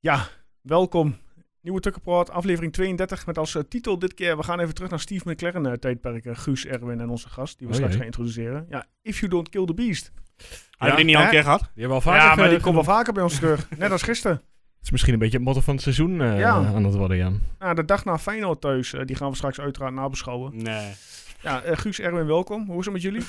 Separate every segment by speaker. Speaker 1: Ja, welkom. Nieuwe Tukkenpraat, aflevering 32 met als eh, titel dit keer... We gaan even terug naar Steve McLaren eh, tijdperken. Guus, Erwin en onze gast, die we
Speaker 2: Oh
Speaker 1: straks
Speaker 2: jee.
Speaker 1: gaan introduceren. Ja, If You Don't Kill the Beast.
Speaker 3: Hebben we die niet al een
Speaker 1: hè?
Speaker 3: keer gehad?
Speaker 2: Die hebben we al vaker
Speaker 1: Ja, maar die
Speaker 2: eh,
Speaker 1: komt wel
Speaker 2: genoemd.
Speaker 1: vaker bij ons terug. Net als gisteren.
Speaker 2: Het is misschien een beetje het motto van het seizoen eh,
Speaker 1: Ja.
Speaker 2: aan het worden, ja.
Speaker 1: Nou, de dag na Feyenoord thuis, eh, die gaan we straks uiteraard nabeschouwen.
Speaker 3: Nee.
Speaker 1: Ja, eh, Guus, Erwin, welkom. Hoe is het met jullie?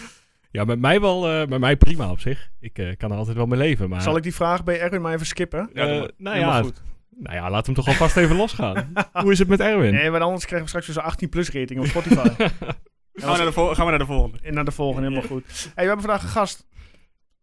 Speaker 2: Ja, met mij wel, eh, met mij prima op zich. Ik eh, kan er altijd wel mee leven, maar...
Speaker 1: Zal ik die vraag bij Erwin maar even skippen?
Speaker 3: Ja,
Speaker 2: eh,
Speaker 3: doe maar.
Speaker 2: nou,
Speaker 1: Helemaal
Speaker 2: ja,
Speaker 1: goed.
Speaker 2: nou ja, laat hem toch alvast even losgaan. Hoe is het met Erwin?
Speaker 1: Nee, maar anders krijgen we straks dus een 18-plus rating op Spotify.
Speaker 2: Eh,
Speaker 3: Gaan we, naar de vol- gaan we naar de volgende.
Speaker 1: En naar de volgende, helemaal goed. Hey, we hebben vandaag een gast.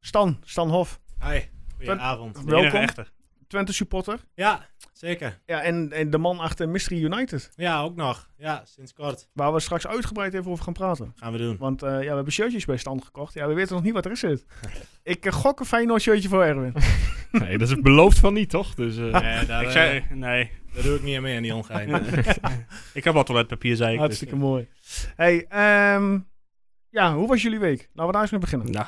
Speaker 1: Stan, Stan Hof.
Speaker 4: Hi, goedenavond.
Speaker 3: De enige
Speaker 1: Welkom.
Speaker 3: echte.
Speaker 1: Twente supporter.
Speaker 4: Ja, zeker.
Speaker 1: Ja, en, en de man achter Mystery United.
Speaker 4: Ja, ook nog. Ja, sinds kort
Speaker 1: Waar we straks uitgebreid even over gaan praten.
Speaker 4: gaan we doen.
Speaker 1: Want eh, ja, we hebben shirtjes bij Stan gekocht. Ja, we weten nog niet wat er zit. Ik eh, gok een Feyenoord shirtje voor Erwin.
Speaker 2: Nee, dat is beloofd van niet, toch? Dus, eh,
Speaker 4: Nee, daar,
Speaker 3: ik
Speaker 4: eh,
Speaker 3: zei, nee.
Speaker 4: daar doe ik niet aan mee aan die ongein.
Speaker 3: Ik heb wel toiletpapier, zei ik. dus-
Speaker 1: Hartstikke mooi. Hey, ehm, ja, hoe was jullie week? Laten we daar eens mee beginnen.
Speaker 3: Nou,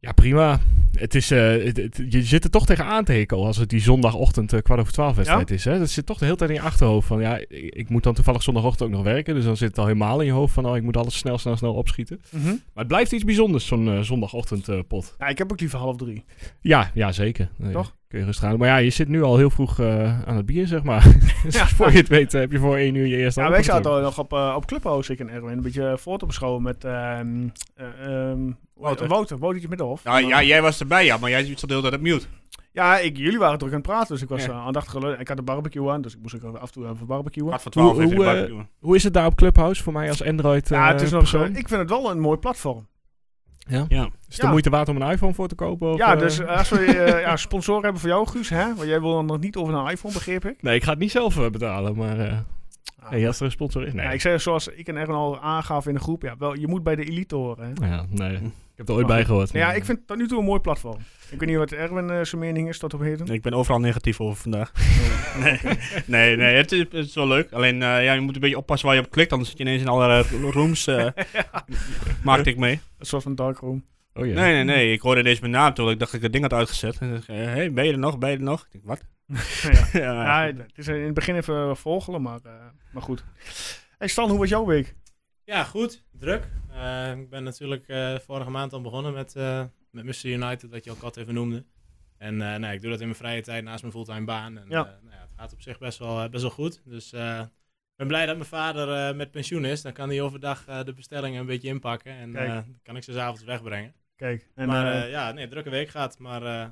Speaker 2: Ja, prima. Het is, eh, het- het- je zit er toch tegenaan te hikken als het die zondagochtend eh, kwart over twaalf wedstrijd is. Hè? Dat zit toch de hele tijd in je achterhoofd van, ja, ik, ik moet dan toevallig zondagochtend ook nog werken. Dus dan zit het al helemaal in je hoofd van, oh, ik moet alles snel, snel, snel opschieten.
Speaker 1: Mhm.
Speaker 2: Maar het blijft iets bijzonders, zo'n eh, zondagochtend zondagochtendpot.
Speaker 1: Ja, ik heb ook liever half drie.
Speaker 2: Ja, ja, zeker. Nee,
Speaker 1: Toch?
Speaker 2: Kun je rustig aan. Maar ja, je zit nu al heel vroeg eh, aan het bier, zeg maar. dus
Speaker 1: Ja.
Speaker 2: voor je het weet eh, heb je voor één uur je eerste
Speaker 1: Ja, wij
Speaker 2: hapje
Speaker 1: zaten al
Speaker 2: gedronken.
Speaker 1: nog op, eh, op Clubhouse, ik en Erwin. Een beetje voor te beschouwen met ehm eh, ehm, Wouter.
Speaker 3: Wouter.
Speaker 1: Wouter, Woutertje Middelhof.
Speaker 3: nou, ja,
Speaker 1: Maar-
Speaker 3: jij was erbij, ja, maar jij zat de hele tijd op mute.
Speaker 1: Ja, ik, jullie waren druk aan het praten, dus ik was
Speaker 3: Ja.
Speaker 1: eh, aandachtig geluid. Ik had een barbecue aan, dus ik moest ook af en toe even barbecuen.
Speaker 3: Kwart voor twaalf
Speaker 2: Hoe-
Speaker 3: even in de
Speaker 2: hoe, eh,
Speaker 3: barbecue.
Speaker 2: Hoe is het daar op Clubhouse voor mij als Android eh,
Speaker 1: ja, het is nog zo.
Speaker 2: zo.
Speaker 1: eh, Ik vind het wel een mooi platform.
Speaker 3: Ja.
Speaker 2: Is het
Speaker 1: ja.
Speaker 2: de moeite waard om een iPhone voor te kopen? Of,
Speaker 1: ja,
Speaker 2: eh?
Speaker 1: dus als we eh, ja, sponsoren hebben voor jou, Guus, hè? Want jij wil dan nog niet over een iPhone, begreep ik.
Speaker 2: Nee, ik ga het niet zelf eh, betalen, maar eh
Speaker 1: Ah.
Speaker 2: hey, als er een sponsor is. Nee,
Speaker 1: Ja, ik zei zoals ik en Erwin al aangaven in de groep, ja, wel, je moet bij de elite horen. Hè?
Speaker 2: Nou ja, nee. ik heb er
Speaker 1: Maar
Speaker 2: ooit bij
Speaker 1: goed.
Speaker 2: gehoord.
Speaker 1: Nou ja, Hm. ik vind het tot nu toe een mooi platform. Ik weet niet wat Erwin eh, zijn mening is tot op heden.
Speaker 3: Ik ben overal negatief over vandaag. nee, nee, nee het, is, het is wel leuk. Alleen, eh, ja, je moet een beetje oppassen waar je op klikt, anders zit je ineens in allerlei rooms. eh, Maakte ik mee.
Speaker 1: Een soort van darkroom.
Speaker 2: Oh, ja.
Speaker 3: Nee, nee, nee. Ik hoorde deze mijn naam toen. Ik dacht dat ik het ding had uitgezet. En dacht, eh, hey, ben je er nog? Ben je er nog? Ik denk, wat?
Speaker 1: ja.
Speaker 3: ja,
Speaker 1: Ja, het is eh, in het begin even volgelen, maar, eh, maar goed. Hey Stan, hoe was jouw week?
Speaker 4: ja, goed. Druk. Eh, ik ben natuurlijk eh, vorige maand al begonnen met, eh met Mr. United, wat je ook altijd even noemde. En eh, nou, ik doe dat in mijn vrije tijd naast mijn fulltime baan. En,
Speaker 1: Ja.
Speaker 4: eh, nou ja, het gaat op zich best wel, eh, best wel goed. Dus eh, ik ben blij dat mijn vader eh, met pensioen is. Dan kan hij overdag eh, de bestellingen een beetje inpakken. En
Speaker 1: Kijk.
Speaker 4: eh, dan kan ik ze 's avonds wegbrengen.
Speaker 1: Kijk, en,
Speaker 4: maar
Speaker 1: eh,
Speaker 4: eh, ja, nee, drukke week gaat, maar eh,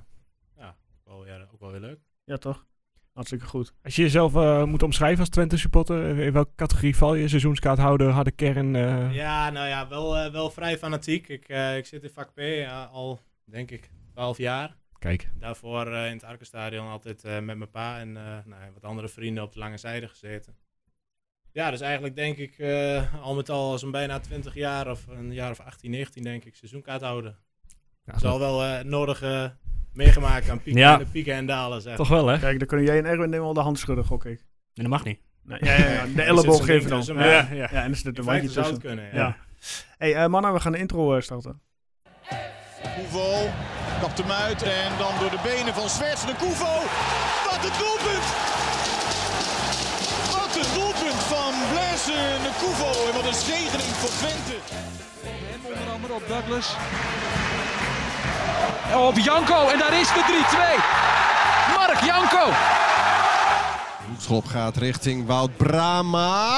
Speaker 4: ja, ook wel, weer, ook wel weer leuk.
Speaker 1: ja toch? Hartstikke goed.
Speaker 2: Als je jezelf eh, moet omschrijven als Twente supporter, eh, in welke categorie val je? Seizoenskaarthouder, harde kern? eh?
Speaker 4: Ja, nou ja, wel, eh, wel vrij fanatiek. Ik, eh, ik zit in vak P eh, al, denk ik, 12 jaar.
Speaker 2: Kijk,
Speaker 4: Daarvoor eh, in het Arkenstadion altijd eh, met mijn pa en eh, nou, ja, wat andere vrienden op de lange zijde gezeten. Ja, dus eigenlijk denk ik eh, al met al zo'n bijna 20 jaar of een jaar of 18, 19 denk ik, seizoenkaart houden.
Speaker 2: ja,
Speaker 4: Dus al wel eh, het nodige meegemaakt aan pieken,
Speaker 3: Ja.
Speaker 4: en, pieken en dalen, zeg.
Speaker 2: toch wel, hè?
Speaker 1: Kijk, dan kunnen jij en Erwin nemen wel de hand schudden, gok ik.
Speaker 3: dat mag niet.
Speaker 1: Nou, ja, ja, ja, de
Speaker 4: Ja,
Speaker 1: elleboog
Speaker 4: er zit zo'n
Speaker 1: geven dan.
Speaker 4: ding tussen,
Speaker 1: Ja,
Speaker 4: maar
Speaker 1: ja,
Speaker 4: ja,
Speaker 1: en dan is het
Speaker 4: In
Speaker 1: een
Speaker 4: feite
Speaker 1: wandje
Speaker 4: zou het
Speaker 1: tussen.
Speaker 4: kunnen, ja.
Speaker 1: Ja. hey, eh, mannen, we gaan de intro eh, starten.
Speaker 5: Koevo kapt hem uit en dan door de benen van Zwerts de Koevo. Wat een doelpunt! Wat een doelpunt van Blaise de Koevo en wat een zegening voor Twente.
Speaker 6: Hem onder andere op Douglas. Op Janko en daar is de 3-2. Mark Janko.
Speaker 5: Hoekschop gaat richting Wout Brama.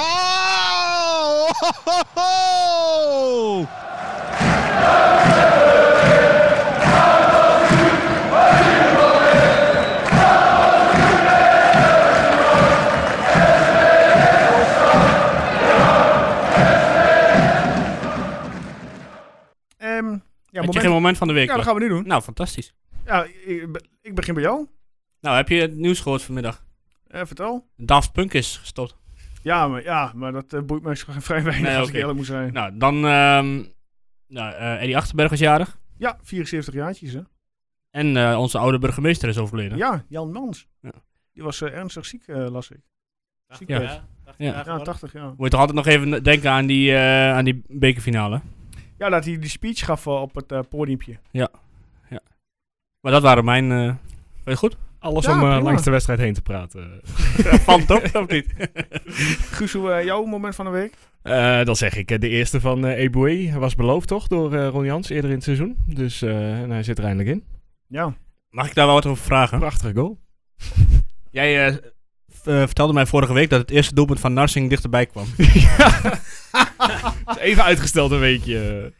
Speaker 1: Ehm, ja,
Speaker 3: Heb
Speaker 1: moment...
Speaker 3: je geen moment van de week?
Speaker 1: ja, dat
Speaker 3: Lars?
Speaker 1: gaan we nu doen.
Speaker 3: Nou, fantastisch.
Speaker 1: Ja, ik, be- ik begin bij jou.
Speaker 3: Nou, heb je het nieuws gehoord vanmiddag?
Speaker 1: Eh, vertel.
Speaker 3: Daft Punk is gestopt.
Speaker 1: Ja, maar, ja, maar dat eh, boeit mij zo- vrij weinig
Speaker 3: Nee,
Speaker 1: als ik
Speaker 3: oké.
Speaker 1: eerlijk moet zijn.
Speaker 3: Nou, dan... ehm nou, eh, Eddie Achterberg is jarig.
Speaker 1: Ja, 74 jaartjes, hè?
Speaker 3: En eh, onze oude burgemeester is overleden.
Speaker 1: Ja, Jan Mans.
Speaker 3: Ja.
Speaker 1: Die was eh, ernstig ziek, eh, las ik.
Speaker 4: 80
Speaker 3: Ja.
Speaker 4: jaar,
Speaker 3: Ja.
Speaker 4: 80 jaar
Speaker 1: Ja,
Speaker 4: geworden.
Speaker 1: 80 jaar.
Speaker 3: Moet je toch altijd nog even denken aan die, eh, aan die bekerfinale.
Speaker 1: Ja, dat hij die speech gaf eh, op het eh, podiumpje.
Speaker 3: Maar dat waren mijn... eh, Weet je goed?
Speaker 2: alles
Speaker 1: Ja,
Speaker 2: om eh,
Speaker 1: prima.
Speaker 2: langs de wedstrijd heen te praten.
Speaker 3: Van toch, of niet?
Speaker 1: Guus, hoe, eh, jouw moment van de week?
Speaker 2: Eh, dan zeg ik, eh, de eerste van eh Eboué was beloofd toch door eh Ron Jans eerder in het seizoen. Dus eh, en hij zit er eindelijk in.
Speaker 1: Ja.
Speaker 3: Mag ik daar wel wat over vragen?
Speaker 2: Prachtige goal.
Speaker 3: Jij eh, v- eh, vertelde mij vorige week dat het eerste doelpunt van Narsing dichterbij kwam.
Speaker 2: Is Even uitgesteld een weekje.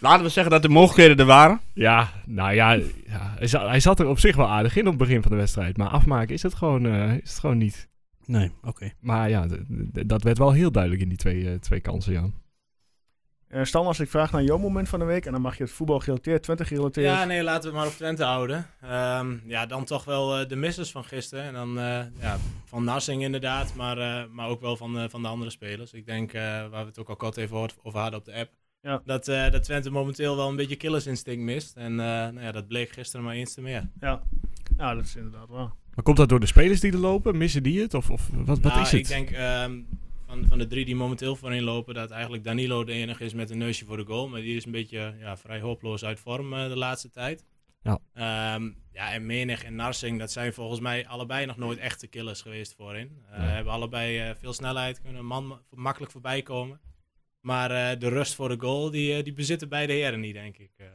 Speaker 3: Laten we zeggen dat de mogelijkheden er waren.
Speaker 2: Ja, nou ja, ja hij, zat, hij zat er op zich wel aardig in op het begin van de wedstrijd. Maar afmaken is het gewoon, eh, is het gewoon niet.
Speaker 3: Nee, oké.
Speaker 2: Maar ja, d- d- dat werd wel heel duidelijk in die twee, eh, twee kansen, Jan.
Speaker 1: Eh Stan, als ik vraag naar jouw moment van de week, en dan mag je het voetbal gerelateerd, 20 gerelateerd.
Speaker 4: Ja, nee, laten we het maar op Twente houden. Ehm, ja, dan toch wel eh, de missers van gisteren. En dan eh, ja, van Narsing inderdaad, maar, eh, maar ook wel van, eh, van de andere spelers. Ik denk, eh, waar we het ook al kort even hoort- over hadden op de app,
Speaker 1: Ja.
Speaker 4: dat, eh, dat Twente momenteel wel een beetje killersinstinct mist. En eh, nou ja, dat bleek gisteren maar eens te meer.
Speaker 1: Ja, dat is inderdaad waar.
Speaker 2: Maar komt dat door de spelers die er lopen? Missen die het? Of, of wat, wat
Speaker 4: Nou,
Speaker 2: is het?
Speaker 4: Ik denk ehm, van, van de drie die momenteel voorin lopen, dat eigenlijk Danilo de enige is met een neusje voor de goal. Maar die is een beetje ja, vrij hopeloos uit vorm eh, de laatste tijd.
Speaker 2: Ja.
Speaker 4: Ehm, ja, en Menig en Narsing, dat zijn volgens mij allebei nog nooit echte killers geweest voorin. Eh
Speaker 2: Nee.
Speaker 4: Hebben allebei eh, veel snelheid, kunnen een man ma- makkelijk voorbij komen. Maar eh, de rust voor de goal, die, eh, die bezitten beide heren niet, denk ik. Eh,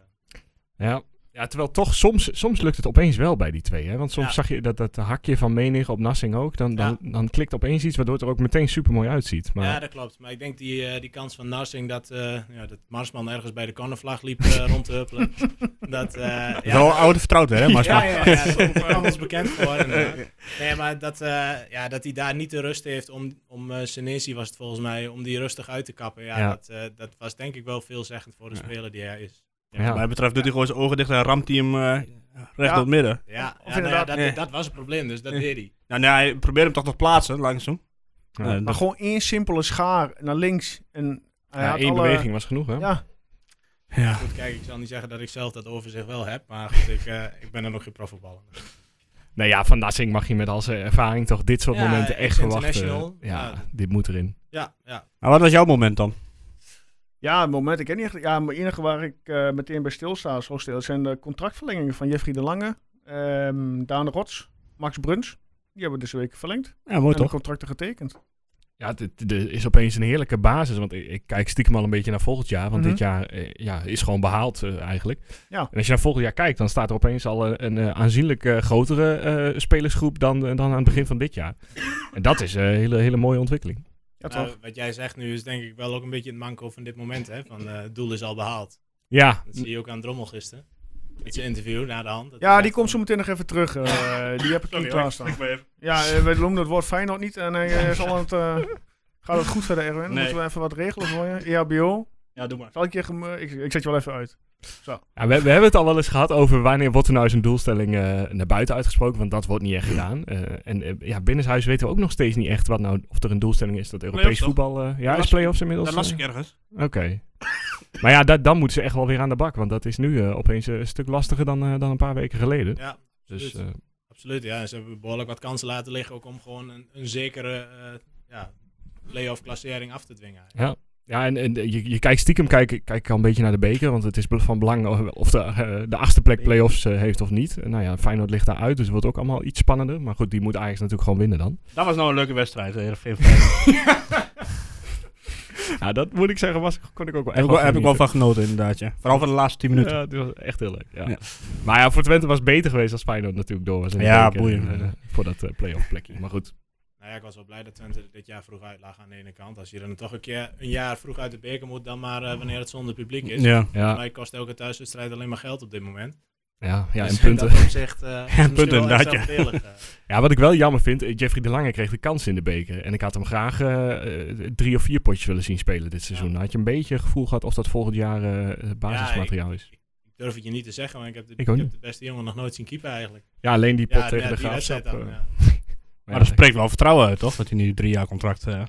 Speaker 2: Ja. ja, terwijl toch soms, soms lukt het opeens wel bij die twee. Hè? Want soms
Speaker 4: Ja.
Speaker 2: zag je dat, dat hakje van Menig op Nassing ook. Dan, dan, dan klikt opeens iets waardoor het er ook meteen super mooi uitziet. Maar
Speaker 4: Ja, dat klopt. Maar ik denk die, eh, die kans van Narsing dat, eh, ja, dat Marsman ergens bij de cornervlag liep eh, rond te huppelen. dat, eh, ja,
Speaker 3: Zo oude vertrouwd, hè, maar
Speaker 4: ja, ja, ja, dat is ook wel ons bekend geworden. hè. Nee, maar dat, eh, ja, dat hij daar niet de rust heeft om, om eh Senesi was het volgens mij, om die rustig uit te kappen. Ja,
Speaker 2: Ja.
Speaker 4: Dat, eh, dat was denk ik wel veelzeggend voor de speler die hij is.
Speaker 2: Ja.
Speaker 3: Wat mij betreft doet hij gewoon zijn ogen dicht en ramt hij hem eh, recht
Speaker 1: Ja.
Speaker 3: door het midden.
Speaker 4: Ja, ja, nou ja,
Speaker 1: inderdaad,
Speaker 4: dat,
Speaker 3: nee.
Speaker 4: dat was het probleem, dus dat deed hij.
Speaker 3: Nou, nee, hij probeert hem toch nog plaatsen langs hem.
Speaker 2: Ja.
Speaker 3: Eh,
Speaker 1: Maar
Speaker 3: dat-
Speaker 1: gewoon één simpele schaar naar links. En hij
Speaker 2: ja,
Speaker 1: had
Speaker 2: één
Speaker 1: alle-
Speaker 2: beweging was genoeg, hè?
Speaker 1: Ja,
Speaker 3: ja.
Speaker 4: Goed, kijk, ik zal niet zeggen dat ik zelf dat overzicht wel heb, maar goed, ik, eh, ik ben er nog geen profvoetballer.
Speaker 2: Nou ja, van Nassing mag je met al zijn ervaring toch dit soort
Speaker 4: Ja,
Speaker 2: momenten echt verwachten. Ja,
Speaker 4: ex-international. Ja.
Speaker 2: dit moet erin.
Speaker 4: Ja, ja,
Speaker 3: Maar wat was jouw moment dan?
Speaker 1: ja het moment. Ik ken niet echt. Ja, maar het enige waar ik eh, meteen bij stilsta, zo stil, zijn de contractverlengingen van Jeffrey de Lange, ehm, Daan Rots, Max Bruns. Die hebben deze week verlengd.
Speaker 3: Ja, mooi
Speaker 1: en de contracten getekend.
Speaker 2: Ja, dit- dit is opeens een heerlijke basis. Want ik, ik kijk stiekem al een beetje naar volgend jaar. Want
Speaker 1: Mhm.
Speaker 2: dit jaar eh, ja, is gewoon behaald eh, eigenlijk.
Speaker 1: Ja.
Speaker 2: En als je naar volgend jaar kijkt, dan staat er opeens al een, een eh, aanzienlijk eh, grotere eh, spelersgroep dan, dan aan het begin van dit jaar. en dat is een hele, hele mooie ontwikkeling.
Speaker 1: Ja,
Speaker 4: Nou,
Speaker 1: toch?
Speaker 4: wat jij zegt nu is denk ik wel ook een beetje het manco van dit moment. Hè? Van, eh, het doel is al behaald.
Speaker 2: Ja,
Speaker 4: Dat zie je ook aan Drommel gisteren. Met zijn interview na de hand. Dat hij
Speaker 1: Ja, die
Speaker 4: zegt
Speaker 1: komt zo
Speaker 4: van,
Speaker 1: meteen nog even terug. eh, die heb ik niet klaarstaan. Ja, eh, we noemen het woord Feyenoord niet. En hij eh, zal het, eh, gaat het goed verder, Erwin?
Speaker 3: Nee.
Speaker 1: Moeten we even wat regelen voor je? E EHBO?
Speaker 3: Ja, doe maar.
Speaker 1: Zal ik je... gem- Ik, ik zet je wel even uit.
Speaker 2: Ja, we, we hebben het al wel eens gehad over wanneer wordt er nou zijn doelstelling eh, naar buiten uitgesproken, want dat wordt niet echt gedaan. Eh, en eh, ja, binnenshuis weten we ook nog steeds niet echt wat nou, of er een doelstelling is dat Europees
Speaker 3: Play-offs
Speaker 2: voetbal. eh, ja,
Speaker 3: Dat
Speaker 2: is
Speaker 3: las-
Speaker 2: play-offs inmiddels.
Speaker 3: Dat las
Speaker 2: eh,
Speaker 3: ik ergens.
Speaker 2: Oké. maar ja, dat, dan moeten ze echt wel weer aan de bak, want dat is nu eh, opeens eh, een stuk lastiger dan, eh, dan een paar weken geleden.
Speaker 4: Ja,
Speaker 2: dus
Speaker 4: absoluut.
Speaker 2: eh,
Speaker 4: absoluut. Ja. En Ze hebben behoorlijk wat kansen laten liggen ook om gewoon een, een zekere eh ja, play-off klassering af te dwingen. eigenlijk.
Speaker 2: ja. Ja, en, en eh, je, je kijkt stiekem kijk, kijk ik al een beetje naar de beker, want het is be- van belang of- of de, eh, de achtste plek play-offs eh, heeft of niet. Nou ja, Feyenoord ligt daaruit, dus het wordt ook allemaal iets spannender. Maar goed, die moet Ajax natuurlijk gewoon winnen dan.
Speaker 3: Dat was nou een leuke wedstrijd. eh, Heerenveen.
Speaker 2: Ja, dat moet ik zeggen, was, kon ik ook wel
Speaker 3: Heb
Speaker 2: echt
Speaker 3: ik wel- heb ik wel
Speaker 2: genieten.
Speaker 3: van genoten inderdaad, ja. Vooral van de laatste 10 minuten.
Speaker 2: Ja, het was echt heel leuk. Ja.
Speaker 3: Ja.
Speaker 2: Maar ja, voor Twente was het beter geweest als Feyenoord natuurlijk door was. in de
Speaker 3: Ja,
Speaker 2: beker
Speaker 3: boeiend.
Speaker 2: en, eh, voor dat eh, play-off plekje. Maar goed.
Speaker 4: Nou ja, ik was wel blij dat Twente dit jaar vroeg uit lag aan de ene kant. Als je dan toch een keer een jaar vroeg uit de beker moet, dan maar eh, wanneer het zonder publiek is.
Speaker 3: Ja.
Speaker 4: Volgens
Speaker 2: Ja,
Speaker 4: mij kost elke thuiswedstrijd alleen maar geld op dit moment.
Speaker 2: ja, ja en
Speaker 4: Dus
Speaker 2: punten.
Speaker 4: In dat opzicht eh, is het misschien
Speaker 3: punten,
Speaker 4: wel extra
Speaker 3: inderdaad, ja.
Speaker 4: voordelig, eh.
Speaker 2: Ja, wat ik wel jammer vind, eh, Jeffrey de Lange kreeg de kans in de beker. En ik had hem graag eh, eh, drie of vier potjes willen zien spelen dit seizoen.
Speaker 4: Ja.
Speaker 2: Dan had je een beetje het gevoel gehad of dat volgend jaar eh, basismateriaal is.
Speaker 4: Ik durf het je niet te zeggen, maar ik heb de,
Speaker 2: Ik ook
Speaker 4: ik
Speaker 2: niet.
Speaker 4: heb de beste jongen nog nooit zien keeper eigenlijk.
Speaker 2: Ja, alleen die pot
Speaker 4: ja,
Speaker 2: tegen
Speaker 4: ja,
Speaker 2: de
Speaker 4: die
Speaker 2: graafschap.
Speaker 4: wedstrijd dan.
Speaker 2: eh,
Speaker 4: ja.
Speaker 3: Maar dat spreekt wel vertrouwen uit, toch? Dat hij nu drie jaar contract... eh,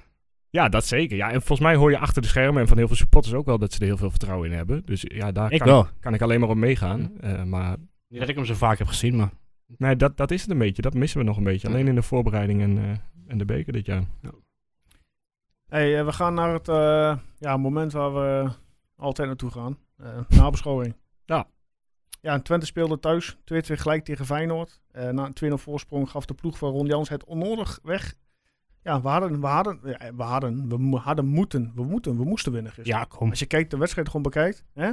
Speaker 2: Ja, dat zeker. Ja, en volgens mij hoor je achter de schermen en van heel veel supporters ook wel dat ze er heel veel vertrouwen in hebben. Dus ja, daar
Speaker 3: ik
Speaker 2: kan,
Speaker 3: wel.
Speaker 2: kan ik alleen maar op meegaan. Eh, maar
Speaker 3: Niet dat ik hem zo vaak heb gezien, maar...
Speaker 2: nee, dat, dat is het een beetje. Dat missen we nog een beetje. Alleen in de voorbereiding en, eh, en de beker dit jaar.
Speaker 1: Hey, eh, we gaan naar het eh, ja, moment waar we altijd naartoe gaan. Eh nabeschouwing.
Speaker 2: Ja.
Speaker 1: Ja, en Twente speelde thuis 2-2 gelijk tegen Feyenoord. Eh, na een 2-0 voorsprong gaf de ploeg van Ron Jans het onnodig weg. Ja, we hadden, we hadden, ja, we hadden, we mo- hadden moeten, we moeten, we moesten winnen gisteren.
Speaker 3: Dus- Ja, kom.
Speaker 1: Als je kijkt, de wedstrijd gewoon bekijkt, hè?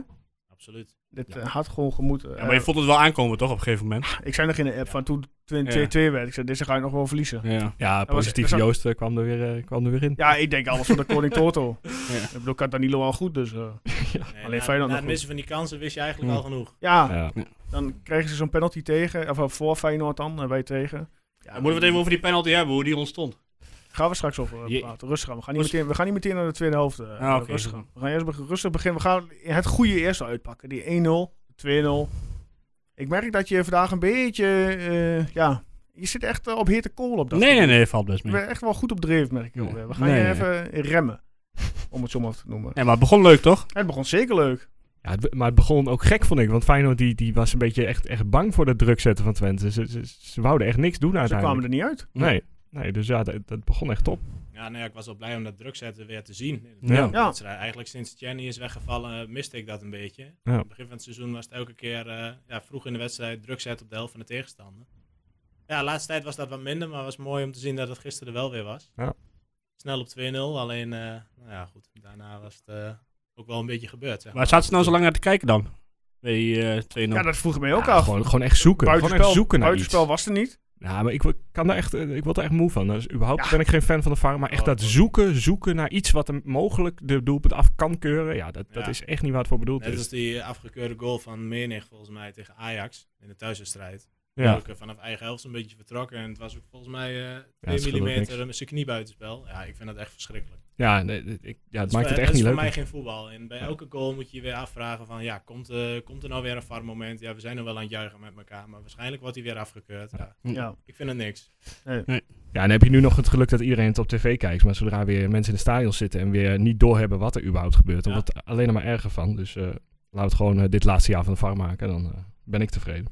Speaker 4: Absoluut.
Speaker 1: dit
Speaker 3: Ja.
Speaker 1: eh, had gewoon gemoeten.
Speaker 3: Ja, maar je
Speaker 1: Eh,
Speaker 3: voelt het wel aankomen, toch, op een gegeven moment?
Speaker 1: ik zei nog in de app van toen 2-2 werd, ik zei, deze ga je nog wel verliezen.
Speaker 3: Ah, Ja.
Speaker 2: Ja,
Speaker 1: was-
Speaker 2: positief
Speaker 1: dat was-
Speaker 2: Joost eh, kwam, er weer, eh, kwam er weer in.
Speaker 1: Ja, ik denk alles van de koning Toto.
Speaker 3: Ja.
Speaker 1: Ik bedoel, ik had Danilo al goed, dus... eh,
Speaker 4: Nee,
Speaker 1: Alleen
Speaker 4: na,
Speaker 1: Feyenoord
Speaker 4: na
Speaker 1: nog
Speaker 4: het missen van die kansen wist je eigenlijk
Speaker 3: Hmm.
Speaker 4: al genoeg.
Speaker 1: ja,
Speaker 2: Ja.
Speaker 1: dan kregen ze zo'n penalty tegen, of eh, voor Feyenoord dan, en wij tegen. Ja,
Speaker 3: Dan moeten we het even over die penalty hebben, hoe die ontstond.
Speaker 1: Gaan we straks over eh,
Speaker 3: Je-
Speaker 1: praten. Rustig aan. We gaan, niet
Speaker 3: Rust-
Speaker 1: meteen, we gaan niet meteen naar de tweede helft. eh,
Speaker 3: Ah, oké.
Speaker 1: rustig aan. We gaan eerst beg- rustig beginnen. We gaan het goede eerst uitpakken. Die 1-0, de 2-0. Ik merk dat je vandaag een beetje... eh, ja, je zit echt eh, op hete kool op dat
Speaker 3: Nee, nee,
Speaker 1: moment.
Speaker 3: nee, valt best
Speaker 1: Ik
Speaker 3: mee.
Speaker 1: ben echt wel goed op dreef, merk ik.
Speaker 3: Nee.
Speaker 1: alweer. We gaan
Speaker 3: Nee,
Speaker 1: je
Speaker 3: nee.
Speaker 1: even remmen. Om het zo maar te noemen.
Speaker 3: Ja, maar het begon leuk, toch?
Speaker 1: Het begon zeker leuk.
Speaker 2: Ja, het be- maar het begon ook gek, vond ik. Want Feyenoord die, die was een beetje echt, echt bang voor dat druk zetten van Twente. Ze, ze, ze wouden echt niks doen
Speaker 1: Ze kwamen
Speaker 2: uiteindelijk.
Speaker 1: er niet uit.
Speaker 2: Nee, nee, dus ja, dat, dat begon echt top.
Speaker 4: Ja, nou ja, ik was wel blij om dat druk zetten weer te zien. In de
Speaker 2: Ja.
Speaker 1: Ja.
Speaker 4: wedstrijd. Eigenlijk sinds Jenny is weggevallen eh, miste ik dat een beetje.
Speaker 2: Ja.
Speaker 4: Aan het begin van het seizoen was het elke keer eh, ja, vroeg in de wedstrijd druk zetten op de helft van de tegenstander. Ja, de laatste tijd was dat wat minder, maar was mooi om te zien dat het gisteren er wel weer was.
Speaker 2: Ja.
Speaker 4: Snel op 2-0, alleen eh, nou ja, goed, daarna was het eh, ook wel een beetje gebeurd. Zeg
Speaker 3: Waar zaten ze nou zo lang naar te kijken dan? Bij eh 2-0.
Speaker 1: Ja, dat vroeg ik mij ook
Speaker 2: Ja,
Speaker 1: af.
Speaker 2: gewoon, gewoon echt zoeken. Gewoon echt
Speaker 1: Buitenspel,
Speaker 2: zoeken naar iets.
Speaker 1: buitenspel was er niet.
Speaker 2: Ja, maar ik, wo- kan daar echt, eh, ik word er echt moe van. Dus überhaupt
Speaker 1: Ja.
Speaker 2: ben ik geen fan van de VAR. Maar echt
Speaker 4: Oh,
Speaker 2: dat
Speaker 4: dat-
Speaker 2: zoeken, zoeken naar iets wat hem mogelijk de doelpunt af kan keuren. Ja, dat, dat
Speaker 4: Ja.
Speaker 2: is echt niet waar het voor bedoeld
Speaker 4: Net
Speaker 2: is.
Speaker 4: als die afgekeurde goal van Menig, volgens mij, tegen Ajax in de thuiswedstrijd.
Speaker 2: Ja.
Speaker 4: Ook, eh, vanaf eigen helft een beetje vertrokken. En het was ook volgens mij eh
Speaker 2: het
Speaker 4: 2
Speaker 2: scheelde ook niks.
Speaker 4: mm zijn knie buitenspel. Ja, ik vind dat echt verschrikkelijk.
Speaker 2: Ja, nee, nee, ik, ja, het
Speaker 4: Dat
Speaker 2: maakt
Speaker 4: is
Speaker 2: het
Speaker 4: voor-
Speaker 2: echt
Speaker 4: dat
Speaker 2: niet
Speaker 4: is
Speaker 2: leuk.
Speaker 4: voor mij geen voetbal. En bij
Speaker 2: Ja.
Speaker 4: elke goal moet je je weer afvragen van... Ja, komt, eh, komt er nou weer een VAR moment? Ja, we zijn er wel aan het juichen met elkaar. Maar waarschijnlijk wordt hij weer afgekeurd. Ja,
Speaker 3: Mm.
Speaker 1: Ja.
Speaker 4: ik vind het niks.
Speaker 2: Ja, en dan heb je nu nog het geluk dat iedereen het op tv kijkt. Maar zodra weer mensen in de stadion zitten en weer niet doorhebben wat er überhaupt gebeurt, dan
Speaker 4: Ja.
Speaker 2: wordt het alleen nog maar erger van. Dus eh laten we het gewoon eh, dit laatste jaar van de VAR maken. Dan eh, ben ik tevreden.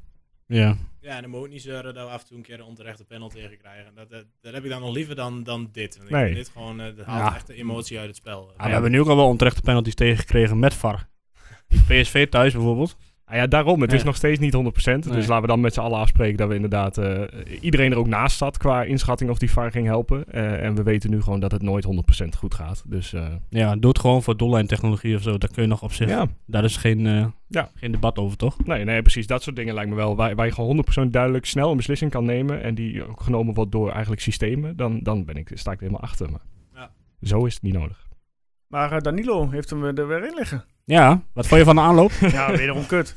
Speaker 3: Ja.
Speaker 4: Ja, en dan moet ik niet zeuren dat we af en toe een keer een onterechte penalty tegen krijgen. Dat, eh, dat, dat heb ik dan nog liever dan, dan dit. Want ik
Speaker 2: Nee.
Speaker 4: vind dit gewoon... eh, dat haalt
Speaker 3: Ja.
Speaker 4: echt de emotie uit het spel.
Speaker 3: Ah, we hebben nu ook al wel onterechte penalties tegengekregen met VAR. Die PSV thuis bijvoorbeeld.
Speaker 2: Ah ja, daarom. Het
Speaker 3: Ja.
Speaker 2: is nog steeds niet 100%.
Speaker 3: Nee.
Speaker 2: Dus laten we dan met z'n allen afspreken dat we inderdaad eh, iedereen er ook naast zat qua inschatting of die VAR ging helpen. Eh, en we weten nu gewoon dat het nooit 100% goed gaat. Dus eh,
Speaker 3: Ja, doe het gewoon voor doellijntechnologie of zo. Daar kun je nog op zich.
Speaker 2: ja,
Speaker 3: Daar is geen, eh,
Speaker 2: Ja.
Speaker 3: geen debat over, toch?
Speaker 2: nee, nee, precies. Dat soort dingen lijkt me wel. Waar, waar je gewoon 100% duidelijk snel een beslissing kan nemen. En die ook genomen wordt door eigenlijk systemen. Dan, dan ben ik, sta ik er helemaal achter. Maar
Speaker 4: Ja.
Speaker 2: zo is het niet nodig.
Speaker 1: Maar eh, Danilo heeft hem er weer in liggen.
Speaker 3: Ja, wat vond je van de aanloop?
Speaker 1: Ja, wederom kut.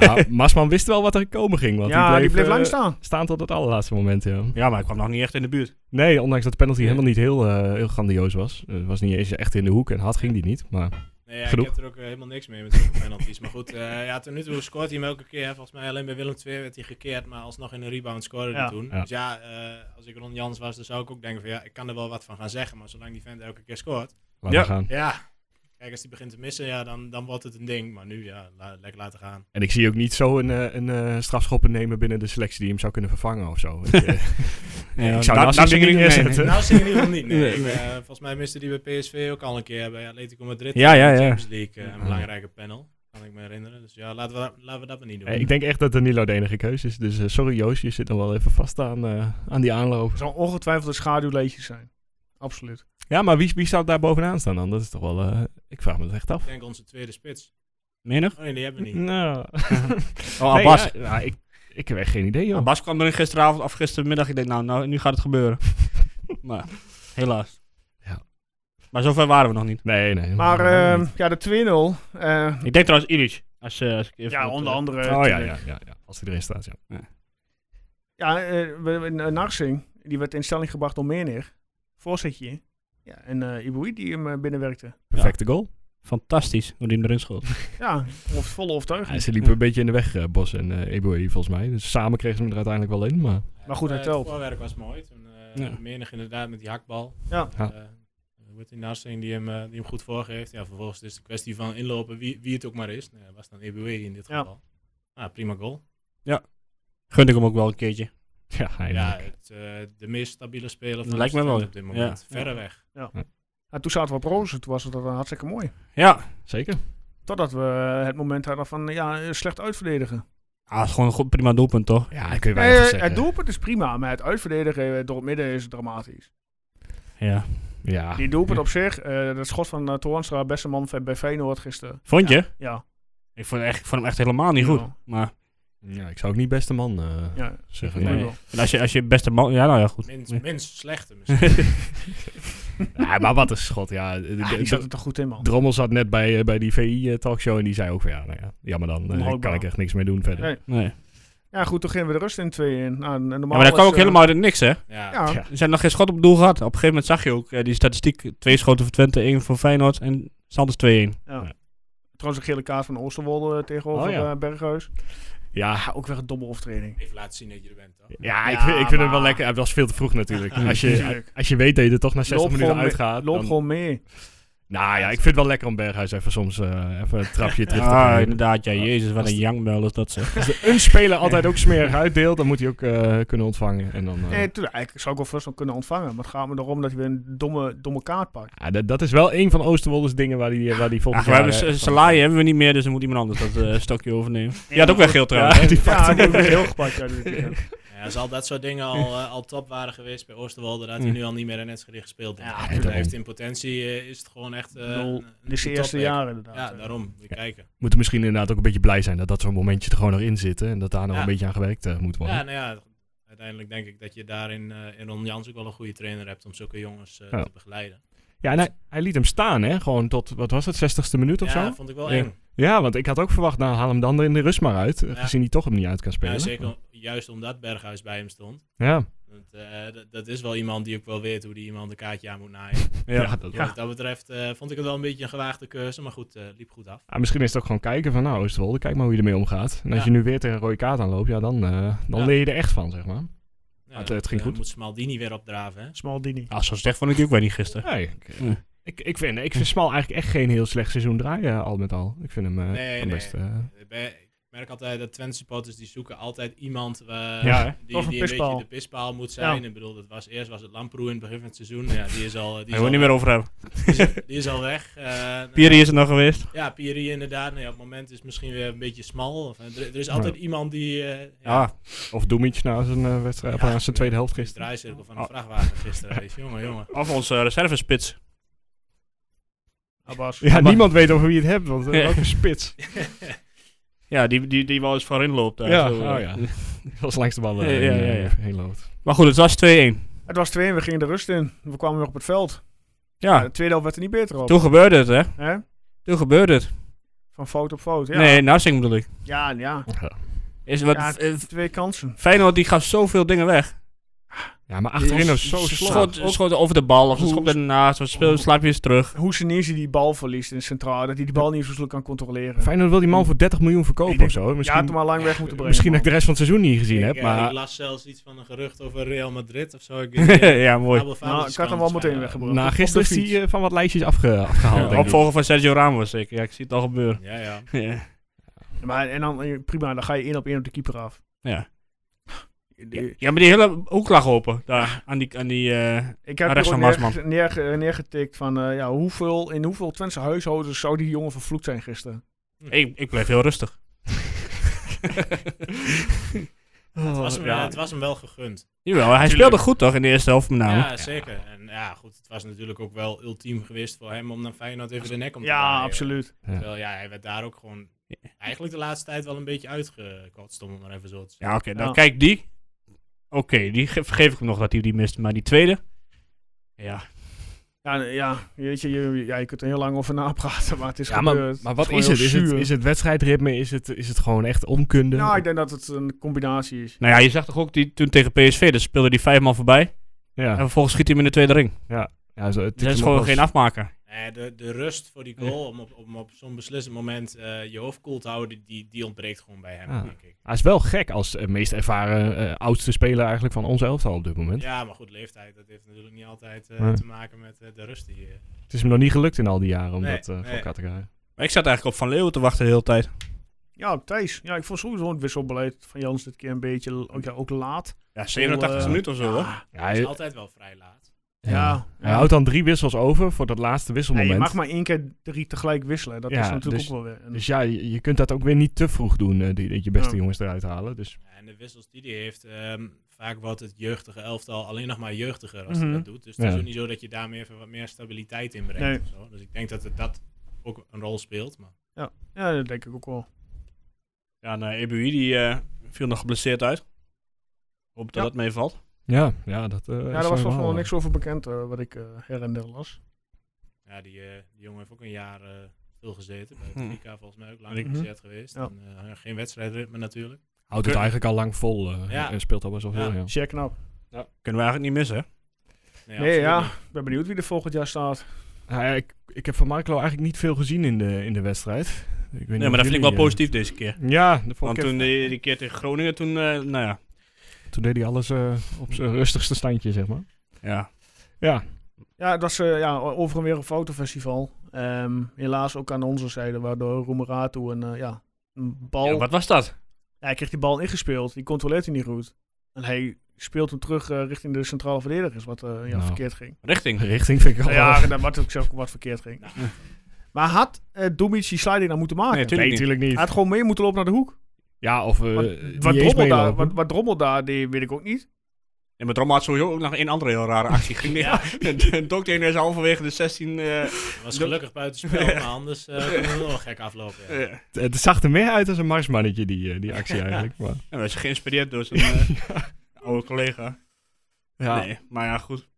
Speaker 2: Ja, Masman wist wel wat er komen ging. Want
Speaker 1: ja, die bleef
Speaker 2: eh,
Speaker 1: lang staan.
Speaker 2: staan tot het allerlaatste moment, ja.
Speaker 3: Ja, maar ik kwam nog niet echt in de buurt.
Speaker 2: Nee, ondanks dat de penalty
Speaker 3: Nee.
Speaker 2: helemaal niet heel, eh, heel grandioos was. Het was niet eens echt in de hoek en hard ging die niet. Maar
Speaker 4: Nee, ja, ik
Speaker 2: Genoeg.
Speaker 4: heb er ook eh, helemaal niks mee met zulke penalties. maar goed, eh, ja, tot nu toe scoort hij hem elke keer. Volgens mij alleen bij Willem II werd hij gekeerd, maar alsnog in een rebound scoorde
Speaker 1: Ja.
Speaker 4: hij toen.
Speaker 2: Ja.
Speaker 4: Dus ja, eh, als ik Ron Jans was, dan zou ik ook denken van ja, ik kan er wel wat van gaan zeggen. Maar zolang die vent elke keer scoort,
Speaker 2: laat
Speaker 3: Ja.
Speaker 2: maar gaan.
Speaker 4: ja. Kijk, als die begint te missen, ja, dan, dan wordt het een ding. Maar nu, ja, la- lekker laten gaan.
Speaker 2: En ik zie ook niet zo een, eh, een eh, strafschoppen nemen binnen de selectie die hem zou kunnen vervangen of zo. Ik, eh,
Speaker 3: Ja,
Speaker 2: ik zou
Speaker 3: dat-
Speaker 2: Nassim
Speaker 3: dat ging
Speaker 2: er niet
Speaker 3: ik- nee,
Speaker 2: neerzetten.
Speaker 3: nee.
Speaker 4: Nou, zie je in ieder geval niet. Nee,
Speaker 3: Nee,
Speaker 4: Ik,
Speaker 3: nee.
Speaker 4: eh, volgens mij miste die bij PSV ook al een keer bij Atletico Madrid.
Speaker 3: Ja,
Speaker 4: in de
Speaker 3: ja, ja.
Speaker 4: Champions League, eh, een
Speaker 2: Ja.
Speaker 4: belangrijke panel, kan ik me herinneren. Dus ja, laten we, laten we dat maar niet doen.
Speaker 2: Eh, ik denk echt dat Danilo de enige keuze is. Dus eh, sorry Joost, je zit nog wel even vast aan, eh, aan die aanloop.
Speaker 1: Er zal ongetwijfeld een schaduwleedjes zijn. Absoluut.
Speaker 2: Ja, maar wie, wie zou daar bovenaan staan dan? Dat is toch wel... eh, ik vraag me dat echt af.
Speaker 4: Ik denk onze tweede spits.
Speaker 3: Menig?
Speaker 4: Oh nee, die hebben we niet.
Speaker 2: Nou.
Speaker 3: Oh,
Speaker 2: Nee,
Speaker 3: Abbas.
Speaker 2: ja, nou, ik, ik heb echt geen idee, joh.
Speaker 3: Bas kwam erin gisteravond of gistermiddag. Ik denk, nou, nou nu gaat het gebeuren. maar helaas.
Speaker 2: Ja.
Speaker 3: Maar zover waren we nog niet.
Speaker 2: Nee, nee.
Speaker 1: Maar
Speaker 2: helemaal niet.
Speaker 1: ehm, ja, de 2-0. eh,
Speaker 3: Ik denk trouwens Illich. Als, eh, als ik even
Speaker 1: ja,
Speaker 3: moet,
Speaker 1: onder
Speaker 3: eh,
Speaker 1: andere.
Speaker 2: oh ja,
Speaker 1: natuurlijk.
Speaker 2: ja, ja, ja. Als hij erin staat, ja.
Speaker 1: Ja, eh, we- we- eh, Narsing, die werd in stelling gebracht door Meneer. Voorzetje. Ja, en eh Ibui die hem eh, binnenwerkte.
Speaker 2: Perfecte goal.
Speaker 3: Fantastisch hoe die hem erin schoot.
Speaker 1: Ja, of volle overtuiging.
Speaker 2: Ja, ze liepen een beetje in de weg, eh, Bos en eh Eboe, volgens mij. Dus samen kregen ze hem er uiteindelijk wel in, maar...
Speaker 1: Maar goed, hij
Speaker 4: Eh,
Speaker 1: telt.
Speaker 4: Het voorwerk was mooi. Toen, eh
Speaker 3: Ja.
Speaker 4: Menig inderdaad met die hakbal.
Speaker 1: Ja.
Speaker 2: Ja.
Speaker 4: Eh, wordt die Narsing die hem, eh, die hem goed voorgeeft. Ja, vervolgens is het een kwestie van inlopen wie, wie het ook maar is. Nou, ja, was dan EBW in dit
Speaker 1: Ja.
Speaker 4: geval. Ah, prima goal.
Speaker 3: Gun ik hem ook wel een keertje.
Speaker 2: Ja,
Speaker 4: Ja,
Speaker 2: eindelijk.
Speaker 4: het, eh, de meest stabiele speler van
Speaker 3: Lijkt me
Speaker 4: Twente
Speaker 3: wel.
Speaker 4: op dit moment.
Speaker 3: Ja.
Speaker 4: Verreweg.
Speaker 1: Ja, toen zaten we op rozen. Toen was het eh, hartstikke mooi.
Speaker 3: Ja,
Speaker 2: Zeker.
Speaker 1: Totdat we eh, het moment hadden van ja, eh, slecht uitverdedigen.
Speaker 3: Ah, dat is gewoon een goed, prima doelpunt, toch?
Speaker 2: Ja, ik kun je
Speaker 1: Eh,
Speaker 2: weinig zeggen.
Speaker 1: het doelpunt is prima, maar het uitverdedigen eh, door het midden is dramatisch.
Speaker 3: Ja.
Speaker 2: Ja.
Speaker 1: Die doelpunt op zich, eh dat schot van eh Toornstra, beste man van- bij Feyenoord gisteren.
Speaker 3: Vond je?
Speaker 1: Ja,
Speaker 3: Ik vond, echt, ik vond hem echt helemaal niet
Speaker 1: Ja.
Speaker 3: goed. Maar
Speaker 2: ja, ik zou ook niet beste man eh,
Speaker 1: ja.
Speaker 2: zeggen.
Speaker 1: ik
Speaker 3: Nee.
Speaker 1: wel.
Speaker 3: en als je, als je beste man... Ja, nou ja, goed.
Speaker 4: Minst,
Speaker 3: Nee.
Speaker 4: minst slechte misschien.
Speaker 2: Ja, maar wat een schot, ja. De-
Speaker 1: Ah,
Speaker 2: de-
Speaker 1: die zat er toch goed in, man.
Speaker 2: Drommel zat net bij, eh, bij die VI-talkshow en die zei ook van ja, nou ja jammer dan, eh,
Speaker 1: Onhoudbaar.
Speaker 2: kan ik echt niks meer doen verder.
Speaker 1: Nee.
Speaker 3: Nee. Ja,
Speaker 1: Ja, goed, toen gingen we de rust in twee in. Nou, en normaal
Speaker 3: maar dat
Speaker 1: is,
Speaker 3: kwam ook
Speaker 1: eh,
Speaker 3: helemaal uit het niks, hè?
Speaker 4: Ja.
Speaker 1: Ja,
Speaker 2: Ja.
Speaker 3: Ze zijn nog geen schot op doel gehad. Op een gegeven moment zag je ook eh, die statistiek. Twee schoten voor Twente, één voor Feyenoord en Sanders 2-1.
Speaker 1: ja. Trouwens, een gele kaart van Oosterwolde eh, tegenover
Speaker 2: Oh, ja.
Speaker 1: eh, Berghuis.
Speaker 2: Ja,
Speaker 1: Ja, ook weer een domme overtreding.
Speaker 4: Even laten zien dat je er bent, toch?
Speaker 2: ja, ik,
Speaker 1: Ja,
Speaker 2: vind- ik vind het
Speaker 1: maar-
Speaker 2: wel lekker. Het was veel te vroeg natuurlijk. Als je,
Speaker 1: Tuurlijk.
Speaker 2: als je weet dat je er toch na 60
Speaker 1: Loop
Speaker 2: minuten
Speaker 1: gewoon
Speaker 2: uitgaat.
Speaker 1: Loop
Speaker 2: dan-
Speaker 1: gewoon mee.
Speaker 2: nou ja, ik vind het wel lekker om Berghuis even soms eh, even een trapje terug te
Speaker 3: Ah,
Speaker 2: geven.
Speaker 3: inderdaad. Ja,
Speaker 2: Ja.
Speaker 3: jezus, wat een jangmuil is dat ze.
Speaker 2: Als er een speler altijd ook smerig uitdeelt, dan moet hij ook eh, kunnen ontvangen. En dan, eh,
Speaker 1: Nee, tuurlijk, ik zou ik wel vast nog kunnen ontvangen. Maar het gaat me erom dat je weer een domme, domme kaart pakt.
Speaker 2: ja, dat, dat is wel een van Oosterwolde's dingen waar die, waar die volgens
Speaker 3: Ach, we
Speaker 2: jaar...
Speaker 3: hebben
Speaker 2: eh,
Speaker 3: s-
Speaker 2: van-
Speaker 3: Salai hebben we niet meer, dus dan moet iemand anders dat eh, stokje overnemen. Die had ook
Speaker 1: maar
Speaker 3: wel geel trouwens.
Speaker 2: Ja, die
Speaker 1: Ja, die
Speaker 2: pakt hem
Speaker 1: heb
Speaker 2: ook
Speaker 1: ik heel
Speaker 2: heel
Speaker 1: gepakt. Ja, die
Speaker 4: Eh,
Speaker 1: weekend.
Speaker 4: Ja, als al dat soort dingen al, eh, al top waren geweest bij Oosterwolde, dat had hij nu al niet meer in Enschede gespeeld.
Speaker 1: Ja,
Speaker 4: Ja,
Speaker 2: daarom.
Speaker 4: heeft in potentie eh, is het gewoon echt... eh,
Speaker 1: Nul.
Speaker 4: een- een
Speaker 1: Dit is de
Speaker 4: topback.
Speaker 1: eerste jaren inderdaad.
Speaker 4: eh, Ja, daarom. We kijken.
Speaker 2: moeten misschien inderdaad ook een beetje blij zijn dat dat zo'n momentje er gewoon nog in zit. hè, En dat daar nog
Speaker 4: Ja.
Speaker 2: een beetje aan gewerkt eh, moet worden.
Speaker 4: Ja, nou ja, uiteindelijk denk ik dat je daarin eh in Ron Jans ook wel een goede trainer hebt om zulke jongens eh,
Speaker 2: Ja.
Speaker 4: te begeleiden.
Speaker 2: Ja, en hij, hij liet hem staan, hè? Gewoon tot, wat was het, 60ste minuut of
Speaker 4: ja,
Speaker 2: zo?
Speaker 4: dat vond ik wel
Speaker 2: Ja.
Speaker 4: eng.
Speaker 2: Ja, want ik had ook verwacht, nou haal hem dan er in de rust maar uit. eh,
Speaker 4: Ja.
Speaker 2: Gezien hij toch hem niet uit kan spelen.
Speaker 4: Ja, zeker juist omdat Berghuis bij hem stond.
Speaker 2: Ja,
Speaker 4: Want, eh, dat- dat is wel iemand die ook wel weet hoe die iemand een kaartje aan moet naaien.
Speaker 2: ja. dat-
Speaker 4: Dus Wat dat betreft eh, vond ik het wel een beetje een gewaagde keuze, maar goed, eh, liep goed af.
Speaker 2: Ah, misschien is het ook gewoon kijken van, nou Oosterwolde, kijk maar hoe je ermee omgaat. En als
Speaker 4: Ja.
Speaker 2: je nu weer tegen een rode kaart aanloopt, ja, dan, eh, dan
Speaker 4: Ja.
Speaker 2: leer je er echt van, zeg maar.
Speaker 4: Ja,
Speaker 2: het- het ging
Speaker 4: eh,
Speaker 2: goed.
Speaker 4: moet Smaldini weer opdraven, hè?
Speaker 1: Smaldini.
Speaker 3: Ah, zo slecht vond ik die ook weer niet gisteren.
Speaker 2: Nee, ik,
Speaker 3: Ja.
Speaker 2: ik, ik vind, ik vind Smal eigenlijk echt geen heel slecht seizoen draaien, al met al. Ik vind hem eh,
Speaker 4: Nee,
Speaker 2: wel
Speaker 4: nee.
Speaker 2: best... eh,
Speaker 4: Ik ben- Ik merk altijd dat Twente supporters die zoeken altijd iemand eh,
Speaker 2: hè?
Speaker 4: die,
Speaker 1: Toch een
Speaker 4: die een
Speaker 1: pispaal.
Speaker 4: beetje de pispaal moet zijn.
Speaker 1: Ja.
Speaker 4: Ik bedoel, dat was, eerst was het Lamproe in het begin van het seizoen. Ja, die is al, eh,
Speaker 3: Daar
Speaker 4: die is
Speaker 3: wil
Speaker 4: al,
Speaker 3: ik niet meer over hebben.
Speaker 4: die is- die is al weg. Eh,
Speaker 3: Pieri is er nog geweest.
Speaker 4: Ja, Pieri inderdaad. Nee, op het moment is het misschien weer een beetje smal. Of, eh, er, er is altijd iemand die... eh,
Speaker 3: Ja.
Speaker 2: Of Doemic na zijn eh, wedstrijd, of
Speaker 4: Ja,
Speaker 2: na zijn tweede helft
Speaker 4: de
Speaker 2: gisteren. Ah.
Speaker 4: draaicirkel van een
Speaker 3: Oh.
Speaker 4: vrachtwagen gisteren is. Jongen, jongen.
Speaker 3: Of onze eh, reservespits.
Speaker 1: Abbas.
Speaker 2: Ja, niemand weet over wie je het hebt, want eh,
Speaker 3: Ja.
Speaker 2: welke spits.
Speaker 3: Ja, die, die, die wel eens voorin loopt. daar,
Speaker 2: Ja,
Speaker 3: zo, eh.
Speaker 2: oh ja. Als langs de bal eh,
Speaker 3: Ja, ja,
Speaker 2: heen, eh,
Speaker 3: ja, ja.
Speaker 2: heen loopt.
Speaker 3: Maar goed, het was 2-1.
Speaker 1: Het was 2 en we gingen de rust in. We kwamen weer op het veld.
Speaker 2: Ah.
Speaker 3: Ja,
Speaker 1: Ja, de tweede helft werd er niet beter op.
Speaker 3: toen gebeurde het, hè.
Speaker 1: Hè?
Speaker 3: Toen gebeurde het.
Speaker 1: Van fout op fout. Ja.
Speaker 3: Nee, Narsing bedoel ik.
Speaker 1: ja, ja.
Speaker 3: Is wat,
Speaker 1: Ja,
Speaker 3: eh,
Speaker 1: Twee kansen.
Speaker 3: Feyenoord die gaf zoveel dingen weg.
Speaker 2: Ja, maar achterin was zo
Speaker 3: Ze
Speaker 2: slap.
Speaker 3: Schot, schot over de bal, of ze
Speaker 1: Hoe-
Speaker 3: schot ernaast, of ze speelde slaap weer eens terug.
Speaker 1: Hoe Senezi die bal verliest in het centraal. Dat hij die bal niet zo snel kan controleren.
Speaker 2: Feyenoord wil die man voor 30 miljoen verkopen
Speaker 1: Ik denk
Speaker 2: of zo.
Speaker 1: ja, had hem
Speaker 2: Misschien,
Speaker 1: maar lang weg moeten brengen.
Speaker 2: misschien dat
Speaker 1: man.
Speaker 2: ik de rest van het seizoen niet gezien
Speaker 4: Ik,
Speaker 2: heb,
Speaker 4: eh, ik
Speaker 2: maar
Speaker 4: las zelfs iets van een gerucht over Real Madrid of zo. Ik,
Speaker 3: ja, mooi.
Speaker 4: Fabel-
Speaker 1: Nou, ik had hem wel meteen weggebracht.
Speaker 2: na
Speaker 1: Op de
Speaker 2: gisteren is
Speaker 1: fiets.
Speaker 2: hij eh, van wat lijstjes afge- afgehaald,
Speaker 3: Ja,
Speaker 2: denk ik.
Speaker 3: opvolger van Sergio Ramos, ik. Ja, ik zie het al gebeuren.
Speaker 4: Ja, ja.
Speaker 3: Ja.
Speaker 1: Maar, en dan, eh, prima, dan ga je één op één op de keeper af.
Speaker 3: Ja.
Speaker 1: Die-
Speaker 3: ja, maar die hele hoek lag open, daar, aan die... Aan die eh,
Speaker 1: Ik heb
Speaker 3: Ah,
Speaker 1: er
Speaker 3: rechts
Speaker 1: ook
Speaker 3: van
Speaker 1: neerge- neerge- neergetikt van eh, ja, hoeveel, in hoeveel Twentse huishoudens zou die jongen vervloekt zijn gisteren.
Speaker 3: ik, ik bleef heel rustig.
Speaker 4: Het, was hem, eh,
Speaker 3: ja.
Speaker 4: het was hem wel gegund.
Speaker 3: Jawel, hij speelde goed toch, in de eerste helft met name.
Speaker 4: ja, zeker. En ja, goed, het was natuurlijk ook wel ultiem geweest voor hem om naar Feyenoord even de nek om te
Speaker 1: Ja,
Speaker 4: draaien.
Speaker 1: absoluut.
Speaker 4: Terwijl, ja, hij werd daar ook gewoon eigenlijk de laatste tijd wel een beetje uitgekotst, om het maar even zo te zeggen.
Speaker 3: Ja, oké. dan
Speaker 1: Ja.
Speaker 3: kijk, die. Oké, die ge- vergeef ik hem nog dat hij die miste. Maar die tweede. Ja.
Speaker 1: Ja, nee, ja, weet je, je, ja, je kunt er heel lang over napraten, maar het is
Speaker 2: Ja, maar,
Speaker 1: gebeurd.
Speaker 2: maar wat
Speaker 1: gewoon
Speaker 2: is het?
Speaker 1: heel
Speaker 2: Is het,
Speaker 1: zuur.
Speaker 2: is het wedstrijdritme? Is het, is het gewoon echt onkunde?
Speaker 1: Nou, ik denk dat het een combinatie is.
Speaker 3: Nou ja, je zag toch ook die, toen tegen PSV. Dus speelde die vijf man voorbij. En
Speaker 2: ja.
Speaker 3: vervolgens schiet hij hem in de tweede ring.
Speaker 2: Ja, zo, het
Speaker 3: Dat is gewoon geen afmaker.
Speaker 4: Eh, de, de rust voor die goal, om op, om op zo'n beslissend moment eh, je hoofd koel te houden, die, die ontbreekt gewoon bij hem,
Speaker 2: Ja.
Speaker 4: denk ik.
Speaker 2: Hij is wel gek als eh, meest ervaren eh, oudste speler eigenlijk van ons elftal op dit moment.
Speaker 4: Ja, maar goed, leeftijd, dat heeft natuurlijk niet altijd eh,
Speaker 2: Nee.
Speaker 4: te maken met eh, de rust die je...
Speaker 2: Het is hem nog niet gelukt in al die jaren om
Speaker 4: Nee,
Speaker 2: dat eh, voor
Speaker 4: nee.
Speaker 2: elkaar te krijgen.
Speaker 3: Maar ik zat eigenlijk op Van Leeuwen te wachten de hele tijd.
Speaker 1: Ja, Thijs. Ja, ik vond sowieso het wisselbeleid van Jans dit keer een beetje ook, ja, ook laat.
Speaker 3: Ja,
Speaker 1: 87e
Speaker 3: 87
Speaker 1: minuut
Speaker 3: minuten of zo hoor.
Speaker 2: Ja,
Speaker 4: Het is
Speaker 2: hij-
Speaker 4: altijd wel vrij laat.
Speaker 1: Ja.
Speaker 2: Hij houdt dan drie wissels over voor dat laatste
Speaker 1: Nee,
Speaker 2: wisselmoment.
Speaker 1: je mag maar één keer drie tegelijk wisselen. Dat
Speaker 2: Ja,
Speaker 1: is natuurlijk
Speaker 2: dus-
Speaker 1: ook wel weer... een-
Speaker 2: Dus ja, je, je kunt dat ook weer niet te vroeg doen, eh, die, dat je beste
Speaker 1: Ja.
Speaker 2: jongens eruit halen. Dus
Speaker 4: Ja, En de wissels die hij heeft, ehm, vaak wordt het jeugdige elftal alleen nog maar jeugdiger als
Speaker 1: Mhm.
Speaker 4: hij dat doet. Dus het
Speaker 2: Ja.
Speaker 4: is ook niet zo dat je daarmee even wat meer stabiliteit in brengt.
Speaker 1: Nee.
Speaker 4: of zo. Dus ik denk dat het dat ook een rol speelt. Maar
Speaker 1: Ja, dat denk ik ook wel.
Speaker 3: Ja, en eh, Ebui die eh, viel nog geblesseerd uit. Hoop dat
Speaker 1: Ja.
Speaker 3: dat meevalt.
Speaker 2: ja, ja dat eh,
Speaker 1: Ja,
Speaker 2: is
Speaker 1: daar was toch
Speaker 2: normaal.
Speaker 1: wel niks over bekend, eh, wat ik eh, her en der las.
Speaker 4: ja, die, eh, die jongen heeft ook een jaar eh, veel gezeten. Bij
Speaker 3: Hm.
Speaker 4: Benfica volgens mij ook lang
Speaker 1: Mhm.
Speaker 4: gezet geweest.
Speaker 1: Ja.
Speaker 4: En, eh, geen wedstrijdritme natuurlijk.
Speaker 2: Houdt het
Speaker 3: Kun-
Speaker 2: eigenlijk al lang vol eh,
Speaker 4: Ja.
Speaker 2: en speelt al best wel
Speaker 4: Ja.
Speaker 2: veel. Ja.
Speaker 1: Zeer knap.
Speaker 3: Kunnen we eigenlijk niet missen. hè?
Speaker 1: nee,
Speaker 4: Nou absoluut
Speaker 1: ja.
Speaker 4: niet.
Speaker 1: Ik ben benieuwd wie er volgend jaar staat.
Speaker 2: Nou ja, ik, ik heb van Marco eigenlijk niet veel gezien in de, in de wedstrijd. Ik weet
Speaker 3: Nee, maar dat eh, vind ik wel positief deze keer.
Speaker 2: eh, Ja, de vorige
Speaker 3: Want
Speaker 2: keer
Speaker 3: toen die, die keer tegen Groningen, toen, eh, nou ja.
Speaker 2: Toen deed hij alles eh, op zijn rustigste standje, zeg maar.
Speaker 3: ja.
Speaker 2: Ja,
Speaker 1: Ja, het was eh, ja, over en weer een fotofestival. Ehm, helaas ook aan onze zijde, waardoor Roemeratu een, eh, ja, een bal...
Speaker 3: Ja, wat was dat?
Speaker 1: Ja, hij kreeg die bal ingespeeld. Die controleert hij niet goed. En hij speelt hem terug eh, richting de centrale verdedigers, wat eh, ja,
Speaker 2: Nou. Oh.
Speaker 1: verkeerd ging.
Speaker 3: Richting.
Speaker 2: richting vind ik al.
Speaker 1: Ja, en dat- wat ik zeg, wat verkeerd ging. Maar had eh Dumic die sliding nou moeten maken?
Speaker 3: Nee, tuurlijk
Speaker 2: nee,
Speaker 3: niet.
Speaker 2: natuurlijk niet.
Speaker 1: Hij had gewoon mee moeten lopen naar de hoek.
Speaker 2: Ja, of eh
Speaker 1: Wat,
Speaker 2: niet
Speaker 1: wat,
Speaker 2: eens
Speaker 1: drommel, daar,
Speaker 2: meelopen.
Speaker 1: wat, wat drommel daar deed, weet ik ook niet.
Speaker 3: En met Roma had sowieso ook nog een andere heel rare actie. Ging ja. De dokter is halverwege de 16. eh
Speaker 4: was gelukkig buitenspel, maar anders eh kon het wel gek aflopen. ja.
Speaker 3: eh,
Speaker 2: Het zag er meer uit als een marsmannetje, die, eh, die actie eigenlijk. Maar,
Speaker 3: en werd ze geïnspireerd door zijn eh, oude collega.
Speaker 2: ja. Nee,
Speaker 3: Nee, maar ja, goed.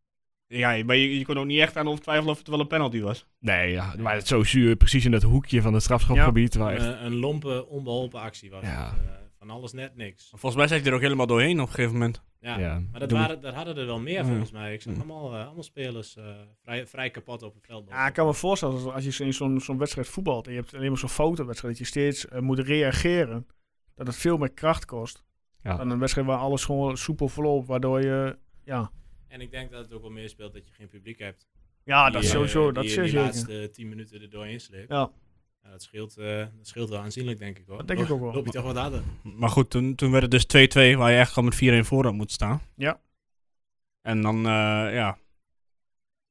Speaker 3: Ja, maar je, je kon ook niet echt aan of twijfelen of het wel een penalty was.
Speaker 2: ja, maar het is zo zuur, precies in dat hoekje van het strafschopgebied. Waar echt,
Speaker 4: Een- een lompe, onbeholpen actie was
Speaker 2: Ja.
Speaker 4: het. Eh, van alles net niks.
Speaker 3: Volgens mij zat je er ook helemaal doorheen op een gegeven moment.
Speaker 4: Ja.
Speaker 2: ja.
Speaker 4: Maar dat,
Speaker 2: Doe-
Speaker 4: waren, daar hadden er wel meer
Speaker 1: Mhm.
Speaker 3: Ja.
Speaker 4: volgens mij. Ik zag
Speaker 2: Ja.
Speaker 4: allemaal, eh, allemaal spelers eh, vrij, vrij kapot op het veld.
Speaker 1: Ja, ik kan me voorstellen, als, als je in zo'n zo'n wedstrijd voetbalt en je hebt alleen maar zo'n fotowedstrijd, dat je steeds eh, moet reageren, dat het veel meer kracht kost.
Speaker 2: Ja.
Speaker 1: Dan een wedstrijd waar alles gewoon soepel verloopt, waardoor je... Ja,
Speaker 4: En ik denk dat het ook wel meer speelt dat je geen publiek hebt.
Speaker 1: ja Ah, dat
Speaker 4: Die,
Speaker 1: is
Speaker 4: eh,
Speaker 1: sowieso, dat
Speaker 4: die,
Speaker 1: is
Speaker 4: die
Speaker 1: zeker.
Speaker 4: laatste tien minuten er doorheen sleept.
Speaker 1: Ja.
Speaker 4: Ja, dat, scheelt, eh, dat scheelt wel aanzienlijk, denk ik hoor.
Speaker 1: Dat denk ik ook wel.
Speaker 4: Loop je toch wat harder.
Speaker 3: Maar goed, toen, toen werd het dus 2-2, waar je echt al met 4-1 voor had moeten staan.
Speaker 1: Ja.
Speaker 3: En dan, eh, ja.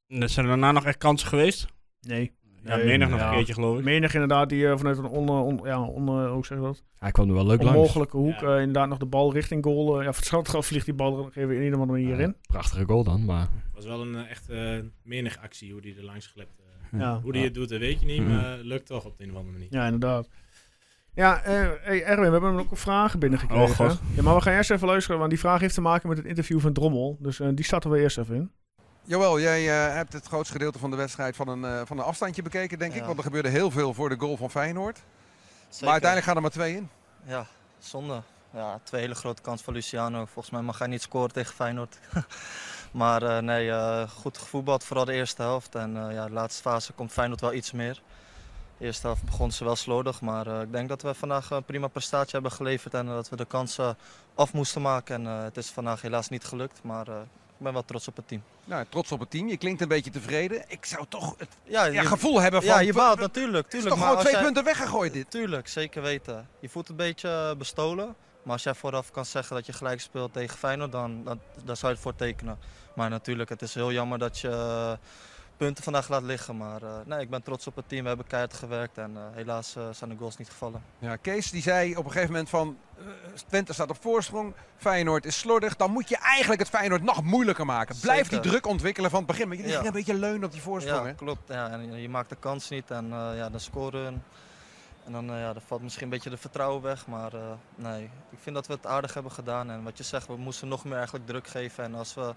Speaker 3: En er zijn daarna nog echt kansen geweest.
Speaker 1: Nee.
Speaker 3: Ja,
Speaker 1: Nee,
Speaker 3: menig nog
Speaker 1: ja.
Speaker 3: een keertje, geloof ik.
Speaker 1: Menig inderdaad, die eh, vanuit een on, on- ja, on, eh, hoe zeg je dat?
Speaker 2: Hij kwam er wel leuk langs.
Speaker 1: onmogelijke hoek
Speaker 4: Ja.
Speaker 1: eh, inderdaad nog de bal richting goal. eh, ja, voor hetzelfde geld vliegt die bal er even in ieder geval
Speaker 2: Ja,
Speaker 1: hierin.
Speaker 2: prachtige goal dan, maar
Speaker 4: Het was wel een eh, echt eh, menig actie hoe die er langs glept. eh.
Speaker 1: Ja.
Speaker 4: hoe die het doet, dat weet je niet,
Speaker 2: Ja.
Speaker 4: maar lukt toch op de een of andere manier.
Speaker 1: ja, inderdaad. Ja, eh, hey Erwin, we hebben ook een vraag binnengekregen.
Speaker 3: Oh, god.
Speaker 1: Ja, maar we gaan eerst even luisteren, want die vraag heeft te maken met het interview van Drommel. Dus eh, die starten we eerst even in.
Speaker 7: Jawel, jij eh, hebt het grootste gedeelte van de wedstrijd van een, eh, van een afstandje bekeken, denk ik.
Speaker 8: Ja.
Speaker 7: Want er gebeurde heel veel voor de goal van Feyenoord.
Speaker 8: Zeker.
Speaker 7: Maar uiteindelijk gaan er maar twee in.
Speaker 8: Ja, zonde. Ja, twee hele grote kans van Luciano. Volgens mij mag hij niet scoren tegen Feyenoord. maar eh, nee, eh, goed gevoetbald, vooral de eerste helft. En eh, ja, de laatste fase komt Feyenoord wel iets meer. De eerste helft begon ze wel slordig, maar eh, ik denk dat we vandaag een prima prestatie hebben geleverd. En eh, dat we de kansen af moesten maken. En eh, het is vandaag helaas niet gelukt, maar eh, ik ben wel trots op het team.
Speaker 7: Nou, trots op het team. Je klinkt een beetje tevreden. Ik zou toch het
Speaker 8: Ja,
Speaker 7: ja,
Speaker 8: je,
Speaker 7: gevoel hebben van...
Speaker 8: ja, je baalt
Speaker 7: Het
Speaker 8: natuurlijk.
Speaker 7: is
Speaker 8: tuurlijk,
Speaker 7: toch
Speaker 8: maar
Speaker 7: gewoon
Speaker 8: als
Speaker 7: twee
Speaker 8: jij-
Speaker 7: punten weggegooid dit.
Speaker 8: Tuurlijk, zeker weten. Je voelt een beetje eh, bestolen. Maar als jij vooraf kan zeggen dat je gelijk speelt tegen Feyenoord, dan, dan, dan zou je het voor tekenen. Maar natuurlijk, het is heel jammer dat je eh, punten vandaag laat liggen. Maar eh, nee, ik ben trots op het team. We hebben keihard gewerkt en eh, helaas eh, zijn de goals niet gevallen.
Speaker 7: Ja, Kees die zei op een gegeven moment van... eh, Twente staat op voorsprong, Feyenoord is slordig. Dan moet je eigenlijk het Feyenoord nog moeilijker maken. Blijf die
Speaker 8: Zeker.
Speaker 7: druk ontwikkelen van het begin. Maar jullie
Speaker 8: Ja.
Speaker 7: gingen een beetje leunen op die voorsprong,
Speaker 8: ja,
Speaker 7: hè?
Speaker 8: klopt. Ja, en je maakt de kans niet en eh, ja, dan scoren hun. En dan, eh, ja, dan valt misschien een beetje de vertrouwen weg. Maar eh, nee, ik vind dat we het aardig hebben gedaan. En wat je zegt, we moesten nog meer eigenlijk druk geven. En als we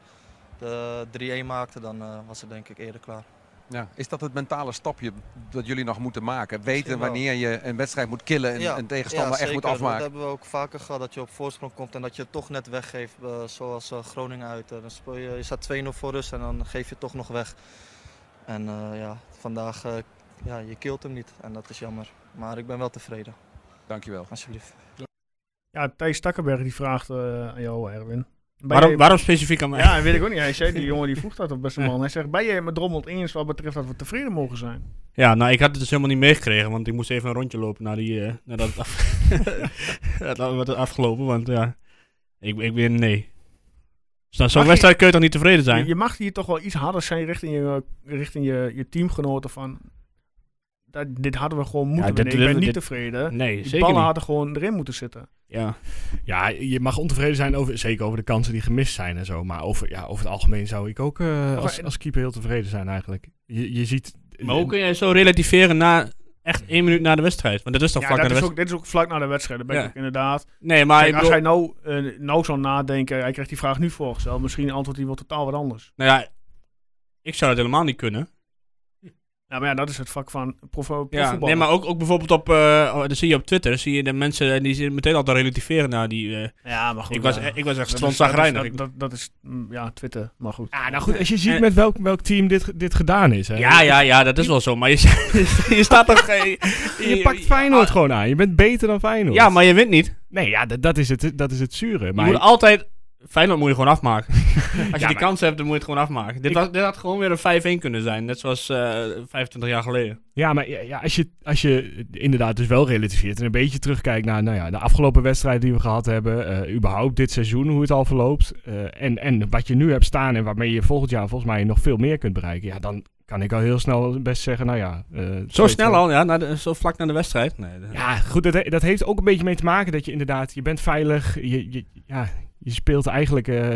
Speaker 8: de 3-1 maakten, dan eh, was het denk ik eerder klaar.
Speaker 7: Ja. Is dat het mentale stapje dat jullie nog moeten maken? Weten
Speaker 8: Misschien wel.
Speaker 7: wanneer je een wedstrijd moet killen en een tegenstander
Speaker 8: ja,
Speaker 7: echt moet
Speaker 8: zeker.
Speaker 7: afmaken?
Speaker 8: Dat hebben we ook vaker gehad, dat je op voorsprong komt en dat je het toch net weggeeft. eh, zoals eh, Groningen uit. Eh, dan speel je, je staat 2-0 voor rust en dan geef je het toch nog weg. En eh, ja, vandaag, eh ja, je kilt hem niet en dat is jammer. Maar ik ben wel tevreden,
Speaker 7: Dankjewel.
Speaker 8: alsjeblieft.
Speaker 1: Ja, Thijs Takkenberg die vraagt eh, aan jou, Erwin. Ben
Speaker 3: Waarom,
Speaker 1: jij-
Speaker 3: waarom specifiek aan mij?
Speaker 1: Ja, weet ik ook niet. Hij zei, die jongen die vroeg dat op beste man. Hij zegt, ben jij het met Drommel het eens wat betreft dat we tevreden mogen zijn?
Speaker 3: Ja, nou, ik had het dus helemaal niet meegekregen, want ik moest even een rondje lopen naar die, eh nadat het, af... het werd afgelopen, want ja, ik, ik weer nee. Dus na zo'n
Speaker 1: Mag
Speaker 3: wedstrijd kun je toch niet tevreden
Speaker 1: Je,
Speaker 3: zijn?
Speaker 1: je mag hier toch wel iets harder zijn richting je, richting je, je teamgenoten van... Dat, dit hadden we gewoon moeten
Speaker 3: dit
Speaker 1: winnen. Ik ben
Speaker 3: willen we-
Speaker 1: niet
Speaker 3: dit-
Speaker 1: tevreden.
Speaker 3: Nee,
Speaker 1: Die
Speaker 3: zeker
Speaker 1: ballen
Speaker 3: niet.
Speaker 1: hadden gewoon erin moeten zitten.
Speaker 3: Ja.
Speaker 2: Ja, je mag ontevreden zijn, over, zeker over de kansen die gemist zijn en zo. Maar over, ja, over het algemeen zou ik ook eh, als,
Speaker 1: en-
Speaker 2: als keeper heel tevreden zijn eigenlijk. Je, je ziet...
Speaker 3: Maar hoe kun jij zo relativeren na echt één minuut na de wedstrijd? Want dat is toch
Speaker 1: Ja,
Speaker 3: vlak na
Speaker 1: dat
Speaker 3: de
Speaker 1: is
Speaker 3: wedstrijd?
Speaker 1: ook, dit is ook vlak na de wedstrijd. Dat ben
Speaker 3: Ja.
Speaker 1: ik ook inderdaad.
Speaker 3: Nee, maar
Speaker 1: Kijk,
Speaker 3: ik
Speaker 1: als
Speaker 3: bedoel-
Speaker 1: hij nou, eh, nou zou nadenken, hij krijgt die vraag nu voorgesteld. Misschien antwoordt hij wel totaal wat anders.
Speaker 3: nou ja, ik zou dat helemaal niet kunnen.
Speaker 1: Ja, maar ja, dat is het vak van prof,
Speaker 3: Ja,
Speaker 1: profvoetbal.
Speaker 3: nee, maar ook, ook bijvoorbeeld op, eh, oh, dat zie je op Twitter, zie je de mensen eh, die zitten meteen al te relativeren naar die... eh,
Speaker 1: Ja, maar goed.
Speaker 3: ik, was,
Speaker 1: ja.
Speaker 3: eh, ik was echt
Speaker 1: Dat is-
Speaker 3: strontzagrijnig.
Speaker 1: Dat, dat, dat is, mm, ja, Twitter, maar goed.
Speaker 2: Ja, nou goed, als je ziet
Speaker 3: En-
Speaker 2: met welk, welk team dit, dit gedaan is. Hè.
Speaker 3: Eh, Ja, ja, ja, dat is wel zo, maar je, je staat toch... eh,
Speaker 2: Je, pakt Feyenoord gewoon aan. Je bent beter dan Feyenoord.
Speaker 3: Ja, maar je wint niet.
Speaker 2: Nee, ja, dat, dat, is, het, dat is het zure. Maar
Speaker 3: Je moet altijd... Feyenoord moet je gewoon afmaken. Als je die
Speaker 2: maar-
Speaker 3: kans hebt, dan moet je het gewoon afmaken. Dit, was, dit had gewoon weer een 5-1 kunnen zijn. Net zoals eh, 25 jaar geleden.
Speaker 2: Ja, maar ja, ja, als, je, als je inderdaad dus wel relativeert en een beetje terugkijkt naar nou ja, de afgelopen wedstrijden die we gehad hebben, eh, überhaupt dit seizoen, hoe het al verloopt, eh, en, en wat je nu hebt staan en waarmee je volgend jaar volgens mij nog veel meer kunt bereiken, ja, dan kan ik al heel snel best zeggen, nou ja... eh,
Speaker 3: Zo
Speaker 2: twee-
Speaker 3: snel al, ja. na de- zo vlak na de wedstrijd. Nee, dat-
Speaker 2: Ja, goed, dat, he- dat heeft ook een beetje mee te maken dat je inderdaad, je bent veilig, je, je, ja, je speelt eigenlijk... eh,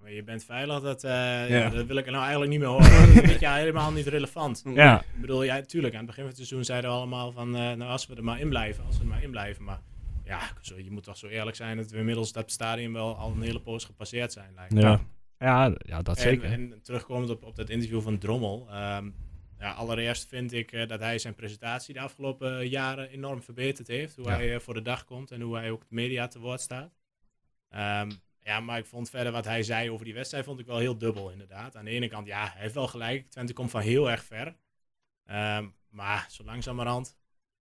Speaker 4: Maar je bent veilig, dat, eh,
Speaker 3: Ja.
Speaker 4: ja, dat wil ik nou eigenlijk niet meer horen. dat vind ik ja, helemaal niet relevant.
Speaker 2: ja,
Speaker 4: Ik bedoel, ja, tuurlijk, aan het begin van het seizoen zeiden we allemaal van, eh, nou als we er maar in blijven, als we er maar in blijven. Maar ja, zo, je moet toch zo eerlijk zijn dat we inmiddels dat stadium wel al een hele poos gepasseerd zijn, lijkt me.
Speaker 3: Ja.
Speaker 2: ja, ja, dat
Speaker 4: En,
Speaker 2: zeker.
Speaker 4: en terugkomend op, op dat interview van Drommel. ehm, ja, allereerst vind ik eh, dat hij zijn presentatie de afgelopen jaren enorm verbeterd heeft. Hoe
Speaker 2: Ja.
Speaker 4: hij eh, voor de dag komt en hoe hij ook de media te woord staat. Ehm, ja, maar ik vond verder wat hij zei over die wedstrijd vond ik wel heel dubbel inderdaad. Aan de ene kant, ja, hij heeft wel gelijk. Twente komt van heel erg ver. Ehm, maar zo langzamerhand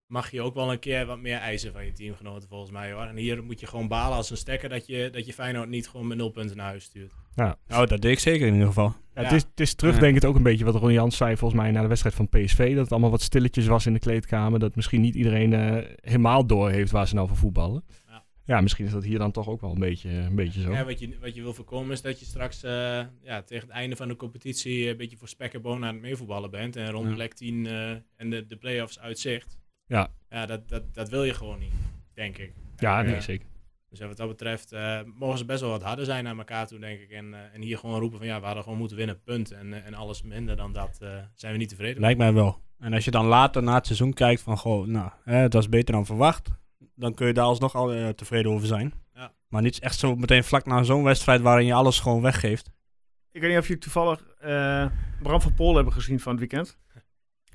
Speaker 4: mag je ook wel een keer wat meer eisen van je teamgenoten volgens mij. Hoor. En hier moet je gewoon balen als een stekker dat je, dat je Feyenoord niet gewoon met nul punten naar huis stuurt.
Speaker 3: Nou, dat deed ik zeker in ieder geval.
Speaker 2: Ja, Het, is, het is terugdenkend ook een beetje wat Ron Jans zei volgens mij na de wedstrijd van PSV. Dat het allemaal wat stilletjes was in de kleedkamer. Dat misschien niet iedereen eh, helemaal door heeft waar ze nou voor voetballen. Ja.
Speaker 4: Ja.
Speaker 2: misschien is dat hier dan toch ook wel een beetje, eh, een beetje zo.
Speaker 4: Ja, wat, je, wat je wil voorkomen is dat je straks eh, ja, tegen het einde van de competitie een beetje voor spek en bonen aan het meevoetballen bent. En rond
Speaker 3: Ja.
Speaker 4: plek 10 eh, en de, de play-offs uitzicht.
Speaker 2: Ja.
Speaker 4: Ja, dat, dat, dat wil je gewoon niet, denk ik.
Speaker 2: Ja, nee,
Speaker 4: Ja.
Speaker 2: zeker.
Speaker 4: Dus eh, wat dat betreft eh, mogen ze best wel wat harder zijn naar elkaar toe, denk ik. En, eh, en hier gewoon roepen van ja, we hadden gewoon moeten winnen, punt. En, eh, en alles minder dan dat eh, zijn we niet tevreden.
Speaker 3: Lijkt mij wel. En als je dan later na het seizoen kijkt van, goh, nou, hè, het was beter dan verwacht. Dan kun je daar alsnog al eh, tevreden over zijn.
Speaker 4: Ja.
Speaker 3: Maar niet echt zo meteen vlak na zo'n wedstrijd waarin je alles gewoon weggeeft.
Speaker 1: Ik weet niet of jullie toevallig eh, Bram van Pool hebben gezien van het weekend.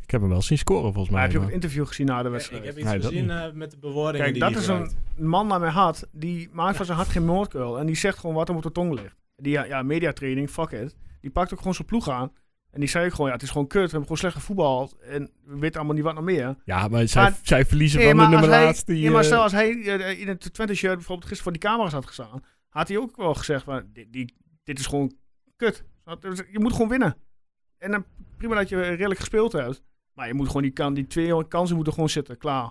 Speaker 2: Ik heb hem wel zien scoren volgens
Speaker 1: Maar
Speaker 2: mij.
Speaker 1: heb je ook
Speaker 2: maar-
Speaker 1: het interview gezien na de
Speaker 4: Ja,
Speaker 1: wedstrijd?
Speaker 4: ik heb iets
Speaker 2: Nee, dat
Speaker 4: gezien
Speaker 2: niet.
Speaker 4: eh, met de bewoordingen
Speaker 1: Kijk,
Speaker 4: die
Speaker 1: dat
Speaker 4: hij
Speaker 1: is een
Speaker 4: gebruikt.
Speaker 1: man naar mijn hart, die maakt van zijn hart geen moordkuil. En die zegt gewoon wat hem op de tong ligt. Die, ja, ja, mediatraining, fuck it. Die pakt ook gewoon zijn ploeg aan. En die zei ook gewoon, ja, het is gewoon kut. We hebben gewoon slecht gevoetbald. En we weten allemaal niet wat nog meer.
Speaker 2: Ja, maar zij,
Speaker 1: Maar-
Speaker 2: zij verliezen
Speaker 1: Nee,
Speaker 2: van
Speaker 1: maar
Speaker 2: de nummer
Speaker 1: als hij-
Speaker 2: laatst. Die,
Speaker 1: nee, maar
Speaker 2: eh,
Speaker 1: stel als hij eh, in het Twente-shirt bijvoorbeeld gisteren voor die camera's had gestaan, had hij ook wel gezegd, van, dit, die- dit is gewoon kut. Je moet gewoon winnen. En dan prima dat je redelijk gespeeld hebt, maar je moet gewoon die, kan, die twee kansen moeten gewoon zitten, klaar.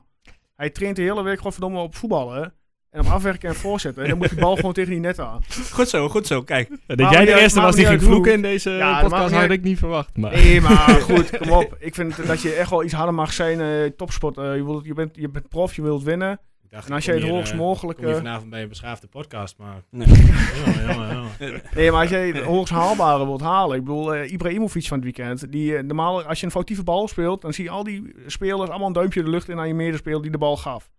Speaker 1: Hij traint de hele week gewoon verdomme op voetballen en op afwerken en voorzetten. En dan moet die bal gewoon tegen die net aan.
Speaker 3: Goed zo, goed zo, kijk.
Speaker 2: dat
Speaker 1: maakt
Speaker 2: jij
Speaker 1: niet
Speaker 2: de
Speaker 1: uit-
Speaker 2: eerste
Speaker 1: maakt
Speaker 2: was die
Speaker 1: niet
Speaker 2: ging
Speaker 1: uit hoe.
Speaker 2: vloeken in deze eh,
Speaker 1: Ja, dat maakt
Speaker 2: podcast,
Speaker 1: niet
Speaker 2: had
Speaker 1: uit.
Speaker 2: ik niet verwacht. Maar
Speaker 1: Nee, maar goed, kom op. Ik vind dat je echt wel iets harder mag zijn, eh, topsport. Eh, je, wilt, je, bent, je bent prof, je wilt winnen.
Speaker 4: Ik dacht,
Speaker 1: En als
Speaker 4: ik
Speaker 1: jij
Speaker 4: kom
Speaker 1: het
Speaker 4: hier,
Speaker 1: hoogst
Speaker 4: eh,
Speaker 1: mogelijk...
Speaker 4: ik kom hier
Speaker 1: eh,
Speaker 4: vanavond bij een beschaafde podcast, maar...
Speaker 3: Nee.
Speaker 4: Jongen, jongen, jongen.
Speaker 1: Nee, maar als jij het hoogst haalbare wilt halen. Ik bedoel, eh, Ibrahimovic van het weekend. Die, eh, normaal, als je een foutieve bal speelt, dan zie je al die spelers allemaal een duimpje de lucht in aan je medespeler die de bal gaf.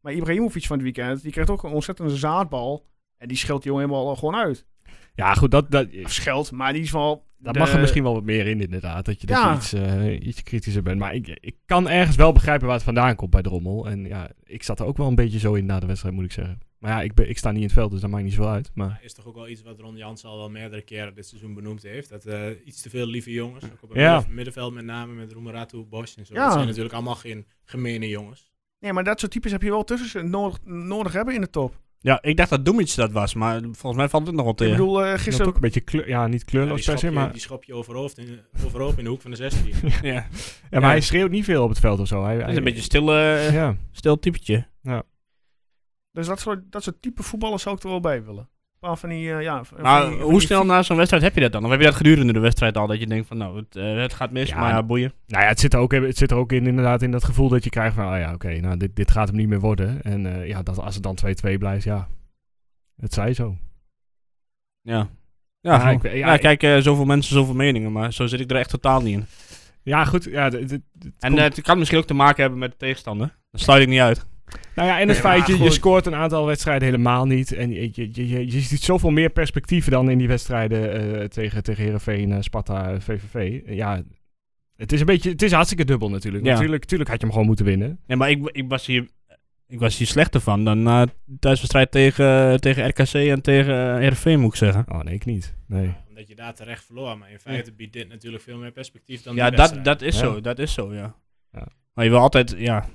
Speaker 1: Maar Ibrahimovic van het weekend, die krijgt ook een ontzettende zaadbal. En die scheldt die jongen helemaal gewoon uit.
Speaker 2: Ja, goed, dat, dat,
Speaker 1: Of scheldt, maar in ieder geval...
Speaker 2: Daar
Speaker 1: de-
Speaker 2: mag er misschien wel wat meer in, inderdaad. Dat je, dat
Speaker 1: Ja.
Speaker 2: je iets, eh, iets kritischer bent. Maar ik, ik kan ergens wel begrijpen waar het vandaan komt bij Drommel. En ja, ik zat er ook wel een beetje zo in na de wedstrijd, moet ik zeggen. Maar ja, ik, ben, ik sta niet in het veld, dus dat maakt niet zoveel uit. Maar
Speaker 4: Maar is toch ook wel iets wat Ron Jans al wel meerdere keren dit seizoen benoemd heeft. Dat eh, iets te veel lieve jongens, ook op het
Speaker 2: Ja.
Speaker 4: midden- middenveld met name met Roemeratu, Bosch en zo.
Speaker 1: Ja.
Speaker 4: Dat zijn natuurlijk allemaal geen gemene jongens.
Speaker 1: Nee, maar dat soort types heb je wel tussen ze nodig, nodig hebben in de top.
Speaker 3: Ja, ik dacht dat Doemits dat was, maar volgens mij valt het nog wel
Speaker 1: Ik
Speaker 3: tegen.
Speaker 1: bedoel, eh,
Speaker 2: is dat ook
Speaker 1: gisteren...
Speaker 2: een beetje kleur, ja, niet
Speaker 4: Ja, die,
Speaker 2: kleurloos per
Speaker 4: schop
Speaker 2: se,
Speaker 4: je,
Speaker 2: maar,
Speaker 4: die schop je overhoofd in, overhoop in de hoek van de 16.
Speaker 3: ja.
Speaker 2: ja, maar hij schreeuwt niet veel op het veld of zo. Hij,
Speaker 3: Dat is
Speaker 2: hij-
Speaker 3: een beetje stil, eh,
Speaker 2: Ja.
Speaker 3: stil typetje.
Speaker 1: Dus dat soort, dat soort type voetballers zou ik er wel bij willen. paar van die... eh, ja, van
Speaker 3: Maar
Speaker 1: die- van
Speaker 3: hoe
Speaker 1: die-
Speaker 3: snel na zo'n wedstrijd heb je dat dan? Of heb je dat gedurende de wedstrijd al? Dat je denkt van, nou, het, eh, het gaat mis,
Speaker 2: Ja,
Speaker 3: maar boeien.
Speaker 2: Nou ja, het zit er ook, het zit er ook in, inderdaad in dat gevoel dat je krijgt van, oh ja, oké, nou, dit, dit gaat hem niet meer worden. En eh, ja, dat, als het dan 2-2 blijft, ja, het zij zo.
Speaker 3: Ja. Ja,
Speaker 2: Ja, ik-
Speaker 3: ja,
Speaker 2: ja, ik-
Speaker 3: kijk, eh, zoveel mensen, zoveel meningen, maar zo zit ik er echt totaal niet in.
Speaker 2: Ja, goed, ja, dit- dit-
Speaker 3: En
Speaker 2: Komt-
Speaker 3: eh, het kan misschien ook te maken hebben met de tegenstander. Dat sluit ik niet uit.
Speaker 2: Nou ja, en het
Speaker 1: Nee,
Speaker 2: feit,
Speaker 1: maar
Speaker 2: je, je
Speaker 1: goed.
Speaker 2: scoort een aantal wedstrijden helemaal niet. En je, je, je, je, je ziet zoveel meer perspectieven dan in die wedstrijden eh, tegen, tegen Heerenveen, eh, Sparta, eh, VVV. Eh, Ja, het is een beetje, het is hartstikke dubbel natuurlijk.
Speaker 3: Ja.
Speaker 2: Natuurlijk, natuurlijk had je hem gewoon moeten winnen.
Speaker 3: Nee, maar ik, ik, was hier, ik was hier slechter van dan na de thuiswedstrijd tegen, tegen RKC en tegen eh, RV, moet ik zeggen.
Speaker 2: Oh nee, ik niet. Nee.
Speaker 4: Omdat je daar terecht verloor. Maar in feite biedt dit natuurlijk veel meer perspectief dan
Speaker 3: Ja,
Speaker 4: die
Speaker 3: dat,
Speaker 4: wedstrijd.
Speaker 3: dat is
Speaker 2: Ja.
Speaker 3: zo. Dat is zo, ja.
Speaker 2: Ja.
Speaker 3: Maar je wil altijd, ja...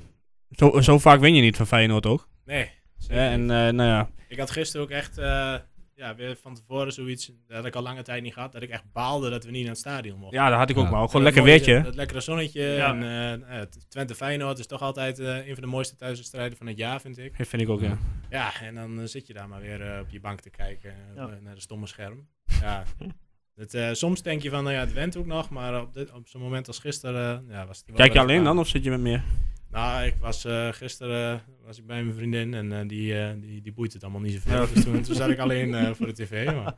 Speaker 3: Zo, zo vaak win je niet van Feyenoord ook.
Speaker 4: Nee. zeker
Speaker 3: Ja, en
Speaker 4: niet.
Speaker 3: eh, nou ja,
Speaker 4: Ik had gisteren ook echt eh, ja, weer van tevoren zoiets. Dat had ik al lange tijd niet gehad. Dat ik echt baalde dat we niet naar het stadion mochten.
Speaker 3: ja, dat had ik ook
Speaker 2: Ja.
Speaker 3: maar. ook
Speaker 4: Dat
Speaker 3: Gewoon lekker
Speaker 4: mooie-
Speaker 3: weertje. hè.
Speaker 4: Dat lekkere zonnetje.
Speaker 1: Ja.
Speaker 4: En, eh, nou ja, het Twente Feyenoord is toch altijd eh, een van de mooiste thuiswedstrijden van het jaar, vind ik.
Speaker 3: Dat vind ik ook, ja.
Speaker 4: Ja, en dan eh, zit je daar maar weer eh, op je bank te kijken eh,
Speaker 1: Ja.
Speaker 4: op, eh, naar de stomme scherm. Ja. Het, eh, soms denk je van, nou ja, het went ook nog, maar op, dit- op zo'n moment als gisteren eh, ja, was het wel
Speaker 3: Kijk je
Speaker 4: weer
Speaker 3: alleen
Speaker 4: gevaarlijk.
Speaker 3: dan of zit je met meer?
Speaker 4: Nou, ik was eh, gisteren eh, was ik bij mijn vriendin en eh, die, eh, die, die boeit het allemaal niet zoveel.
Speaker 3: Ja.
Speaker 4: Dus toen, toen zat ik alleen eh, voor de tv. Maar,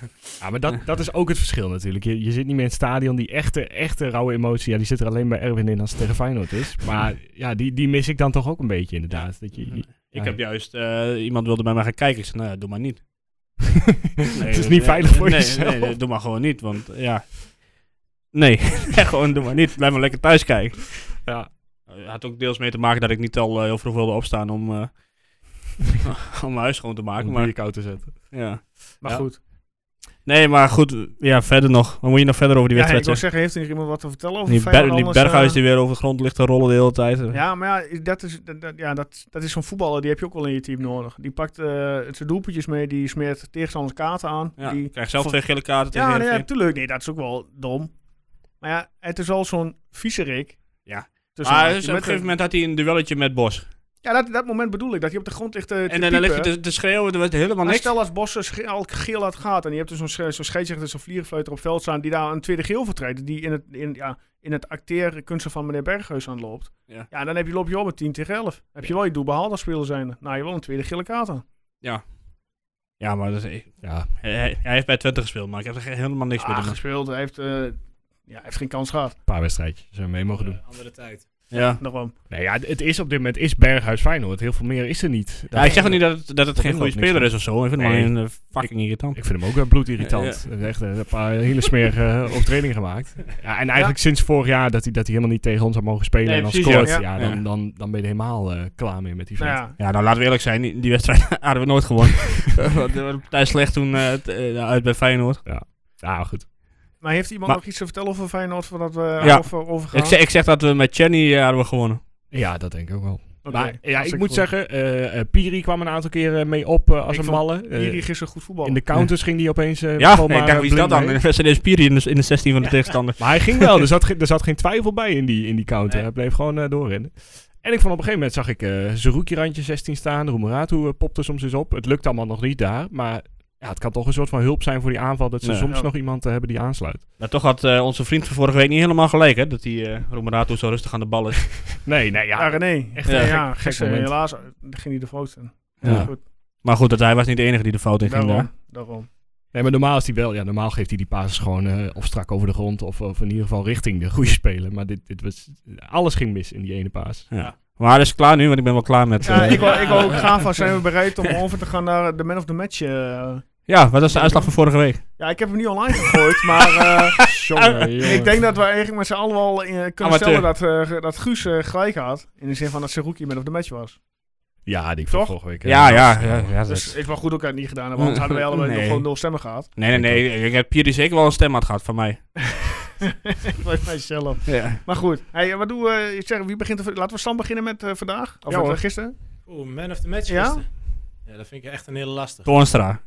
Speaker 2: Ja, maar dat, dat is ook het verschil natuurlijk. Je, je zit niet meer in het stadion. Die echte, echte rauwe emotie, ja, die zit er alleen bij Erwin in als het tegen Feyenoord is. Maar ja, die, die mis ik dan toch ook een beetje inderdaad. Dat je, je-
Speaker 3: Ik heb juist, eh, iemand wilde bij mij gaan kijken. Ik zei, nou ja, doe maar niet.
Speaker 2: het is niet veilig voor
Speaker 3: nee,
Speaker 2: jezelf.
Speaker 3: Nee, nee, doe maar gewoon niet, want ja. Nee, gewoon doe maar niet. Blijf maar lekker thuis kijken.
Speaker 2: Ja.
Speaker 3: Het had ook deels mee te maken dat ik niet al eh, heel vroeg wilde opstaan om, eh, om mijn huis schoon te maken.
Speaker 2: om
Speaker 3: Maar,
Speaker 2: bier koud te zetten.
Speaker 3: ja.
Speaker 1: Maar
Speaker 3: Ja.
Speaker 1: goed.
Speaker 3: Nee, maar goed, ja, verder nog. Wat moet je nog verder over die
Speaker 1: Ja, ik
Speaker 3: wedstrijd
Speaker 1: wil
Speaker 3: zeggen?
Speaker 1: zeggen, heeft er nog iemand wat te vertellen over
Speaker 3: Die,
Speaker 1: Feyenoord?
Speaker 3: ber- die
Speaker 1: Anders, eh,
Speaker 3: berghuis die weer over de grond ligt te rollen de hele tijd. eh.
Speaker 1: Ja, maar ja, dat is, dat, dat- ja, dat, dat is zo'n voetballer, die heb je ook wel in je team nodig. Die pakt eh, zijn doelpuntjes mee, die smeert tegenstanders kaarten aan.
Speaker 3: Ja,
Speaker 1: die,
Speaker 3: krijg zelf
Speaker 1: voor-
Speaker 3: twee gele kaarten tegen
Speaker 1: ja, nee, ja,
Speaker 3: Heerenveen.
Speaker 1: tuurlijk. Nee, dat is ook wel dom. Maar ja, het is al zo'n viezerik.
Speaker 3: Ja.
Speaker 1: Tussen
Speaker 3: Maar dus
Speaker 1: haakjes
Speaker 3: op een
Speaker 1: met
Speaker 3: gegeven moment had hij een duelletje met Bos.
Speaker 1: Ja, dat, dat moment bedoel ik. Dat je op de grond ligt eh, te, te
Speaker 3: En dan lig je
Speaker 1: piepen.
Speaker 3: te, te schreeuwen, er was helemaal
Speaker 1: Maar
Speaker 3: niks.
Speaker 1: stel als Bossen sche- al geel laat gaat en je hebt dus zo'n sche- zo'n scheidsrechter, zo'n vlierenfleuter op veld staan die daar een tweede geel vertreedt, die in het, in, ja, in het acteerkunsten van meneer Berghuis aan loopt.
Speaker 3: Ja.
Speaker 1: Ja, dan heb je, loop je op met 10 tegen 11. Heb je wel je doel behaald als speler zijn. Nou, je wel een tweede gele kaart aan.
Speaker 3: Ja, maar dat is-
Speaker 2: Ja,
Speaker 3: hij, hij heeft bij Twente gespeeld, maar ik heb er ge- helemaal niks
Speaker 1: Ah,
Speaker 3: meer mee.
Speaker 1: gespeeld, hij heeft, eh, ja, hij heeft geen kans gehad.
Speaker 2: een paar wedstrijdjes zijn mee mogen doen.
Speaker 4: eh, andere tijd.
Speaker 3: Ja.
Speaker 1: Daarom.
Speaker 2: Nee, ja, het is op dit moment is Berghuis Feyenoord. Heel veel meer is er niet.
Speaker 3: ja, ik zeg ook niet dat het, dat het
Speaker 2: dat
Speaker 3: geen
Speaker 2: doet
Speaker 3: goede
Speaker 2: ook niks
Speaker 3: speler
Speaker 2: meer.
Speaker 3: is of zo. Ik vind hem
Speaker 2: Nee.
Speaker 3: alleen eh, fucking irritant.
Speaker 2: Ik vind hem ook wel bloedirritant. Echt eh, een paar hele smerige optredingen gemaakt. Ja, en eigenlijk sinds vorig jaar dat hij, dat hij helemaal niet tegen ons had mogen spelen
Speaker 3: Nee,
Speaker 2: en dan
Speaker 3: precies,
Speaker 2: scoort.
Speaker 1: ja.
Speaker 2: Ja,
Speaker 3: Ja.
Speaker 2: dan,
Speaker 3: Ja.
Speaker 2: Dan, dan ben je er helemaal eh, klaar mee met die vent.
Speaker 1: Nou ja,
Speaker 3: Ja, nou laten we eerlijk zijn, die, die wedstrijd hadden we nooit gewonnen. Want we waren partij slecht toen eh, t- eh, uit bij Feyenoord.
Speaker 2: Ja, maar goed.
Speaker 1: maar heeft iemand
Speaker 3: Maar-
Speaker 1: nog iets te vertellen over Feyenoord voordat we
Speaker 3: Ja.
Speaker 1: over, overgaan?
Speaker 3: Ik zeg, ik zeg dat we met Chenny eh, hadden we gewonnen.
Speaker 2: Ja, dat denk ik ook wel.
Speaker 1: Oké,
Speaker 2: maar ja, ik
Speaker 1: hartstikke
Speaker 2: moet
Speaker 1: goed.
Speaker 2: zeggen, eh, eh, Piri kwam een aantal keer eh, mee op eh, als
Speaker 1: Ik
Speaker 2: een
Speaker 1: vond
Speaker 2: malle. Eh,
Speaker 1: Hier gisteren goed voetbal.
Speaker 2: in de counters ging hij opeens... eh,
Speaker 3: ja,
Speaker 2: gewoon
Speaker 3: nee, ik
Speaker 2: maar,
Speaker 3: dacht,
Speaker 2: eh,
Speaker 3: wie is dat
Speaker 2: blind
Speaker 3: dan?
Speaker 2: mee.
Speaker 3: En de in Spier in de, in de 16 van de tegenstander.
Speaker 2: Maar hij ging wel. Er zat, ge- er zat geen twijfel bij in die, in die counter.
Speaker 4: Nee.
Speaker 2: Hij bleef gewoon eh, doorrennen. En ik vond op een gegeven moment zag ik eh Zerouki randje 16 staan. Roemeratu eh, popte soms eens op. Het lukt allemaal nog niet daar. Maar ja, het kan toch een soort van hulp zijn voor die aanval. Dat ze
Speaker 3: Nee.
Speaker 2: soms
Speaker 1: Ja.
Speaker 2: nog iemand eh, hebben die aansluit.
Speaker 3: Maar toch had eh, onze vriend van vorige week niet helemaal gelijk, hè? Dat die eh Roemerato zo rustig aan de bal is.
Speaker 2: Nee, nee,
Speaker 1: Ja,
Speaker 2: ja.
Speaker 1: René. Echt,
Speaker 3: Ja,
Speaker 1: ja,
Speaker 3: gek-
Speaker 1: ja,
Speaker 2: gek
Speaker 1: gisteren
Speaker 2: moment.
Speaker 1: helaas eh, ging hij de fout in.
Speaker 3: Ja.
Speaker 1: Goed,
Speaker 3: Maar goed, dat hij was niet de enige die de fout in ging daar.
Speaker 1: daarom, daarom.
Speaker 2: Nee, maar normaal is hij wel. Ja, normaal geeft hij die pases gewoon eh, of strak over de grond. Of, of in ieder geval richting de goede speler. Maar dit, dit was, alles ging mis in die ene paas.
Speaker 3: Ja. Maar dat is klaar nu, want ik ben wel klaar met...
Speaker 1: Ja,
Speaker 3: eh,
Speaker 1: ik wou, ik wou ook graag van, zijn we bereid om over te gaan naar de man of the match? eh?
Speaker 3: Ja, wat was de uitslag van vorige week?
Speaker 1: ja, ik heb hem niet online gegooid, maar eh,
Speaker 2: Ah,
Speaker 1: ik denk dat we eigenlijk met z'n allen wel eh, kunnen
Speaker 3: Amateur.
Speaker 1: stellen dat, eh, dat Guus eh, gelijk had. In de zin van dat Seruki man of the match was.
Speaker 2: Ja, die van
Speaker 1: Toch?
Speaker 2: vorige week. eh,
Speaker 3: Ja, ja.
Speaker 2: was,
Speaker 3: ja,
Speaker 2: eh,
Speaker 3: ja,
Speaker 1: Dus
Speaker 3: dat-
Speaker 1: het is wel goed ook dat niet gedaan, hebben, want hadden wij allebei
Speaker 3: Nee.
Speaker 1: nog gewoon nul stemmen gehad.
Speaker 3: Nee, nee, nee. Ik heb Piri zeker wel een stem had gehad van mij.
Speaker 1: Bij mijzelf.
Speaker 3: Ja.
Speaker 1: Maar goed, hey, eh, wat doen we? Ik zeg, wie begint er, laten we Sam beginnen met eh, vandaag? Of
Speaker 2: Ja,
Speaker 1: met, eh,
Speaker 2: hoor.
Speaker 1: gisteren?
Speaker 4: Oeh, man of the match
Speaker 1: Ja?
Speaker 4: gisteren. Ja, dat vind ik echt een hele lastige.
Speaker 3: Toornstra.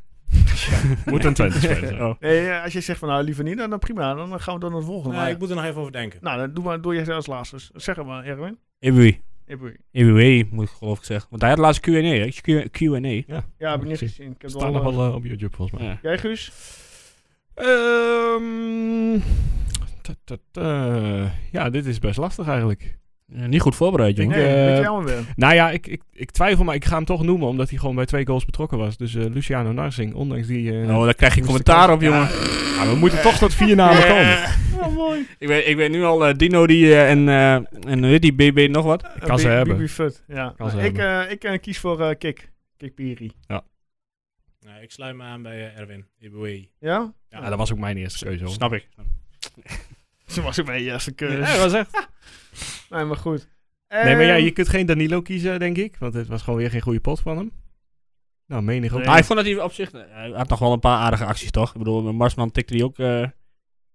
Speaker 2: Moet een Twente speler zijn.
Speaker 3: Oh.
Speaker 1: Nee, eh, als je zegt van nou liever niet, dan, dan prima, dan gaan we door naar het volgende.
Speaker 4: Nee,
Speaker 1: Maar-
Speaker 4: ik moet er nog even over denzen.
Speaker 1: Nou, dan doe, maar, doe je als laatste. Zeg het maar, Erwin.
Speaker 3: Ibui.
Speaker 1: Eboué.
Speaker 3: EWE moet ik geloof ik zeggen. Want hij had laatst Q&A. hè? Q-
Speaker 1: Ja,
Speaker 3: Q&A.
Speaker 1: heb ik niet
Speaker 2: Precies.
Speaker 1: gezien. Ik heb
Speaker 2: Staat
Speaker 1: wel,
Speaker 2: nog
Speaker 1: eh,
Speaker 2: wel eh, op YouTube volgens mij.
Speaker 3: Ja.
Speaker 1: Jij, Guus?
Speaker 2: Ehm, ta- ta- ta. ja, dit is best lastig eigenlijk.
Speaker 3: Eh, Niet goed voorbereid, jongen.
Speaker 1: nee,
Speaker 2: eh,
Speaker 1: weet jij allemaal weer.
Speaker 2: Nou ja, ik, ik, ik twijfel, maar ik ga hem toch noemen, omdat hij gewoon bij twee goals betrokken was. Dus eh, Luciano Narsing, ondanks die... eh,
Speaker 3: Oh, daar krijg je
Speaker 2: moest
Speaker 3: commentaar
Speaker 2: de-
Speaker 3: op, jongen.
Speaker 2: ja, we moeten toch tot vier namen komen.
Speaker 3: Ik weet, ik weet nu al eh, Dino die, eh, en, eh en hoe heet die BB nog wat.
Speaker 1: Eh,
Speaker 2: kan ze
Speaker 1: Bi-
Speaker 2: hebben.
Speaker 1: Bibi Fut, ja.
Speaker 2: Kan ze
Speaker 1: Nou, ik eh, ik eh, kies voor eh, Kik. Kik Piri.
Speaker 4: Nou, ik sluit me aan bij eh, Erwin. Iboué.
Speaker 1: Ja?
Speaker 2: Ja, Ah, dat was ook mijn eerste keuze. hoor.
Speaker 3: Snap ik.
Speaker 1: Ze was ook mijn eerste
Speaker 2: Ja,
Speaker 1: keus.
Speaker 2: dat was echt.
Speaker 1: Nee, maar goed.
Speaker 2: Nee, maar ja,
Speaker 1: Ehm,
Speaker 2: je kunt geen Danilo kiezen, denk ik. Want het was gewoon weer geen goede pot van hem. Nou, menig ook.
Speaker 1: Nee.
Speaker 3: Maar Ah, ik vond dat hij op zich... eh, Hij had nog wel een paar aardige acties, toch? Ik bedoel, Marsman tikte die ook... eh,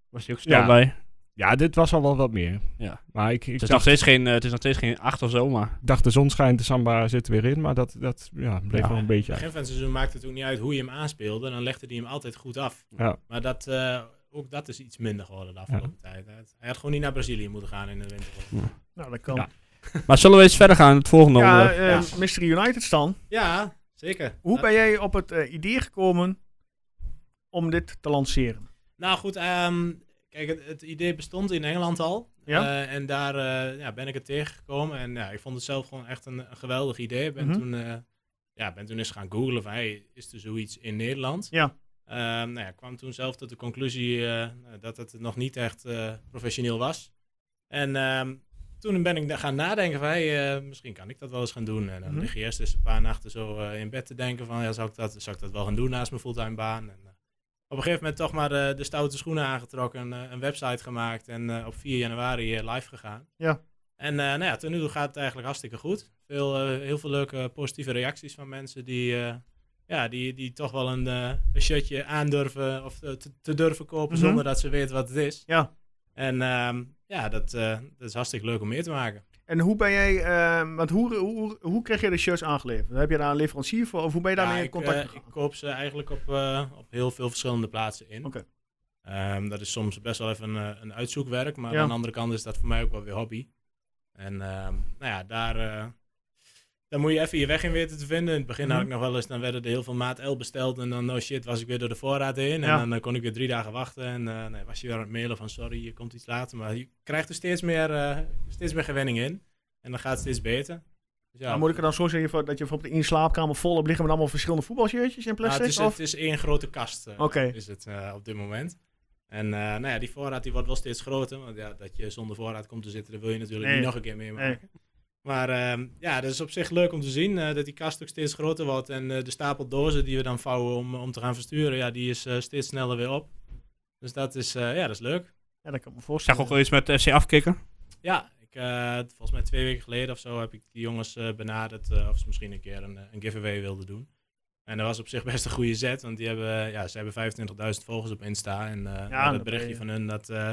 Speaker 3: was hij ook snel
Speaker 2: Ja.
Speaker 3: bij.
Speaker 2: Ja, dit was al wel wat meer.
Speaker 3: Ja.
Speaker 2: Maar ik, ik
Speaker 3: Het is, nog
Speaker 2: dacht,
Speaker 3: steeds geen, eh, het is nog steeds geen acht of zo, maar...
Speaker 2: ik dacht, de zon schijnt, de samba zit er weer in. Maar dat, dat ja, bleef
Speaker 3: Ja.
Speaker 2: wel een beetje uit.
Speaker 4: Begin van het seizoen maakte het ook niet uit hoe je hem aanspeelde. Dan legde hij hem altijd goed af.
Speaker 2: Ja.
Speaker 4: Maar dat, eh, ook dat is iets minder geworden de afgelopen tijd. Hij had- Hij had gewoon niet naar Brazilië moeten gaan in de winter.
Speaker 1: Nou, dat kan.
Speaker 2: Ja.
Speaker 1: Ja,
Speaker 3: Maar zullen we eens verder gaan? Het volgende onderwerp.
Speaker 1: eh,
Speaker 4: ja.
Speaker 1: Mr. United Stan.
Speaker 4: Ja, zeker.
Speaker 1: Hoe
Speaker 4: Dat-
Speaker 1: ben jij op het eh, idee gekomen om dit te lanceren?
Speaker 4: Nou goed, ehm, kijk, het, het idee bestond in Engeland al.
Speaker 1: Ja.
Speaker 4: Eh, en daar eh, ja, ben ik het tegengekomen. En ja, ik vond het zelf gewoon echt een, een geweldig idee. Ik ben,
Speaker 1: Mhm.
Speaker 4: toen, eh, ja, ben toen eens gaan googlen van, hey, is er zoiets in Nederland?
Speaker 1: Ja.
Speaker 4: Ehm, nou ja, ik kwam toen zelf tot de conclusie eh, dat het nog niet echt eh, professioneel was. En ehm, toen ben ik daar gaan nadenken van, hey, eh, misschien kan ik dat wel eens gaan doen. En dan
Speaker 1: Mhm.
Speaker 4: lig je eerst eens een paar nachten zo eh, in bed te denken van, ja, zou ik dat, zou ik dat wel gaan doen naast mijn fulltime baan? En, eh, op een gegeven moment toch maar eh, de stoute schoenen aangetrokken, eh, een website gemaakt en eh, op 4 januari eh, live gegaan.
Speaker 1: Ja.
Speaker 4: En eh, nou ja, tot nu toe gaat het eigenlijk hartstikke goed. Veel, eh, heel veel leuke positieve reacties van mensen die, eh, ja, die, die toch wel een, eh, een shirtje aandurven of eh, te, te durven kopen
Speaker 1: Mhm.
Speaker 4: zonder dat ze weten wat het is.
Speaker 1: Ja.
Speaker 4: En ehm, ja, dat, eh, dat is hartstikke leuk om mee te maken.
Speaker 1: En hoe ben jij, ehm, want hoe, hoe, hoe kreeg je de shirts aangeleverd? Heb je daar een leverancier voor of hoe ben je daarmee
Speaker 4: ja,
Speaker 1: in contact
Speaker 4: ik, eh,
Speaker 1: gegaan?
Speaker 4: ik koop ze eigenlijk op, eh, op heel veel verschillende plaatsen in.
Speaker 1: Oké.
Speaker 4: Ehm, dat is soms best wel even een, eh, een uitzoekwerk, maar
Speaker 1: Ja.
Speaker 4: aan de andere kant is dat voor mij ook wel weer hobby. En ehm, nou ja, daar, eh, daar moet je even je weg in weten te vinden. In het begin had ik
Speaker 1: Mhm.
Speaker 4: nog wel eens, dan werden er heel veel maat L besteld en dan, oh shit, was ik weer door de voorraad heen.
Speaker 1: Ja.
Speaker 4: En dan eh, kon ik weer drie dagen wachten en eh, nee, was je weer aan het mailen van sorry, je komt iets later. Maar je krijgt er steeds meer, eh, steeds meer gewenning in en dan gaat het steeds beter. Dus ja,
Speaker 1: Nou, moet ik er dan zo zeggen voor- dat je bijvoorbeeld in je slaapkamer vol op liggen met allemaal verschillende voetbalshirtjes in
Speaker 4: Nou,
Speaker 1: plastic?
Speaker 4: het, is,
Speaker 1: of?
Speaker 4: het is één grote kast eh,
Speaker 1: Oké.
Speaker 4: is het, eh, op dit moment. En eh, nou ja, die voorraad die wordt wel steeds groter. Want ja, dat je zonder voorraad komt te zitten, dat wil je natuurlijk
Speaker 1: Nee.
Speaker 4: niet nog een keer meemaken. Maar ehm, ja, dat is op zich leuk om te zien. eh, dat die kast ook steeds groter wordt. En eh, de stapel dozen die we dan vouwen om, om te gaan versturen, ja, die is eh, steeds sneller weer op. Dus dat is, eh, ja, dat is leuk.
Speaker 1: Ja, dat kan ik me
Speaker 3: Ik
Speaker 1: voorstellen.
Speaker 3: zag ook wel iets met FC afkicken.
Speaker 4: Ja, ik, eh, volgens mij twee weken geleden of zo heb ik die jongens eh, benaderd eh, of ze misschien een keer een, eh, een giveaway wilden doen. En dat was op zich best een goede zet, want die hebben, eh, ja, ze hebben 25.000 volgers op Insta. En eh, nou,
Speaker 1: dat
Speaker 4: dat
Speaker 1: ben
Speaker 4: berichtje
Speaker 1: je.
Speaker 4: van hun, dat, eh,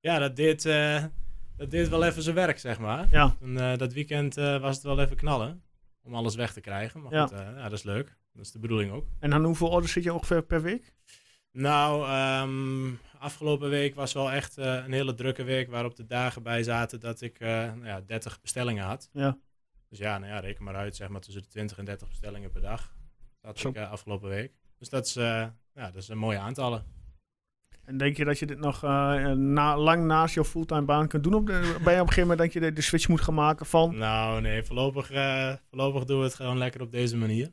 Speaker 4: ja, dat, deed, eh, dat deed wel even zijn werk, zeg maar.
Speaker 1: Ja.
Speaker 4: En, eh, dat weekend eh, was het wel even knallen om alles weg te krijgen. Maar
Speaker 1: Ja.
Speaker 4: goed, eh, ja, dat is leuk. Dat is de bedoeling ook.
Speaker 1: En aan hoeveel orders zit je ongeveer per week?
Speaker 4: Nou, ehm, afgelopen week was wel echt eh, een hele drukke week waarop de dagen bij zaten dat ik eh, nou ja, 30 bestellingen had.
Speaker 1: Ja.
Speaker 4: Dus ja, nou ja, reken maar uit, zeg maar tussen de 20 en 30 bestellingen per dag. Dat had
Speaker 2: Zo.
Speaker 4: ik eh, afgelopen week. Dus dat is, eh, ja, dat is een mooie aantallen.
Speaker 1: En denk je dat je dit nog eh, na, lang naast jouw fulltime baan kunt doen? Op de, ben je op een gegeven moment dat je de, de switch moet gaan maken van...
Speaker 4: Nou nee, voorlopig, eh, voorlopig doen we het gewoon lekker op deze manier.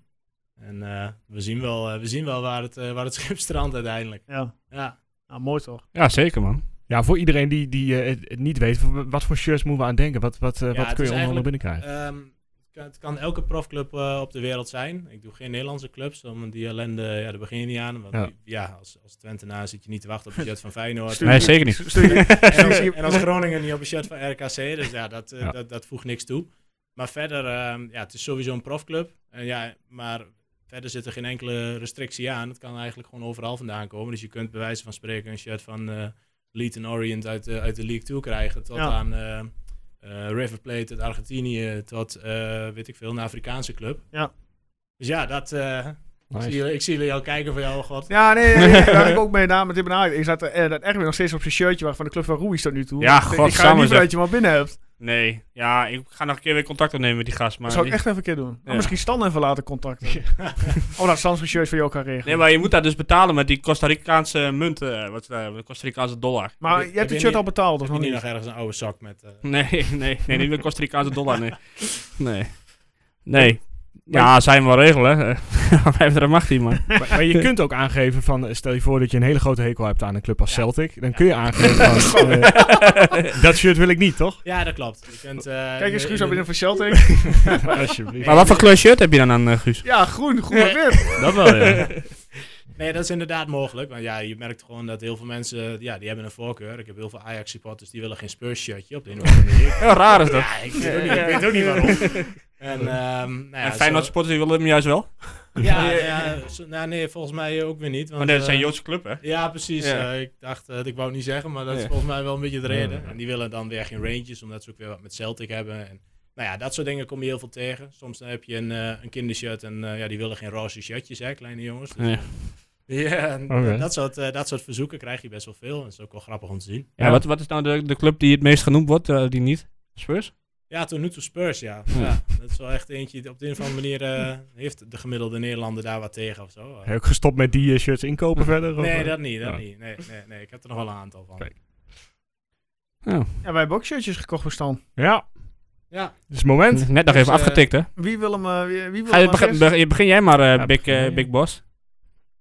Speaker 4: En eh, we zien wel, eh, we zien wel waar, het, eh, waar het schip strandt uiteindelijk.
Speaker 1: Ja,
Speaker 4: Ja,
Speaker 1: nou mooi toch?
Speaker 3: Ja, zeker man.
Speaker 2: Ja, voor iedereen die, die eh, het- het niet weet, wa- wat voor shirts moeten we aan denken? Wat, wat, eh,
Speaker 4: Ja,
Speaker 2: wat
Speaker 4: het
Speaker 2: kun
Speaker 4: is
Speaker 2: je onder andere
Speaker 4: eigenlijk-
Speaker 2: binnenkrijgen?
Speaker 4: Ehm, het, kan, het kan elke profclub eh, op de wereld zijn. Ik doe geen Nederlandse clubs, om die ellende, ja, daar begin je niet aan. Want
Speaker 2: Ja.
Speaker 4: ja, als, als Twentenaar zit je niet te wachten op een shirt van Feyenoord.
Speaker 1: Stuur-
Speaker 3: Nee, zeker niet.
Speaker 1: stuur je-
Speaker 4: en, als,
Speaker 1: stuur je-
Speaker 4: en als Groningen niet op een shirt van RKC. Dus ja, dat, eh,
Speaker 2: Ja.
Speaker 4: Dat, dat voegt niks toe. Maar verder, ehm, ja, het is sowieso een profclub. En ja, maar verder zit er geen enkele restrictie aan. Het kan eigenlijk gewoon overal vandaan komen. Dus je kunt bij wijze van spreken een shirt van eh Leeds en Orient uit de, uit de League 2 krijgen. Tot
Speaker 1: Ja.
Speaker 4: aan eh, eh, River Plate uit Argentinië. Tot, eh, weet ik veel, een Afrikaanse club.
Speaker 1: Ja.
Speaker 4: Dus ja, dat, eh, ik, zie,
Speaker 2: Nice.
Speaker 4: jullie- ik zie jullie al kijken van jou, god.
Speaker 1: Ja, nee, nee, nee, daar heb ik ook mee gedaan met dit benadering. Ik zat er, eh, dat Erwin nog steeds op zijn shirtje waar van de club van Ruiz tot nu toe.
Speaker 3: Ja,
Speaker 1: Ik- Ik ga
Speaker 3: godsamme,
Speaker 1: liever
Speaker 3: zeg.
Speaker 1: dat je hem al binnen hebt.
Speaker 3: Nee, ja, ik ga nog een keer weer contact opnemen met die gast. Maar
Speaker 1: Dat zou ik
Speaker 3: die-
Speaker 1: echt even een keer doen.
Speaker 3: Ja.
Speaker 1: Oh, misschien Stan even laten contacten. oh, dat Stan zijn shirt voor jou kan regelen.
Speaker 3: Nee, maar je moet daar dus betalen met die Costa Ricaanse munten. eh, Wat, is dat, de Costa Ricaanse dollar.
Speaker 1: maar
Speaker 4: Heb
Speaker 1: je
Speaker 4: je
Speaker 1: hebt het
Speaker 4: niet-
Speaker 1: shirt al betaald, of
Speaker 4: Heb
Speaker 1: nog
Speaker 4: je nu
Speaker 1: niet?
Speaker 4: nog ergens een oude zak met... eh,
Speaker 3: Nee, nee, nee, niet met Costa Ricaanse dollar, nee. Nee. Nee. Ja, zijn we wel regelen. hè. Wij hebben er mag die, man.
Speaker 2: Maar, maar je kunt ook aangeven van, eh, stel je voor dat je een hele grote hekel hebt aan een club als Celtic. Dan kun je aangeven van, eh, dat shirt wil ik niet, toch?
Speaker 4: Ja, dat klopt. Je kunt, eh,
Speaker 1: Kijk eens,
Speaker 4: in-
Speaker 1: Guus,
Speaker 4: in-
Speaker 1: op binnen voor Celtic.
Speaker 2: Alsjeblieft.
Speaker 3: Maar wat voor kleur shirt heb je dan aan, eh, Guus?
Speaker 1: ja, groen, groen en wit.
Speaker 2: dat wel, ja.
Speaker 4: Nee, dat is inderdaad mogelijk. Want ja, je merkt gewoon dat heel veel mensen, ja, die hebben een voorkeur. Ik heb heel veel Ajax supporters, die willen geen Spurs shirtje op de een of andere manier.
Speaker 3: Heel raar is dat.
Speaker 4: Ja, ik weet ook niet, ik weet ook niet waarom. En, ehm nou ja,
Speaker 3: en Feyenoord
Speaker 4: zo-
Speaker 3: supporters die willen hem juist wel.
Speaker 4: Ja, ja, zo- nou, nee, volgens mij ook weer niet. Want,
Speaker 3: Maar nee, dat zijn
Speaker 4: eh,
Speaker 3: Joodse club, hè?
Speaker 4: Ja, precies.
Speaker 3: Ja.
Speaker 4: Eh, ik dacht, eh, dat ik wou het niet zeggen, maar dat is
Speaker 3: Ja.
Speaker 4: volgens mij wel een beetje de reden. En die willen dan weer geen Rangers, omdat ze ook weer wat met Celtic hebben. En, nou ja, dat soort dingen kom je heel veel tegen. Soms dan heb je een, eh, een kindershirt en eh, ja, die willen geen roze shirtjes, hè, kleine jongens. Dus,
Speaker 3: Ja.
Speaker 4: ja, en
Speaker 2: Oké.
Speaker 4: dat, soort, eh, dat soort verzoeken krijg je best wel veel. En dat is ook wel grappig om te zien.
Speaker 3: Ja, Wat, wat is nou de, de club die het meest genoemd wordt, eh, die niet? Spurs?
Speaker 4: Ja, tot nu toe Spurs, ja. ja. Dat is wel echt eentje, op de een of andere manier eh, heeft de gemiddelde Nederlander daar wat tegen of zo.
Speaker 2: Heb je ook gestopt met die eh, shirts inkopen verder? of,
Speaker 4: nee,
Speaker 2: eh?
Speaker 4: dat niet, dat
Speaker 2: Ja.
Speaker 4: niet. Nee, nee, nee, ik heb er nog wel een aantal van.
Speaker 2: Kijk.
Speaker 1: Ja, wij hebben ook shirtjes gekocht voor Stan.
Speaker 2: Ja,
Speaker 4: Ja,
Speaker 2: het is het moment.
Speaker 3: Net nog
Speaker 4: Dus,
Speaker 3: even
Speaker 4: eh,
Speaker 3: afgetikt, hè?
Speaker 1: Wie wil hem... eh, wie, wie wil
Speaker 3: Ga
Speaker 1: hem
Speaker 3: je
Speaker 1: als
Speaker 3: begin,
Speaker 1: eerste?
Speaker 3: begin- begin jij maar, eh,
Speaker 2: Ja,
Speaker 3: big,
Speaker 2: begin
Speaker 3: eh,
Speaker 2: jij.
Speaker 3: big Boss.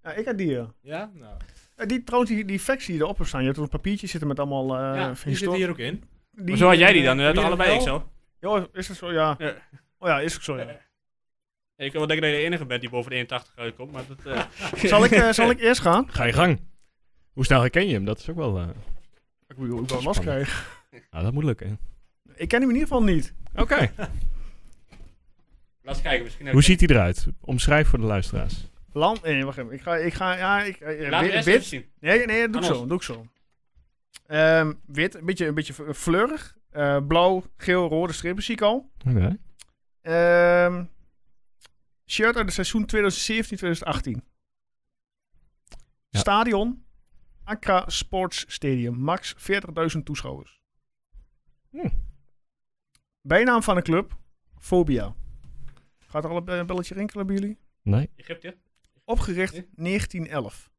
Speaker 1: Ja, ik had die, ja.
Speaker 4: ja, nou.
Speaker 1: Eh, Die, trouwens, die, die facts die erop staan. Je hebt op een papiertje zitten met allemaal... eh
Speaker 4: ja, die
Speaker 1: historie-
Speaker 4: zit hier ook in.
Speaker 1: die-
Speaker 3: Maar zo had jij die dan,
Speaker 1: eh,
Speaker 3: hè?
Speaker 4: wie
Speaker 3: allebei
Speaker 4: wel?
Speaker 3: ik zo.
Speaker 1: joh, is dat zo? Ja.
Speaker 3: Ja.
Speaker 1: Oh ja, is ook zo, ja.
Speaker 3: Ik wil wel denken dat je de enige bent die boven de 81 uitkomt, maar dat... eh,
Speaker 1: Zal ik, eh, zal ik eerst gaan?
Speaker 2: Ga je gang. Hoe snel herken je hem? Dat is ook wel... eh,
Speaker 1: Ik moet ook wel last krijgen.
Speaker 2: nou, dat moet lukken.
Speaker 1: Ik ken hem in ieder geval niet.
Speaker 2: Oké.
Speaker 3: Laat eens kijken, misschien...
Speaker 2: Hoe ziet hij eruit? Omschrijf voor de luisteraars.
Speaker 1: Lam... Nee, eh, wacht even. Ik ga... Ik ga ja, ik, eh,
Speaker 3: Laat
Speaker 1: wit-
Speaker 3: de rest
Speaker 1: wit.
Speaker 3: even zien.
Speaker 1: Nee, nee, doe ik
Speaker 3: Anders.
Speaker 1: zo. Doe ik zo. Ehm, wit, een beetje, een beetje v- fleurig. Eh, blauw, geel, rode strepen zie ik al.
Speaker 2: Oké.
Speaker 1: Ehm, shirt uit het seizoen 2017-2018.
Speaker 2: Ja.
Speaker 1: Stadion. Accra Sports Stadium. Max 40.000 toeschouwers.
Speaker 2: Hm.
Speaker 1: Bijnaam van de club. Fobia. Gaat er al een eh, belletje rinkelen bij jullie?
Speaker 2: Nee.
Speaker 3: Egypte?
Speaker 1: Opgericht
Speaker 3: Ja.
Speaker 1: 1911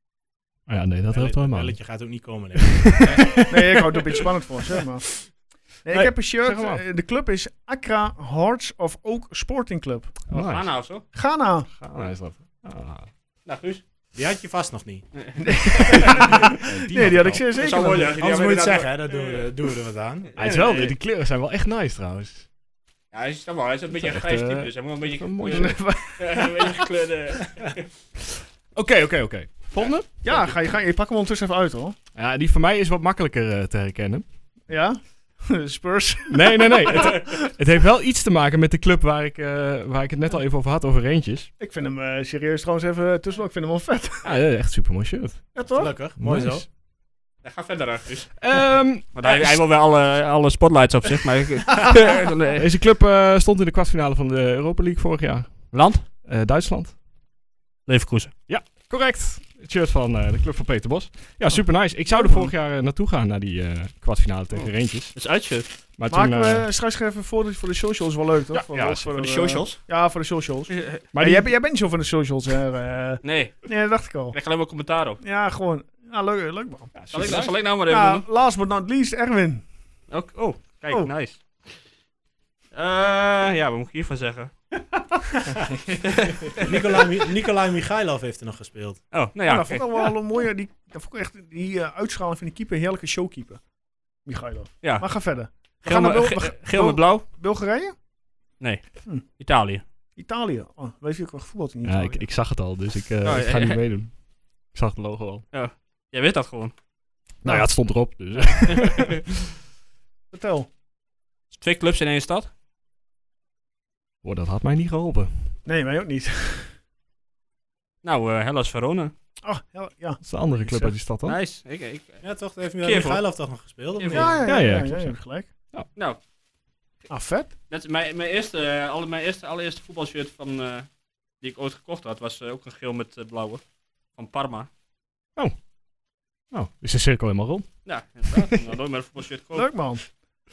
Speaker 2: Oh ja, nee, dat helpt wel helemaal. niet.
Speaker 4: belletje gaat ook niet komen. denk ik.
Speaker 1: Nee, ik hou het een beetje spannend voor, zeg maar. Nee, ik
Speaker 2: Nee,
Speaker 1: heb een shirt.
Speaker 2: zeg maar.
Speaker 1: eh, De club is Accra Hearts of Oak Sporting Club.
Speaker 2: Nice.
Speaker 3: Ghana of nou, zo?
Speaker 1: Ghana.
Speaker 2: Ah, is dat. Ah.
Speaker 3: Nou, Guus.
Speaker 4: Die had je vast nog niet.
Speaker 1: Nee, die had ik zeer zeker. nog.
Speaker 3: mooi
Speaker 4: Anders moet je het zeggen, hè, dat doen we, doen we er wat aan.
Speaker 2: Hij is wel, de kleuren zijn wel echt nice trouwens.
Speaker 3: Ja, hij is, dat wel, hij is een beetje een
Speaker 2: echt,
Speaker 3: grijs type,
Speaker 2: eh,
Speaker 3: dus hij moet een beetje
Speaker 2: een mooi
Speaker 3: gekleurde- een beetje gekleurde...
Speaker 2: Oké, oké, oké. Volgende?
Speaker 1: Ja, ga je, ga je. Ik pak hem ondertussen even uit hoor.
Speaker 2: Ja, die van mij is wat makkelijker eh, te herkennen.
Speaker 1: Ja? Spurs.
Speaker 2: Nee, nee, nee. Het, het heeft wel iets te maken met de club waar ik, eh, waar ik het net al even over had, over Reentjes.
Speaker 1: Ik vind hem eh, serieus trouwens even tussen. Ik vind hem wel vet.
Speaker 2: Ja, eh, echt super mooi shirt.
Speaker 1: Ja, toch?
Speaker 4: Gelukkig, mooi
Speaker 2: Nice.
Speaker 4: zo.
Speaker 3: Ja, Ga verder, hè, Guus.
Speaker 2: Ehm,
Speaker 3: Want hij, hij wil wel alle, alle spotlights op zich, maar... ik- Nee.
Speaker 2: deze club eh, stond in de kwartfinale van de Europa League vorig jaar.
Speaker 3: Land?
Speaker 2: Eh, Duitsland.
Speaker 3: Leverkusen.
Speaker 2: Correct. Het shirt van eh, de club van Peter Bos. Ja, super nice. Ik zou er vorig jaar eh, naartoe gaan naar die eh, kwartfinale tegen Reentjes.
Speaker 3: Dat is uitshirt.
Speaker 2: Maar toen,
Speaker 1: Maak
Speaker 2: eh,
Speaker 1: we straks even voor, voor de socials wel leuk, toch?
Speaker 2: Ja, ja,
Speaker 1: ons,
Speaker 3: Voor de
Speaker 1: eh,
Speaker 3: socials.
Speaker 1: Ja, voor de socials.
Speaker 2: maar
Speaker 1: Maar
Speaker 2: die,
Speaker 1: jij, bent- jij bent niet zo van de socials, hè? eh.
Speaker 3: Nee, ik
Speaker 1: nee, dat dacht ik al.
Speaker 3: krijg alleen maar commentaar op.
Speaker 1: Ja, gewoon. Ja, leuk, leuk man.
Speaker 3: Zal ik, zal ik nou maar even
Speaker 1: Ja, last but not least, Erwin.
Speaker 3: doen? Ook- Oh, kijk,
Speaker 1: Oh.
Speaker 3: nice. Eh, ja, wat moet ik hiervan zeggen?
Speaker 4: Nicolai, Mi- Nicolai Michailov heeft er nog gespeeld.
Speaker 3: Oh, nou
Speaker 1: Ja,
Speaker 3: ja,
Speaker 1: dat
Speaker 3: kijk.
Speaker 1: vond ik wel een mooie. Die, dat vond ik echt die eh, uitschaling van die keeper, een heerlijke showkeeper. Michailov.
Speaker 3: Ja.
Speaker 1: Maar ga verder. We
Speaker 3: Geel
Speaker 1: gaan naar
Speaker 3: met-
Speaker 1: Bul-
Speaker 3: ge-
Speaker 1: we
Speaker 3: ge-
Speaker 1: gaan-
Speaker 3: geel met
Speaker 1: Bul-
Speaker 3: blauw,
Speaker 1: Bulgarije?
Speaker 3: Italië.
Speaker 1: Italië. Oh, weet je ook wel gevoetbald in
Speaker 2: ja,
Speaker 1: Italië?
Speaker 2: ik, ik zag het al, dus ik, eh,
Speaker 3: Oh,
Speaker 2: ik ga
Speaker 3: ja.
Speaker 2: niet meedoen. Ik zag het logo al.
Speaker 3: Jij weet dat gewoon.
Speaker 2: Nou ja, het stond erop. Dus.
Speaker 1: Vertel.
Speaker 3: Twee clubs in één stad.
Speaker 2: Oh, dat had mij niet geholpen.
Speaker 1: Nee, mij ook niet.
Speaker 3: Nou, eh Hellas Verona.
Speaker 1: Oh, ja. Ja,
Speaker 2: Dat is de andere
Speaker 1: Ik
Speaker 2: club
Speaker 1: zeg-
Speaker 2: uit die stad dan.
Speaker 3: Nice. Ik, ik,
Speaker 4: Ja, toch? Heeft
Speaker 3: Keer voor.
Speaker 4: Michailov toch nog gespeeld? of
Speaker 3: Keer
Speaker 4: niet?
Speaker 3: voor.
Speaker 1: ja, ja.
Speaker 2: Ja,
Speaker 1: ja,
Speaker 2: ja,
Speaker 1: ja,
Speaker 2: klopt,
Speaker 1: je
Speaker 2: ja.
Speaker 1: hebt gelijk.
Speaker 3: nou,
Speaker 1: Ah, vet.
Speaker 3: dat is mijn, mijn, eerste, eh, alle, mijn eerste, allereerste voetbalshirt van, eh, die ik ooit gekocht had, was eh, ook een geel met eh, blauwe. Van Parma.
Speaker 2: Nou, is de cirkel helemaal rond.
Speaker 3: Ja, inderdaad. nou, nooit meer een voetbalshirt kopen.
Speaker 1: Leuk man.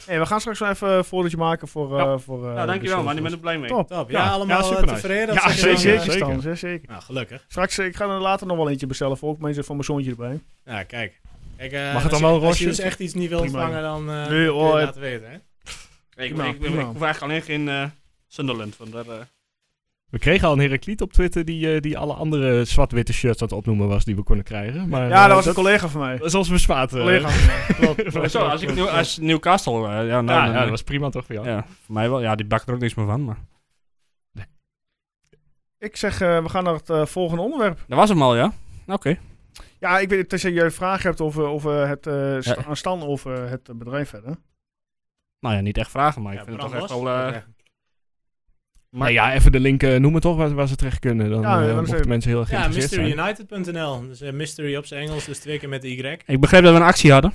Speaker 1: Hey, we gaan straks wel even een fotootje maken voor... eh,
Speaker 3: Ja.
Speaker 1: voor eh,
Speaker 3: nou, dankjewel
Speaker 1: de
Speaker 3: man, ik ben er blij mee.
Speaker 1: Top.
Speaker 4: Top. Ja, allemaal eh,
Speaker 2: supernice.
Speaker 4: tevreden? Of
Speaker 1: Ja,
Speaker 4: zeg je dan,
Speaker 1: zeker. Zeker,
Speaker 4: eh,
Speaker 2: zeker.
Speaker 1: Stans, hè, zeker.
Speaker 4: Nou, gelukkig.
Speaker 1: Straks, eh, ik ga er later nog wel eentje bestellen voor ook mensen van mijn zoontje erbij.
Speaker 4: Ja, kijk. kijk eh,
Speaker 2: het
Speaker 4: als
Speaker 2: dan
Speaker 4: je-
Speaker 2: wel een
Speaker 4: Als je
Speaker 2: rosje?
Speaker 4: dus echt iets niet wilt
Speaker 1: Prima.
Speaker 4: vangen, dan eh
Speaker 1: Nee,
Speaker 4: kun je
Speaker 1: hoor.
Speaker 4: het laten weten, hè?
Speaker 3: Ik,
Speaker 1: Prima,
Speaker 3: ik, ik,
Speaker 1: prima.
Speaker 3: ik vraag alleen geen eh, Sunderland, want daar... eh,
Speaker 2: We kregen al een Herakliet op Twitter die, eh, die alle andere zwart-witte shirts aan het opnoemen was die we konden krijgen. Maar,
Speaker 1: Ja,
Speaker 2: eh,
Speaker 1: dat was een collega van mij.
Speaker 2: dat is ons bespaard. eh.
Speaker 1: Collega van mij. Klopt, klopt,
Speaker 3: Maar zo, als, ik
Speaker 1: klopt,
Speaker 3: Nieuw-
Speaker 1: klopt.
Speaker 3: als Newcastle... eh, ja, nou,
Speaker 2: ja,
Speaker 3: dan-
Speaker 2: ja, dat was prima toch voor jou.
Speaker 3: ja, voor mij wel. Ja, die bakt er ook niks meer van, maar...
Speaker 1: Ik zeg, eh, we gaan naar het eh, volgende onderwerp.
Speaker 3: Dat was hem al, ja? Oké.
Speaker 1: Ja, ik weet niet, tenzij jij vragen hebt over, over het, eh sta- aan Stan over het eh, bedrijf verder.
Speaker 3: Nou ja, niet echt vragen, maar ik
Speaker 4: Ja,
Speaker 3: vind het toch
Speaker 4: brand
Speaker 3: echt
Speaker 4: los.
Speaker 3: wel... eh,
Speaker 4: Ja.
Speaker 2: Maar ja, even de link eh, noemen toch, waar, waar ze terecht kunnen. Dan
Speaker 1: Ja,
Speaker 2: ja,
Speaker 1: dat is even-
Speaker 2: mensen heel erg
Speaker 4: Ja,
Speaker 2: geïnteresseerd zijn.
Speaker 4: mysteryunited.nl. Dus eh, mystery op zijn Engels, dus twee keer met de Y.
Speaker 3: Ik begreep dat we een actie hadden.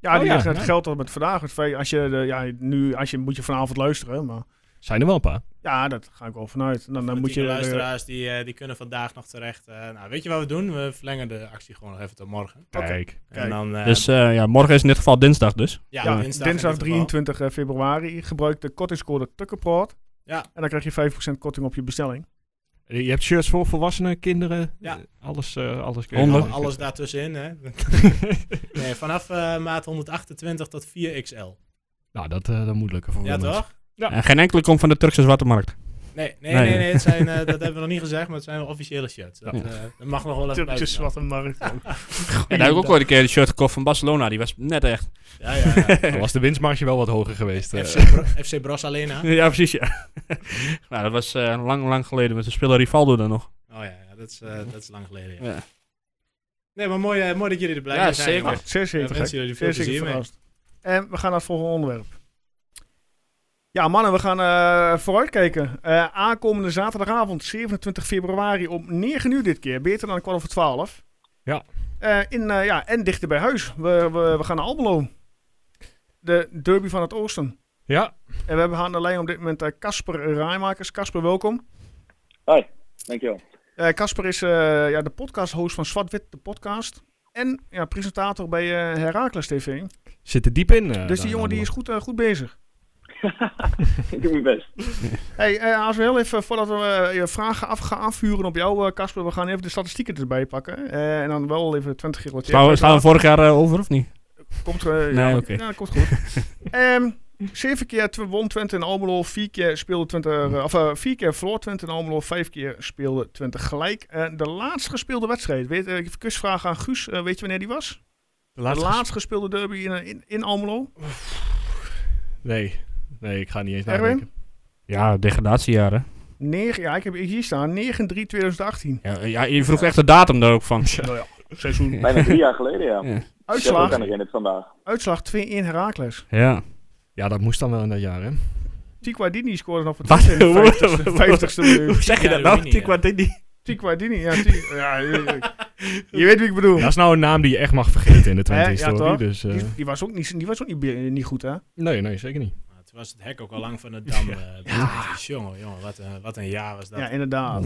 Speaker 1: Ja,
Speaker 2: Oh,
Speaker 1: die
Speaker 2: ja,
Speaker 1: heeft het
Speaker 2: ja.
Speaker 1: geld al met vandaag. Het feit- Als je, de, ja, nu als je, moet je vanavond luisteren, maar
Speaker 2: Zijn er wel een paar.
Speaker 1: ja, dat ga ik wel vanuit. Dan, dan
Speaker 4: Dan
Speaker 1: moet je... eh,
Speaker 4: luisteraars, die, eh, die kunnen vandaag nog terecht. Eh, nou, weet je wat we doen? We verlengen de actie gewoon nog even tot morgen.
Speaker 2: Kijk.
Speaker 1: Kijk.
Speaker 4: En dan, eh,
Speaker 3: dus eh, ja, morgen is in dit geval dinsdag dus.
Speaker 1: ja,
Speaker 4: ja, dinsdag,
Speaker 1: dinsdag,
Speaker 4: in dit geval.
Speaker 1: 23 februari gebruik de kortingscode Tukkenproot.
Speaker 4: Ja.
Speaker 1: En dan krijg je 5% korting op je bestelling.
Speaker 2: Eh, Je hebt shirts voor volwassenen, kinderen,
Speaker 4: Ja.
Speaker 2: eh, alles, eh alles.
Speaker 3: Honden.
Speaker 2: alles-
Speaker 4: Alles daartussenin, hè? nee, vanaf eh, maat 128 tot 4XL.
Speaker 2: Nou, dat, eh, dat moet lukken voor
Speaker 4: Ja,
Speaker 2: veel mensen.
Speaker 4: toch?
Speaker 2: Ja.
Speaker 3: En geen enkele komt van de Turkse Zwarte Markt.
Speaker 4: Nee, nee,
Speaker 3: Nee.
Speaker 4: nee, nee, het zijn, eh, dat hebben we nog niet gezegd, maar het zijn wel officiële shirts. Dat,
Speaker 3: Ja.
Speaker 4: eh, dat mag nog wel
Speaker 1: Turkse
Speaker 4: even buiten.
Speaker 1: zwarte markt.
Speaker 3: En daar heb ik ook ooit een keer een shirt gekocht van Barcelona. Die was net eh, echt.
Speaker 4: Ja, ja, ja.
Speaker 2: Dan was de winstmarge wel wat hoger geweest. eh.
Speaker 4: FC, Bro- FC Bros Arena. Oh
Speaker 3: ja, precies, ja. nou, dat was eh, lang, lang geleden. Met de speler Rivaldo dan nog.
Speaker 4: ja, ja dat, is, eh, dat is lang geleden. ja.
Speaker 3: Ja.
Speaker 4: Nee, maar mooi, eh, mooi dat jullie er blij
Speaker 3: Ja,
Speaker 4: mee zijn.
Speaker 3: zeker.
Speaker 4: jongens.
Speaker 1: Zeer
Speaker 4: Ja,
Speaker 1: zeker te gek.
Speaker 4: wensen jullie veel
Speaker 1: Zeer zeker
Speaker 4: plezier mee.
Speaker 1: verrast. En we gaan naar het volgende onderwerp. Ja, mannen, we gaan eh, vooruitkijken. Eh, aankomende zaterdagavond, 27 februari, om 9 uur dit keer. Beter dan kwart over 12.
Speaker 2: Ja.
Speaker 1: Eh, in, eh, ja en dichter bij huis. We, we, we gaan naar Almelo. De derby van het oosten.
Speaker 2: Ja,
Speaker 1: En we hebben aan de lijn op dit moment eh, Casper Rijmakers. Casper, welkom.
Speaker 9: Hoi, dankjewel.
Speaker 1: Eh, Casper is eh, ja, de podcast-host van Zwart-Wit, de podcast. En ja, presentator bij eh Herakles TV.
Speaker 2: zit er diep in. eh,
Speaker 3: nou
Speaker 1: Dus
Speaker 2: daar
Speaker 1: die jongen die is goed, eh, goed bezig.
Speaker 9: Ik doe mijn best.
Speaker 1: Hey, eh, als we heel even, voordat we eh, je vragen af gaan afvuren op jou, eh, Casper, we gaan even de statistieken erbij pakken. Eh, en dan wel even 20 gerelateerd.
Speaker 3: Slaan we, slaan we vorig jaar eh, over of niet?
Speaker 1: Komt, eh, ja,
Speaker 3: Nee, oké.
Speaker 1: ja, dat komt goed. Ehm, zeven keer tw- won Twente in Almelo, vier keer speelde Twente, eh, of eh, vier keer verloor Twente in Almelo, vijf keer speelde Twente gelijk. Eh, de laatst gespeelde wedstrijd, weet, eh, even kusvraag aan Guus, eh, weet je wanneer die was?
Speaker 2: De
Speaker 1: De
Speaker 2: laatste...
Speaker 1: laatst gespeelde derby in, eh, in, in Almelo?
Speaker 2: Nee. nee, ik ga niet eens
Speaker 1: Erwin?
Speaker 2: nadenken.
Speaker 3: Ja, degradatiejaren.
Speaker 1: Negen, ja, ik heb hier staan, 9-3 2018.
Speaker 3: Ja, ja, je vroeg echt de datum daar ook van. Ja.
Speaker 1: Nou ja, seizoen.
Speaker 9: Bijna drie jaar geleden, ja.
Speaker 3: Ja.
Speaker 9: Ik heb ook
Speaker 1: Uitslag,
Speaker 9: aan herinnerd vandaag.
Speaker 1: uitslag 2-1 Herakles.
Speaker 2: Ja, dat moest dan wel in dat jaar, hè?
Speaker 1: Tikwadini scoorde nog voor
Speaker 3: Wat?
Speaker 1: Twente in de 50ste minuut.
Speaker 3: Hoe zeg je
Speaker 4: Ja,
Speaker 3: dat
Speaker 4: dat
Speaker 3: nou?
Speaker 4: weet ik niet, ja.
Speaker 3: Tikwadini.
Speaker 1: Tikwadini, ja, ti- ja, je, je- je weet wie ik bedoel.
Speaker 2: Dat is nou een naam die je echt mag vergeten in de Twente-historie.
Speaker 1: Ja, toch?
Speaker 2: dus, eh,
Speaker 1: Die, die was ook, niet, die was ook niet, be- niet goed, hè?
Speaker 2: nee, nee, zeker niet.
Speaker 4: Nou, toen was het hek ook al lang van de dam. eh, bezig. Jongen, jongen, wat een, wat een jaar was dat.
Speaker 1: Ja, inderdaad.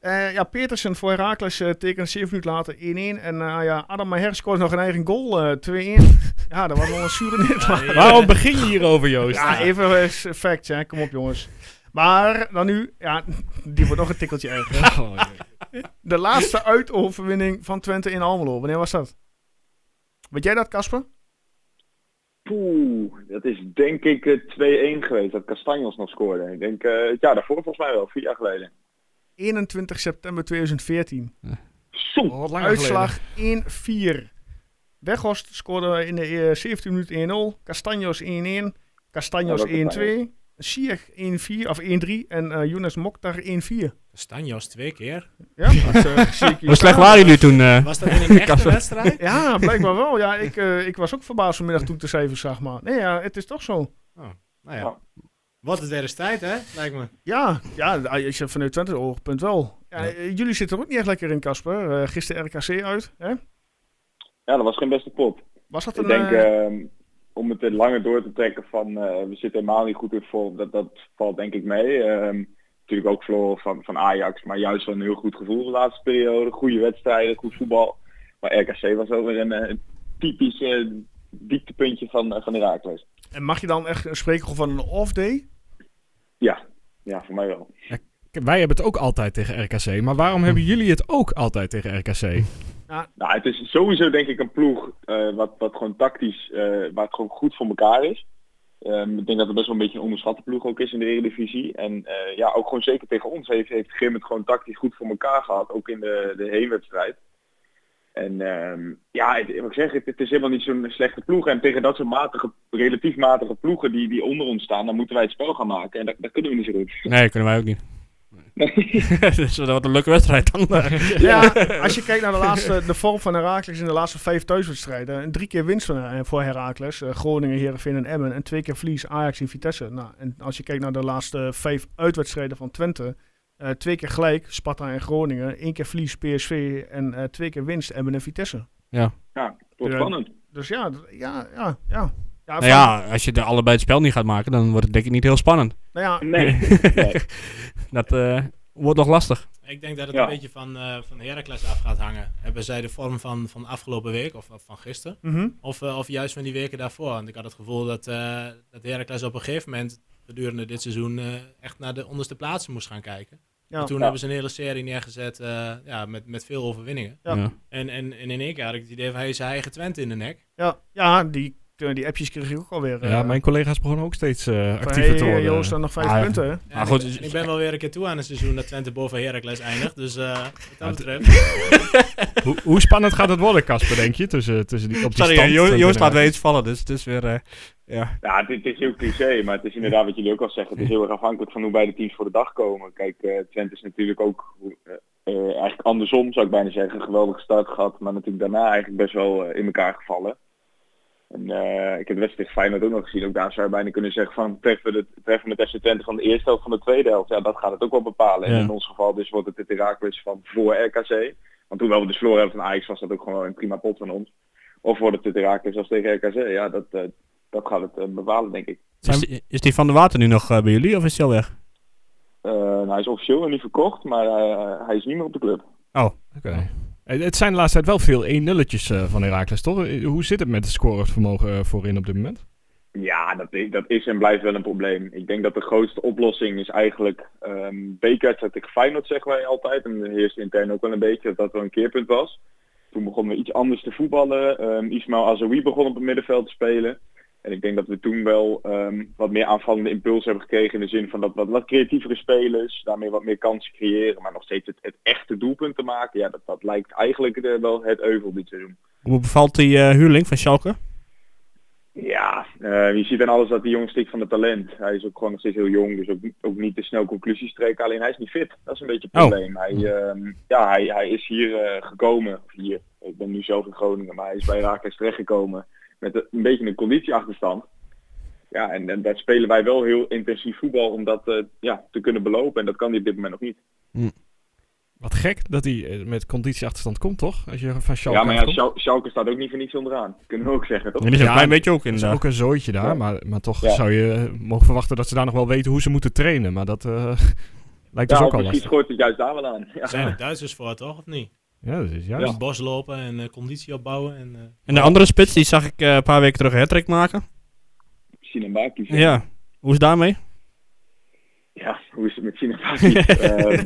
Speaker 1: Eh, ja, Petersen voor Herakles eh tekende 7 minuten later 1-1. En eh, ja, Adam Maher scoorde nog een eigen goal, eh, 2-1. ja, dat was wel een zure nederlaag.
Speaker 4: Ja,
Speaker 2: Waarom begin je hierover, Joost?
Speaker 1: Ja, even eh, s- facts, hè. Kom op, jongens. Maar dan nu, ja, die wordt nog een tikkeltje erger. hè.
Speaker 2: Oh, jee.
Speaker 1: De laatste uitoverwinning van Twente in Almelo. Wanneer was dat? Weet jij dat, Casper?
Speaker 9: Poeh, dat is denk ik eh, 2-1 geweest dat Castanjos nog scoorde. Ik denk, eh het jaar daarvoor volgens mij wel, vier jaar geleden.
Speaker 1: 21 september 2014.
Speaker 9: Som.
Speaker 2: Oh, wat langer
Speaker 1: Uitslag 1-4. Weghorst scoorde in de eh, 17 minuten 1-0. Castanjos 1-1. Castanjos
Speaker 9: Ja, dat is
Speaker 1: 1-2. Sieg 1-4 of 1-3. En eh Younes Mokhtar 1-4.
Speaker 4: Stanjos twee keer.
Speaker 1: Ja, dat, eh, zie ik hier
Speaker 3: Hoe slecht
Speaker 1: staan.
Speaker 3: waren jullie toen? eh?
Speaker 4: Was dat in een echte
Speaker 3: Kasper.
Speaker 4: wedstrijd?
Speaker 1: Ja, blijkbaar wel. Ja, ik, eh, ik was ook verbaasd vanmiddag toen ik de cijfers zag. Maar nee, ja, het is toch zo.
Speaker 4: Nou
Speaker 9: Ja.
Speaker 4: ja. Wat een derde tijd, hè? Lijkt me.
Speaker 1: Ja, ja als je vanuit Twente oogpunt wel. Ja, eh, Jullie zitten er ook niet echt lekker in, Casper. Eh, gisteren RKC uit. Hè?
Speaker 9: Ja, dat was geen beste pot.
Speaker 1: Was dat een...
Speaker 9: Ik denk,
Speaker 1: eh,
Speaker 9: ehm, om het er langer door te trekken van eh, we zitten helemaal niet goed in vorm, dat, dat valt denk ik mee. Ehm, natuurlijk ook verloren van, van Ajax, maar juist wel een heel goed gevoel de laatste periode. Goede wedstrijden, goed voetbal. Maar RKC was ook weer een eh, typisch eh, dieptepuntje van, eh, van Herakles.
Speaker 1: En mag je dan echt spreken van een off-day?
Speaker 9: Ja. ja, voor mij wel.
Speaker 2: Wij hebben het ook altijd tegen RKC, maar waarom hebben
Speaker 3: Hm.
Speaker 2: jullie het ook altijd tegen RKC?
Speaker 9: Nou, het is sowieso denk ik een ploeg eh, wat, wat gewoon tactisch, eh, waar het gewoon goed voor elkaar is. Ehm, ik denk dat het best wel een beetje een onderschatte ploeg ook is in de Eredivisie. En eh, ja, ook gewoon zeker tegen ons heeft, heeft Grim het gewoon tactisch goed voor elkaar gehad, ook in de, de heenwedstrijd. En ehm, ja, het, wat ik zeg, het, het is helemaal niet zo'n slechte ploeg. En tegen dat soort matige, relatief matige ploegen die, die onder ons staan, dan moeten wij het spel gaan maken. En dat, dat kunnen we niet zo goed.
Speaker 3: Nee, kunnen wij ook niet. dus dat wordt een leuke wedstrijd dan.
Speaker 1: Ja, als je kijkt naar de laatste, de vorm van Herakles in de laatste vijf thuiswedstrijden. En drie keer winst van, eh, voor Herakles. eh, Groningen, Heerenveen en Emmen. En twee keer verlies Ajax en Vitesse. Nou, en als je kijkt naar de laatste vijf uitwedstrijden van Twente. eh, twee keer gelijk, Sparta en Groningen. één keer verlies PSV en eh, twee keer winst Emmen en Vitesse.
Speaker 9: Ja, het wordt
Speaker 1: Ja.
Speaker 9: spannend.
Speaker 1: Dus ja, d- ja, ja, ja. Ja,
Speaker 3: Nou ja, als je de allebei het spel niet gaat maken, dan wordt het denk ik niet heel spannend.
Speaker 1: Nou ja,
Speaker 9: Nee. nee.
Speaker 3: Dat eh, wordt nog lastig.
Speaker 4: Ik denk dat het
Speaker 9: Ja.
Speaker 4: een beetje van, eh van Heracles af gaat hangen. Hebben zij de vorm van, van afgelopen week of of van gisteren?
Speaker 1: mhm.
Speaker 4: Of, eh, of juist van die weken daarvoor. Want ik had het gevoel dat, eh dat Heracles op een gegeven moment gedurende dit seizoen eh, echt naar de onderste plaatsen moest gaan kijken.
Speaker 1: Ja.
Speaker 4: en toen
Speaker 9: Ja.
Speaker 4: hebben ze een hele serie neergezet eh, ja, met, met veel overwinningen.
Speaker 1: Ja.
Speaker 4: En, en, en in één keer had ik het idee van hij is zijn eigen Twente in de nek.
Speaker 1: ja, ja die, eh, die appjes kreeg ik ook alweer.
Speaker 2: Ja,
Speaker 1: eh,
Speaker 2: mijn collega's begonnen ook steeds eh,
Speaker 1: van,
Speaker 2: actiever
Speaker 1: hey,
Speaker 2: te worden.
Speaker 1: Joost, dan nog vijf
Speaker 2: Ah, ja.
Speaker 1: punten. hè?
Speaker 4: Ja,
Speaker 3: Maar
Speaker 4: en
Speaker 3: goed,
Speaker 4: ik,
Speaker 3: dus-
Speaker 4: en ik ben wel weer een keer toe aan het seizoen dat Twente boven Heracles eindigt. Dus eh, wat dat betreft...
Speaker 2: Hoe, hoe spannend gaat het worden, Casper, denk je? Tussen, tussen die, op die
Speaker 3: Sorry,
Speaker 2: stand
Speaker 3: Jo-
Speaker 2: en
Speaker 3: Joost laat
Speaker 2: binnen-
Speaker 3: weer iets vallen, dus het is weer... eh, ja.
Speaker 9: Ja, het, het is heel cliché, maar het is inderdaad wat jullie ook al zeggen. Het is heel erg afhankelijk van hoe beide teams voor de dag komen. Kijk, eh, Twente is natuurlijk ook hoe- eh, eh, eigenlijk andersom, zou ik bijna zeggen. Een geweldige start gehad, maar natuurlijk daarna eigenlijk best wel eh, in elkaar gevallen. En eh, ik heb de wedstrijd tegen Feyenoord ook nog gezien. Ook daar zou je bijna kunnen zeggen van treffen we, de, treffen we het FC Twente van de eerste helft van de tweede helft. Ja, dat gaat het ook wel bepalen.
Speaker 2: Ja.
Speaker 9: En in ons geval dus wordt het het Herakles van voor RKC. Want hoewel we de verloren hebben van Ajax was dat ook gewoon een prima pot van ons. Of wordt het het Herakles als tegen RKC. Ja, dat, eh, dat gaat het eh, bepalen denk ik.
Speaker 3: Is, die- is die van de water nu nog eh, bij jullie of is hij al weg?
Speaker 9: Eh, nou, hij is officieel nog niet verkocht, maar eh, hij is niet meer op de club.
Speaker 3: Oh,
Speaker 2: Oké. Eh, Het zijn de laatste tijd wel veel 1-nulletjes eh, van Herakles, toch? Eh, Hoe zit het met het scorevermogen eh, voorin op dit moment?
Speaker 9: Ja, dat is, dat is en blijft wel een probleem. Ik denk dat de grootste oplossing is eigenlijk ehm bekerwedstrijd tegen Feyenoord, zeggen wij altijd. En dat heerst intern ook wel een beetje dat dat wel een keerpunt was. Toen begonnen we iets anders te voetballen. Ehm Ismail Azoui begon op het middenveld te spelen. En ik denk dat we toen wel ehm, wat meer aanvallende impuls hebben gekregen in de zin van dat wat, wat creatievere spelers, daarmee wat meer kansen creëren, maar nog steeds het, het echte doelpunt te maken. Ja, dat, dat lijkt eigenlijk eh, wel het euvel dit seizoen.
Speaker 3: Hoe bevalt die eh, huurling van Schalke?
Speaker 9: Ja, eh, je ziet aan alles dat die jongen stikt van het talent. Hij is ook gewoon nog steeds heel jong, dus ook, niet- ook niet te snel conclusies trekken. Alleen hij is niet fit. Dat is een beetje het
Speaker 3: Oh.
Speaker 9: probleem. Hij, ehm, ja, hij, hij is hier eh, gekomen. Hier. Ik ben nu zelf in Groningen, maar hij is bij Raakles terechtgekomen. Met een, een beetje een conditieachterstand. Ja, en, en daar spelen wij wel heel intensief voetbal om dat eh, ja, te kunnen belopen. En dat kan hij op dit moment nog niet.
Speaker 2: Wat gek dat hij eh, met conditieachterstand komt, toch? Als je van Schalke
Speaker 9: ja, maar ja,
Speaker 2: komt.
Speaker 9: Schal- Schalke staat ook niet voor niets onderaan. Kunnen we ook zeggen, toch?
Speaker 3: Dat is een
Speaker 2: Ja,
Speaker 3: klein beetje Dus ook
Speaker 2: is
Speaker 3: inderdaad.
Speaker 2: ook een zooitje daar,
Speaker 9: Ja.
Speaker 2: maar, maar toch
Speaker 9: Ja.
Speaker 2: zou je eh, mogen verwachten dat ze daar nog wel weten hoe ze moeten trainen. Maar dat eh, lijkt
Speaker 9: Ja,
Speaker 2: dus
Speaker 9: of
Speaker 2: ook al
Speaker 9: misschien
Speaker 2: lastig.
Speaker 9: schort het juist daar wel aan. Ja.
Speaker 4: Daar zijn ook Duitsers voor, toch? Of niet?
Speaker 2: Ja, dat is
Speaker 4: Dus
Speaker 2: juist.
Speaker 4: bos lopen en eh, conditie opbouwen. En, eh,
Speaker 3: En de andere spits, die zag ik eh, een paar weken terug een hattrick maken.
Speaker 9: Sinambaki, zeg.
Speaker 3: Ja. Hoe is daarmee?
Speaker 9: Ja, hoe is het met Sinabaki? Ehm,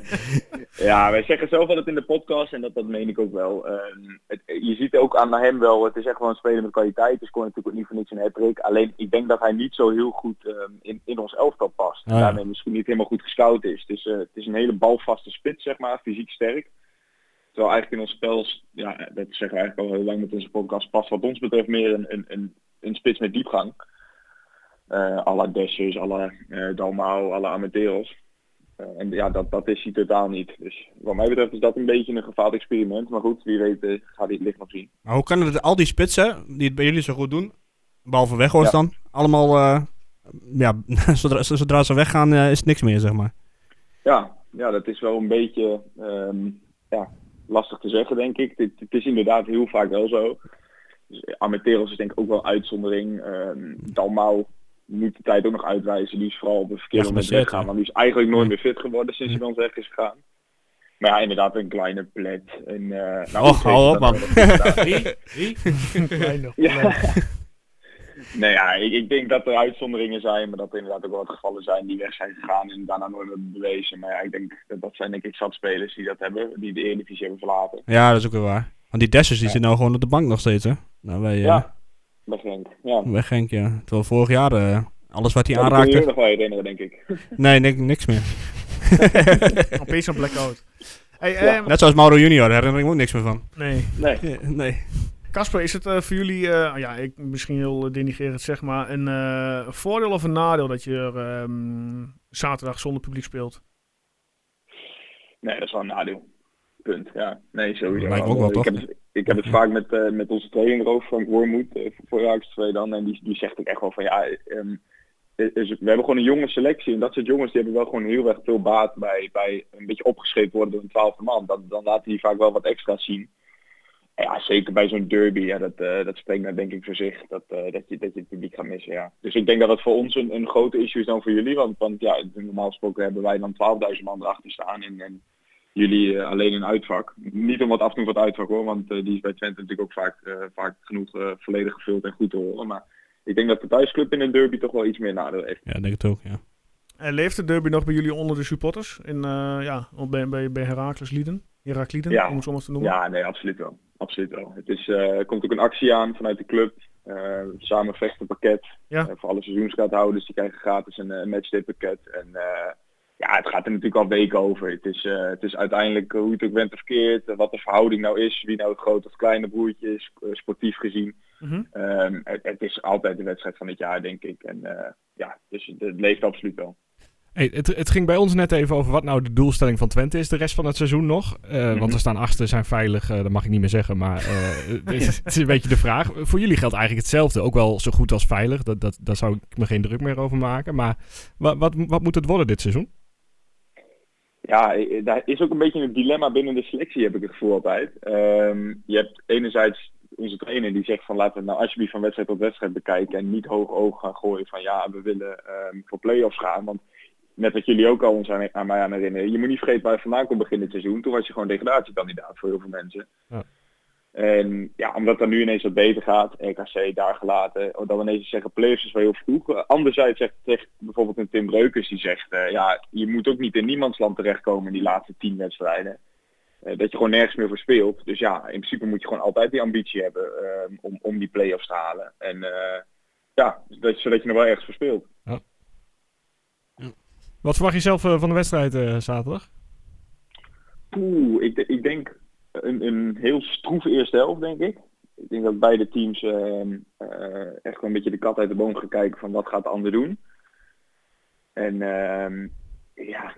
Speaker 9: ja, wij zeggen zelf altijd in de podcast en dat, dat meen ik ook wel. Ehm, het- je ziet ook aan hem wel, het is echt wel een speler met kwaliteit. Dus kon natuurlijk ook niet voor niks een hat-trick. Alleen ik denk dat hij niet zo heel goed ehm, in, in ons elftal past. En
Speaker 3: Ah, ja.
Speaker 9: Daarmee misschien niet helemaal goed gescout is. Dus eh, het is een hele balvaste spits, zeg maar, fysiek sterk. Terwijl eigenlijk in ons spel, ja, dat zeggen we eigenlijk al heel lang met onze podcast, past wat ons betreft meer een, een, een, een spits met diepgang. Eh à la Dessers, à la eh, Dalmau, à la Amadeus. Eh, en ja, dat, dat is hij totaal niet. Dus wat mij betreft is dat een beetje een gevaarlijk experiment. Maar goed, wie weet eh, gaat hij het licht nog zien.
Speaker 3: Maar hoe kan het dat al die spitsen, die het bij jullie zo goed doen, behalve Weghorst
Speaker 9: Ja.
Speaker 3: dan, allemaal, eh, ja, zodra, zodra ze weggaan eh, is het niks meer, zeg maar.
Speaker 9: Ja, ja dat is wel een beetje ehm, ja, lastig te zeggen, denk ik. Het, het is inderdaad heel vaak wel zo. Dus eh, Armenteros is denk ik ook wel een uitzondering. Ehm Dalmau moet de tijd ook nog uitwijzen. Die is vooral op een verkeerde
Speaker 3: Ja,
Speaker 9: moment
Speaker 3: geblesseerd,
Speaker 9: weggaan.
Speaker 3: hè?
Speaker 9: Want die is eigenlijk nooit meer fit geworden sinds hij bij ons weg is gegaan. Maar ja, inderdaad, een kleine plet. Een, eh, nou,
Speaker 3: Och, hou op, man.
Speaker 9: Dat- dat- dat-
Speaker 4: wie? Wie?
Speaker 1: Kleine.
Speaker 9: Ja. Nee, ja, ik, ik denk dat er uitzonderingen zijn, maar dat er inderdaad ook wel wat gevallen zijn die weg zijn gegaan en daarna nooit meer bewezen. Maar ja, ik denk dat dat zijn denk ik zat spelers die dat hebben, die de Eredivisie hebben verlaten.
Speaker 3: Ja, dat is ook weer waar. Want die Dessers die zit nou gewoon op de bank nog steeds, hè? Nou, wij, eh
Speaker 9: Ja, dat denk ik. Ja.
Speaker 3: Weg Genk, ja. Terwijl vorig jaar eh, alles wat hij
Speaker 9: Ja, die kun je je
Speaker 3: aanraakte...
Speaker 9: nog wel herinneren, denk ik.
Speaker 3: Nee, nik- niks meer.
Speaker 1: Opeens een blackout. Hey,
Speaker 9: Ja.
Speaker 1: ehm,
Speaker 3: Net zoals Mauro Junior, daar herinner ik me ook niks meer van.
Speaker 1: nee.
Speaker 9: Nee.
Speaker 3: Nee.
Speaker 1: Casper, is het eh, voor jullie, eh, ja, ik, misschien heel eh, denigrerend zeg maar, een eh, voordeel of een nadeel dat je er, ehm, zaterdag zonder publiek speelt?
Speaker 9: Nee, dat is wel een nadeel. Punt, ja. Nee, sowieso.
Speaker 3: Lijkt me ook wel,
Speaker 9: ik,
Speaker 3: toch?
Speaker 9: heb het, ik heb het vaak met, eh, met onze trainer over, Frank Wormoed, eh, voor- voor Ajax 2 dan. En die, die zegt ook echt wel van, ja, ehm, is- is- we hebben gewoon een jonge selectie. En dat soort jongens, die hebben wel gewoon heel erg veel baat bij, bij een beetje opgeschreven worden door een twaalfde man. Dan, dan laten die vaak wel wat extra zien. En ja, zeker bij zo'n derby, ja, dat, eh, dat spreekt nou denk ik voor zich. Dat, eh, dat, je, dat je het publiek gaat missen, ja. Dus ik denk dat dat voor ons een, een grote issue is dan voor jullie. Want, want ja, normaal gesproken hebben wij dan 12.000 man erachter staan. En, en jullie eh, alleen een uitvak. Niet om wat af te doen van het uitvak hoor, want eh, die is bij Twente natuurlijk ook vaak, eh, vaak genoeg eh, volledig gevuld en goed te horen. Maar ik denk dat de thuisclub in een derby toch wel iets meer nadeel heeft.
Speaker 3: Ja, ik denk het ook, ja.
Speaker 1: En leeft de derby nog bij jullie onder de supporters? In, eh, ja, op- bij, bij, bij Heracles Lieden? Herakliden,
Speaker 9: Ja.
Speaker 1: om het zo maar te noemen.
Speaker 9: Ja, nee, absoluut wel. Absoluut wel. Het is, eh, er komt ook een actie aan vanuit de club. Eh, samen vechten pakket.
Speaker 1: Ja.
Speaker 9: Eh, voor alle seizoenskaarthouders die krijgen gratis een eh, matchday pakket. En eh, ja, het gaat er natuurlijk al weken over. Het is, eh, het is uiteindelijk hoe je het ook bent of keert. eh, wat de verhouding nou is. Wie nou het grote of kleine broertje is. eh, sportief gezien.
Speaker 1: Mhm.
Speaker 9: Ehm, het, het is altijd de wedstrijd van het jaar, denk ik. En eh, ja, dus het, het leeft absoluut wel.
Speaker 2: Hey, het, het ging bij ons net even over wat nou de doelstelling van Twente is de rest van het seizoen nog. Eh, Want
Speaker 9: Mhm.
Speaker 2: we staan achter, zijn veilig, eh, dat mag ik niet meer zeggen. Maar eh, het, is, het is een beetje de vraag. Voor jullie geldt eigenlijk hetzelfde. Ook wel zo goed als veilig. Dat, dat, daar zou ik me geen druk meer over maken. Maar wat, wat, wat moet het worden dit seizoen?
Speaker 9: Ja, eh, daar is ook een beetje een dilemma binnen de selectie, heb ik het gevoel altijd. Ehm, je hebt enerzijds onze trainer die zegt van laten we het nou alsjeblieft van wedstrijd tot wedstrijd bekijken en niet hoog oog gaan gooien van ja, we willen ehm, voor play-offs gaan. Want net wat jullie ook al ons aan, aan mij aan herinneren, je moet niet vergeten waar je vandaan kon beginnen dit seizoen. Toen was je gewoon degradatiekandidaat voor heel veel mensen.
Speaker 2: Ja.
Speaker 9: En ja, omdat dat nu ineens wat beter gaat, RKC daar gelaten, dat we ineens zeggen players is wel heel vroeg. Eh, Anderzijds zegt, zegt bijvoorbeeld een Tim Breukers die zegt, eh, ja, je moet ook niet in niemandsland terechtkomen in die laatste tien wedstrijden. Eh, dat je gewoon nergens meer voor speelt. Dus ja, in principe moet je gewoon altijd die ambitie hebben eh, om, om die play-offs te halen. En eh, ja, dat, zodat je nog wel ergens voor speelt.
Speaker 2: Wat verwacht je zelf eh, van de wedstrijd eh, zaterdag?
Speaker 9: Poeh, ik, de- ik denk een, een heel stroef eerste helft, denk ik. Ik denk dat beide teams ehm, eh, echt wel een beetje de kat uit de boom gaan kijken van wat gaat de ander doen. En ehm, ja,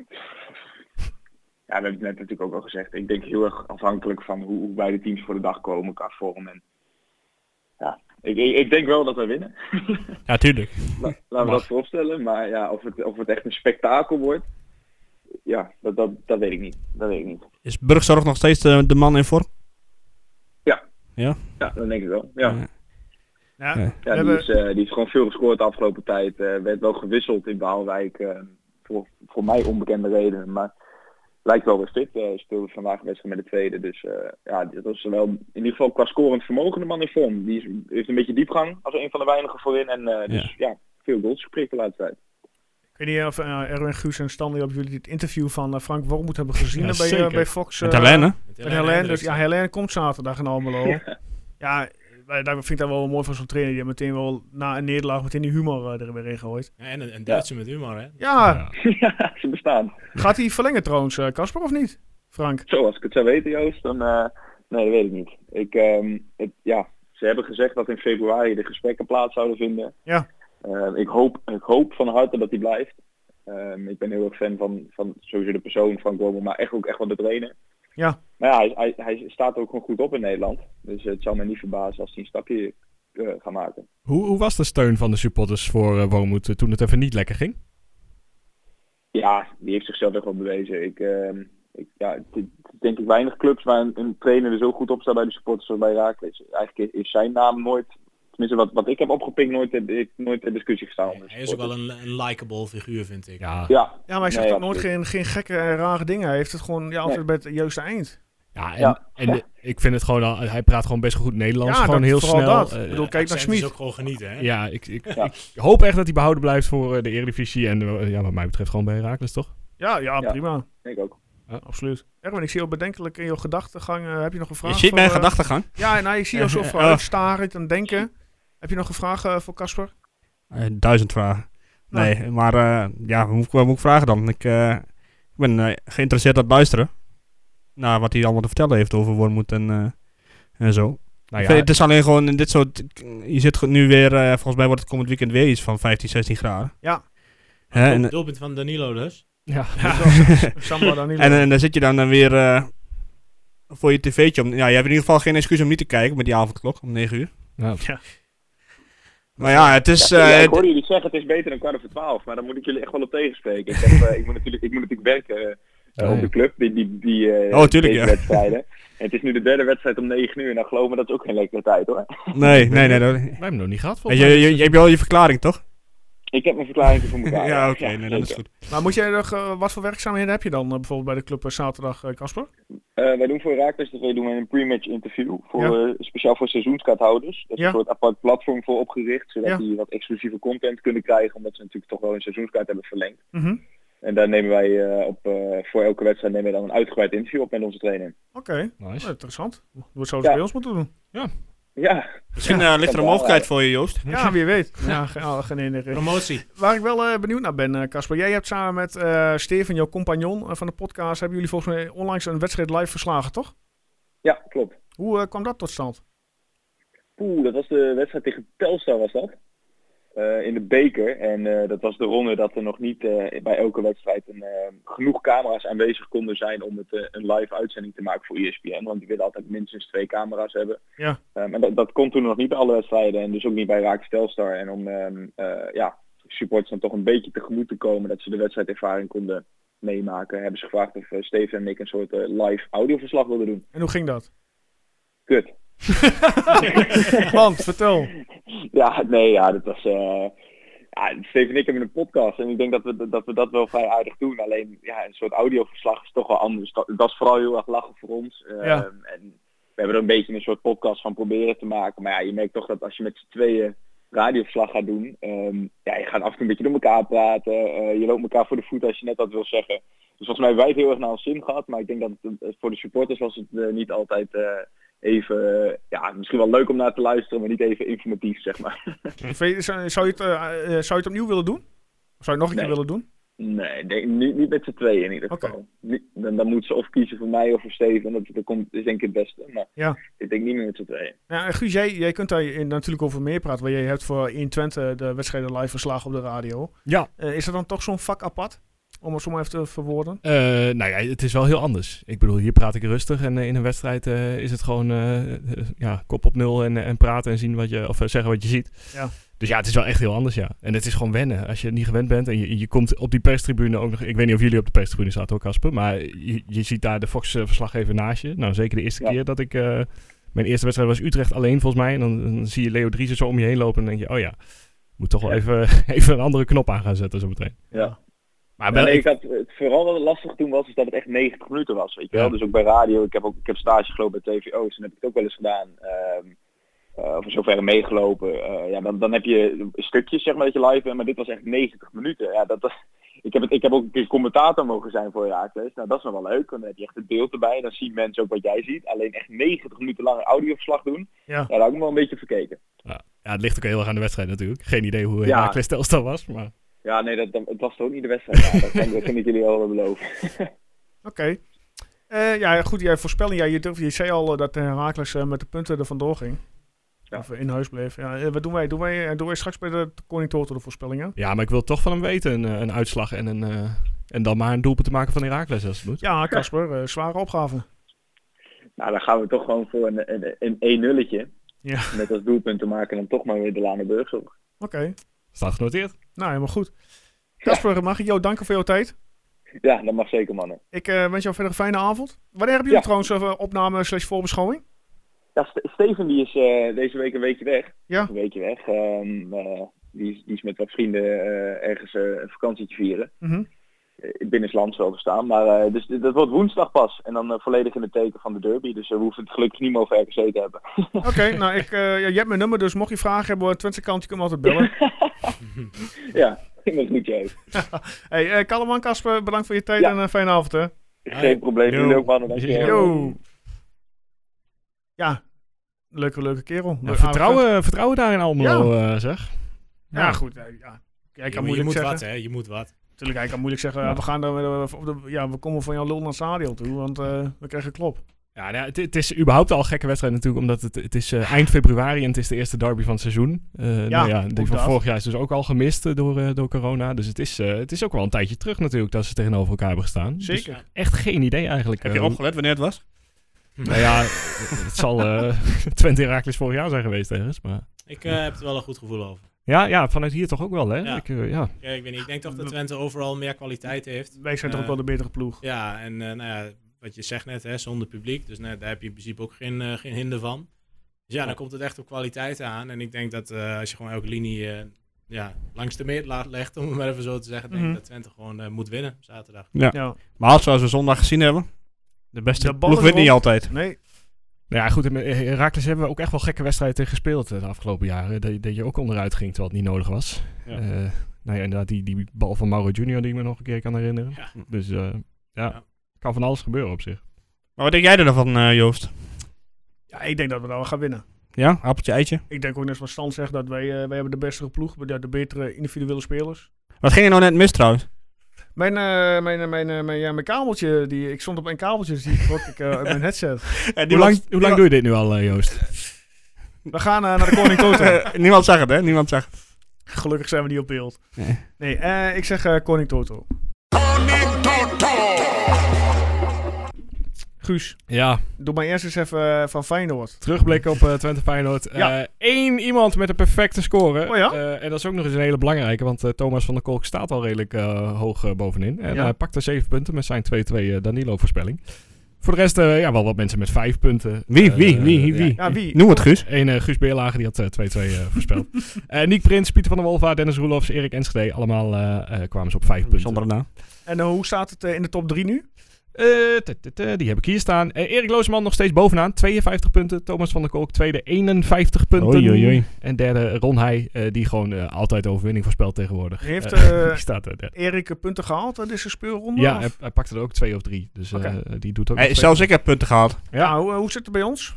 Speaker 9: ja, we hebben het net natuurlijk ook al gezegd. Ik denk heel erg afhankelijk van hoe, hoe beide teams voor de dag komen qua vorm. En, ja, ik, ik, ik denk wel dat wij winnen.
Speaker 3: Ja, tuurlijk.
Speaker 9: La- laten we dat vooropstellen. Maar ja, of het, of het echt een spektakel wordt, ja, dat, dat, dat weet ik niet. Dat weet ik niet.
Speaker 3: Is Burgzorg nog steeds eh, de man in vorm?
Speaker 9: Ja, dat denk ik wel. Ja.
Speaker 3: Ja.
Speaker 1: Ja,
Speaker 3: Ja,
Speaker 1: we
Speaker 9: Ja, die,
Speaker 1: hebben-
Speaker 9: is, eh, die is gewoon veel gescoord de afgelopen tijd. Eh, werd wel gewisseld in Baalwijk. eh, voor, voor mij onbekende redenen. Maar lijkt wel weer fit. Eh speelde vandaag een wedstrijd met de tweede. Dus eh, ja, dat was wel in ieder geval qua scorend vermogen de man in vorm. Die is, heeft een beetje diepgang als een van de weinigen voorin. En eh, dus ja, veel goals geprikt de laatste tijd.
Speaker 1: Ik weet niet of eh, Erwin Guus en Stanley op jullie het interview van eh, Frank Wormoed hebben gezien
Speaker 2: Ja,
Speaker 1: eh, bij, eh,
Speaker 2: zeker.
Speaker 1: bij Fox.
Speaker 3: Met
Speaker 1: eh,
Speaker 3: Helene?
Speaker 1: En Helene, dus, ja, Helene komt zaterdag in Almelo. Ja, wij- daar vind ik dat wel mooi van zo'n trainer. Die meteen wel na een nederlaag meteen die humor eh, er weer in gooit.
Speaker 4: Ja, en een, een Duitse met humor, hè?
Speaker 1: Ja,
Speaker 9: ja, ze bestaan.
Speaker 1: gaat hij verlengen trouwens, eh, Casper, of niet? Frank?
Speaker 9: Zo, als ik het zou weten, Joost, dan... eh, nee, weet ik niet. Ik, ehm, het, ja, ze hebben gezegd dat in februari de gesprekken plaats zouden vinden.
Speaker 1: Ja.
Speaker 9: Eh, ik, hoop, ik hoop van harte dat die blijft. Ehm, ik ben heel erg fan van, van sowieso de persoon van Gormel, maar echt ook echt van de trainer.
Speaker 1: Ja.
Speaker 9: Maar ja, hij, hij, hij staat ook gewoon goed op in Nederland. Dus het zal me niet verbazen als hij een stapje eh, gaat maken.
Speaker 2: Hoe, hoe was de steun van de supporters voor eh Wormoed eh, toen het even niet lekker ging?
Speaker 9: Ja, die heeft zichzelf echt wel bewezen. Ik, ehm, ik, ja, het- het is denk ik weinig clubs waar een, een trainer er zo goed op staat bij de supporters als bij Raakles. Eigenlijk is zijn naam nooit, tenminste wat, wat ik heb opgepikt, nooit, ter- heeft nooit ter discussie gestaan. onder de
Speaker 4: Hij is ook wel
Speaker 9: supporters.
Speaker 4: een, een likable figuur, vind ik.
Speaker 2: Ja,
Speaker 9: Ja,
Speaker 1: Ja, maar hij zegt
Speaker 9: Nee,
Speaker 1: ook nooit geen, geen gekke en rare dingen. Hij heeft het gewoon ja, altijd bij het juiste eind.
Speaker 2: Ja, en,
Speaker 9: Ja.
Speaker 2: en de- ik vind het gewoon, al- hij praat gewoon best goed Nederlands.
Speaker 1: Ja,
Speaker 2: gewoon
Speaker 1: dat-
Speaker 2: heel
Speaker 1: vooral
Speaker 2: snel.
Speaker 1: dat.
Speaker 2: eh,
Speaker 1: Ik bedoel, kijk naar
Speaker 4: Accent is
Speaker 1: Smit.
Speaker 4: ook gewoon genieten, hè?
Speaker 2: ja, ik, ik,
Speaker 9: Ja.
Speaker 2: ik hoop echt dat hij behouden blijft voor eh, de Eredivisie. En eh, ja, wat mij betreft gewoon bij Herakles, toch?
Speaker 1: Ja, ja,
Speaker 9: Ja.
Speaker 1: prima.
Speaker 9: denk ik ook.
Speaker 1: Absoluut. Erwin, ik zie jou bedenkelijk in jouw gedachtegang. eh, heb je nog een vraag?
Speaker 3: Je ziet
Speaker 1: voor,
Speaker 3: mijn
Speaker 1: eh,
Speaker 3: gedachtegang.
Speaker 1: Ja, nou, ik zie jou zo
Speaker 3: Eh,
Speaker 1: vooruit starend en denken. Heb je nog een vraag eh, voor Casper? Nou.
Speaker 3: Eh, duizend vragen. Nee, maar eh, ja, wat moet, ik- wat moet ik vragen dan? Ik, eh, ik ben eh, geïnteresseerd aan het luisteren. Naar wat hij allemaal te vertellen heeft over Wormoed en, eh, en zo.
Speaker 2: Nou
Speaker 3: Ik vind- Het is alleen gewoon in dit soort... Je zit ge- nu weer... eh, volgens mij wordt het komend weekend weer iets van 15, 16 graden.
Speaker 1: Ja.
Speaker 3: Hè,
Speaker 4: Doel-
Speaker 3: en, eh,
Speaker 4: Doelpunt van Danilo dus.
Speaker 2: ja.
Speaker 1: Samba dan niet.
Speaker 3: en, en dan zit je dan, dan weer eh, voor je tv'tje. Om, ja, je hebt in ieder geval geen excuus om niet te kijken met die avondklok om 9 uur.
Speaker 2: Nou,
Speaker 3: Maar ja, het is...
Speaker 9: Ja,
Speaker 3: eh,
Speaker 9: ik hoorde jullie zeggen, het is beter dan kwart over twaalf. Maar dan moet ik jullie echt wel op tegenspreken. Ik, heb, eh, ik, moet, natuurlijk, ik moet natuurlijk werken eh, eh,
Speaker 2: Nee.
Speaker 9: op de club, die, die, die eh,
Speaker 3: Oh, tuurlijk,
Speaker 9: deze
Speaker 3: ja.
Speaker 9: wedstrijden. En het is nu de derde wedstrijd om negen uur. Nou, geloof me, dat is ook geen lekkere tijd, hoor.
Speaker 3: nee, nee, nee. dat-
Speaker 2: wij hebben hem nog niet gehad,
Speaker 3: je,
Speaker 2: volgens
Speaker 3: je,
Speaker 2: mij.
Speaker 3: je, je hebt wel je verklaring, toch?
Speaker 9: Ik heb mijn verklaring voor elkaar.
Speaker 3: Ja, oké. nee, dat is
Speaker 9: zeker.
Speaker 3: goed.
Speaker 1: Maar moet jij nog, eh, wat voor werkzaamheden heb je dan eh, bijvoorbeeld bij de club eh, zaterdag, eh, Casper?
Speaker 9: Eh, wij doen voor Raakles TV doen wij een pre-match interview. Voor, eh, speciaal voor seizoenskaarthouders. Daar is
Speaker 1: Ja.
Speaker 9: een soort apart platform voor opgericht. Zodat
Speaker 1: Ja.
Speaker 9: die wat exclusieve content kunnen krijgen. Omdat ze natuurlijk toch wel hun seizoenskaart hebben verlengd.
Speaker 1: Mhm.
Speaker 9: En daar nemen wij eh, op, eh, voor elke wedstrijd nemen we dan een uitgebreid interview op met onze trainer.
Speaker 1: Oké,
Speaker 2: Nice.
Speaker 1: Nou, interessant. Hoe zouden ze
Speaker 9: Ja.
Speaker 1: bij ons moeten doen?
Speaker 9: Ja,
Speaker 3: Misschien eh, ligt er een mogelijkheid voor je, Joost.
Speaker 1: Ja, wie weet. Ja, ge- oh, geen ene idee.
Speaker 4: Promotie.
Speaker 1: Waar ik wel eh, benieuwd naar ben, eh, Casper. Jij hebt samen met eh Steven, jouw compagnon eh, van de podcast, hebben jullie volgens mij onlangs een wedstrijd live verslagen, toch?
Speaker 9: ja klopt.
Speaker 1: Hoe eh, kwam dat tot stand?
Speaker 9: Oeh, dat was de wedstrijd tegen Telstar was dat. Eh, in de beker. En eh, dat was de ronde dat er nog niet eh, bij elke wedstrijd een, eh, genoeg camera's aanwezig konden zijn om het, eh, een live uitzending te maken voor E ESPN. Want die willen altijd minstens twee camera's hebben.
Speaker 1: Ja.
Speaker 9: Ehm, en dat, dat kon toen nog niet bij alle wedstrijden. En dus ook niet bij Raak Telstar. En om ehm eh, ja, supporters dan toch een beetje tegemoet te komen dat ze de wedstrijdervaring konden meemaken. Hebben ze gevraagd of eh, Steven en ik een soort eh, live audioverslag wilden doen.
Speaker 1: En hoe ging dat?
Speaker 9: Kut.
Speaker 1: Want, vertel.
Speaker 9: Ja, nee, ja, dat was... eh ja, Steven en ik hebben een podcast en ik denk dat we dat, we dat wel vrij aardig doen. Alleen, ja, een soort audioverslag is toch wel anders. Dat, dat is vooral heel erg lachen voor ons. Eh,
Speaker 1: Ja.
Speaker 9: En we hebben er een beetje een soort podcast van proberen te maken. Maar ja, je merkt toch dat als je met z'n tweeën radioverslag gaat doen... ehm, ja, je gaat af en toe een beetje door elkaar praten. eh, je loopt elkaar voor de voet als je net dat wil zeggen. Dus volgens mij hebben wij het heel erg naar ons zin gehad. Maar ik denk dat het, eh, voor de supporters was het eh, niet altijd... eh, Even, eh, ja, misschien wel leuk om naar te luisteren, maar niet even informatief, zeg maar.
Speaker 1: Vind je- Zou zou je, het, eh, eh, zou je het opnieuw willen doen? Of zou je het nog een
Speaker 9: Nee.
Speaker 1: keer willen doen?
Speaker 9: Nee, ik denk niet, niet met z'n tweeën in ieder
Speaker 1: Oké.
Speaker 9: geval. Niet- dan, dan moet ze of kiezen voor mij of voor Steven. Dat, dat komt, is denk ik het beste. Maar
Speaker 1: Ja.
Speaker 9: ik denk niet meer met z'n tweeën.
Speaker 1: Ja, en Guus, jij, jij kunt daar in- natuurlijk over meer praten. Want jij hebt voor 1 Twente de wedstrijden live verslagen op de radio.
Speaker 2: Ja.
Speaker 1: Eh, is dat dan toch zo'n vak apart? Om het zo maar even te verwoorden.
Speaker 2: Eh, nou ja, het is wel heel anders. Ik bedoel, hier praat ik rustig en eh, in een wedstrijd eh, is het gewoon eh, eh, ja, kop op nul en, eh, en praten en zien wat je, of eh, zeggen wat je ziet.
Speaker 1: Ja.
Speaker 2: Dus ja, het is wel echt heel anders, ja. En het is gewoon wennen. Als je niet gewend bent en je, je komt op die perstribune ook nog... Ik weet niet of jullie op de perstribune zaten ook, Casper. Maar je, je ziet daar de Fox-verslaggever naast je. Nou, zeker de eerste
Speaker 9: Ja.
Speaker 2: keer dat ik... eh, mijn eerste wedstrijd was Utrecht alleen, volgens mij. En dan, dan zie je Leo Driessen zo om je heen lopen en dan denk je... Oh ja, moet toch wel
Speaker 9: Ja.
Speaker 2: even, even een andere knop aan gaan zetten zo meteen.
Speaker 9: Ja.
Speaker 2: Maar
Speaker 9: Ja,
Speaker 2: wel,
Speaker 9: nee, ik had, het vooral wat lastig toen was, is dat het echt 90 minuten was. Weet je
Speaker 2: Ja.
Speaker 9: wel? Dus ook bij radio. Ik heb, ook, ik heb stage gelopen bij TVO's en heb ik het ook wel eens gedaan. Ehm eh, of in zoverre meegelopen. Eh, ja, dan, dan heb je stukjes zeg maar dat je live bent, maar dit was echt 90 minuten. Ja, dat, dat- ik, heb het, ik heb ook een keer commentator mogen zijn voor Herakles. Nou, dat is nog wel leuk, want dan heb je echt het beeld erbij. Dan zien mensen ook wat jij ziet. Alleen echt 90 minuten lang een audioverslag doen,
Speaker 1: Ja.
Speaker 9: ja, daar had ik me wel een beetje verkeken.
Speaker 2: Ja, het ligt ook heel erg aan de wedstrijd natuurlijk. Geen idee hoe
Speaker 9: Ja.
Speaker 2: Herakles Telstar was, maar...
Speaker 9: Ja, nee, dat, dat, het was toch ook niet de wedstrijd. Ja, dat, kan, dat kan ik jullie al wel beloven.
Speaker 1: Oké. Eh, ja, goed, jij voorspelling. Ja, je, durf- je zei al eh, dat Herakles met de punten er vandoor ging.
Speaker 9: Ja.
Speaker 1: Of in huis bleef. Ja, eh, wat doen wij? Doen wij, eh, doen wij straks bij de Koning Toto de voorspellingen?
Speaker 2: Ja, maar ik wil toch van hem weten, een, eh, een uitslag en, een, eh, en dan maar een doelpunt te maken van Herakles als het moet.
Speaker 1: Ja, Casper, eh, zware opgave.
Speaker 9: Nou, dan gaan we toch gewoon voor een, een, een 1 nulletje
Speaker 1: Ja.
Speaker 9: Met als doelpunt te maken dan toch maar weer de Lanenburg op.
Speaker 1: Oké,
Speaker 2: Staat genoteerd.
Speaker 1: nou helemaal goed. Casper, eh, mag ik jou danken voor jouw tijd?
Speaker 9: Ja, dat mag zeker mannen.
Speaker 1: Ik eh, wens jou verder een fijne avond. Wanneer hebben jullie
Speaker 9: Ja.
Speaker 1: trouwens eh, opname slash voorbeschouwing?
Speaker 9: Ja, Ste- Steven die is eh, deze week een weekje weg.
Speaker 1: Ja.
Speaker 9: Een weekje weg. Ehm, eh, die, is, die is met wat vrienden eh, ergens eh, een vakantietje vieren.
Speaker 1: Mhm.
Speaker 9: binnenlands wel verstaan. Maar uh, dus dat wordt woensdag pas. En dan uh, volledig in het teken van de derby. Dus we hoeven het gelukkig niet meer over RKC te hebben.
Speaker 1: Oké, okay, nou ik, uh, ja, je hebt mijn nummer, dus mocht je vragen hebben hoor, Twente kant, je kunt me altijd bellen.
Speaker 9: ja, dat moet je even.
Speaker 1: hey, eh, Kalleman, Kasper, bedankt voor je tijd ja. en een fijne avond hè.
Speaker 9: Geen probleem, jullie ook mannen. Dankjewel.
Speaker 1: Ja, leuke, leuke kerel.
Speaker 2: Ja, vertrouwen, vertrouwen daarin allemaal, ja. eh, zeg.
Speaker 1: Ja, goed. ja.
Speaker 4: Kijk, je, je moet zeggen. wat, hè? Je moet wat.
Speaker 1: Tuurlijk, hij kan moeilijk zeggen, ja. we, gaan dan, ja, we komen van jouw lul naar het stadion toe, want uh, we krijgen klop.
Speaker 2: Ja, nou, het, het, is überhaupt al een gekke wedstrijd natuurlijk, omdat het, het is uh, eind februari en het is de eerste derby van het seizoen. Uh, ja, nou ja, die van dat. vorig jaar is dus ook al gemist door, door corona. Dus het is, het is ook wel een tijdje terug natuurlijk dat ze tegenover elkaar hebben gestaan.
Speaker 1: Zeker. Dus
Speaker 2: echt geen idee eigenlijk. eh,
Speaker 3: Heb je opgelet wanneer het was?
Speaker 2: Nou ja, het zal eh, Twente Herakles vorig jaar zijn geweest ergens, maar...
Speaker 4: Ik eh, heb er wel een goed gevoel over.
Speaker 2: Ja, ja, vanuit hier toch ook wel, hè?
Speaker 4: Ja.
Speaker 2: Ik, uh, ja.
Speaker 4: ja. ik weet niet. Ik denk toch dat Twente overal meer kwaliteit heeft.
Speaker 1: Wij zijn uh, toch ook wel de betere ploeg.
Speaker 4: Ja, en uh, nou ja, wat je zegt net, hè, zonder publiek. Dus nou, daar heb je in principe ook geen, eh, geen hinder van. Dus ja, dan komt het echt op kwaliteit aan. En ik denk dat eh, als je gewoon elke linie eh, ja, langs de meet legt, om het maar even zo te zeggen, denk ik mm -hmm. dat Twente gewoon moet winnen zaterdag.
Speaker 3: Mhm. Ja. Maar zoals we zondag gezien hebben, de beste de ploeg wint niet altijd.
Speaker 1: Nee,
Speaker 2: nou ja, goed. Herakles hebben we ook echt wel gekke wedstrijden tegen gespeeld eh, de afgelopen jaren. Dat, dat je ook onderuit ging terwijl het niet nodig was. Ja. Uh, nou ja, inderdaad, die, die bal van Mauro Junior die ik me nog een keer kan herinneren. Ja. Dus uh, ja, ja, kan van alles gebeuren op zich.
Speaker 3: Maar wat denk jij er dan van, uh, Joost?
Speaker 1: Ja, ik denk dat we dan wel gaan winnen.
Speaker 3: Ja, appeltje, eitje?
Speaker 1: Ik denk ook net zoals Stan zegt dat wij, eh, wij hebben de beste ploeg. We hebben de betere individuele spelers.
Speaker 3: Wat ging je nou net mis trouwens?
Speaker 1: Mijn, uh, mijn, uh, mijn, uh, mijn, ja, mijn kabeltje, die, ik stond op mijn kabeltje, dus die trok ik uit mijn headset.
Speaker 2: Ja, hoe lang, hoe lang doe je dit nu al, eh, Joost?
Speaker 1: We gaan eh, naar de Koning Toto.
Speaker 3: eh, Niemand zag het, hè? Niemand zag het.
Speaker 1: Gelukkig zijn we niet op beeld. Nee, nee ik zeg eh, Koning Toto.
Speaker 5: Koning Toto!
Speaker 1: Guus,
Speaker 2: ja.
Speaker 1: doe maar eerst eens even eh, van Feyenoord.
Speaker 2: Terugblik op uh, Twente Feyenoord. Ja. Uh, Eén iemand met een perfecte score.
Speaker 1: Oh ja?
Speaker 2: uh, en dat is ook nog eens een hele belangrijke, want eh, Thomas van der Kolk staat al redelijk eh, hoog bovenin. En hij pakte zeven punten met zijn 2-2 Danilo-voorspelling. Voor de rest, eh, ja, wel wat mensen met vijf punten. Eh,
Speaker 3: Wie, wie, wie, wie?
Speaker 1: Ja, wie?
Speaker 3: Noem het Guus.
Speaker 2: Eén eh, Guus Beerlager, die had 2-2 voorspeld. Niek Prins, Pieter van der Wolva, Dennis Roelofs, Erik Enschede. Allemaal eh, kwamen ze op vijf punten.
Speaker 3: Zonder na.
Speaker 1: En eh, hoe staat het in de top drie nu?
Speaker 2: Uh, t -t -t die heb ik hier staan. Uh, Erik Loosman nog steeds bovenaan, 52 punten. Thomas van der Kolk, tweede, 51 punten.
Speaker 3: Oei, oei, oei.
Speaker 2: En derde, Ron Heij, uh, die gewoon altijd de overwinning voorspelt tegenwoordig.
Speaker 1: Heeft eh,
Speaker 2: staat,
Speaker 1: Erik eh, punten gehaald in deze speelronde?
Speaker 2: Ja, hij, hij, pakte er ook twee of drie. Dus okay. die doet ook
Speaker 3: hey, Zelfs ik heb punten gehaald.
Speaker 1: Ja, ja hoe, hoe, zit het bij ons?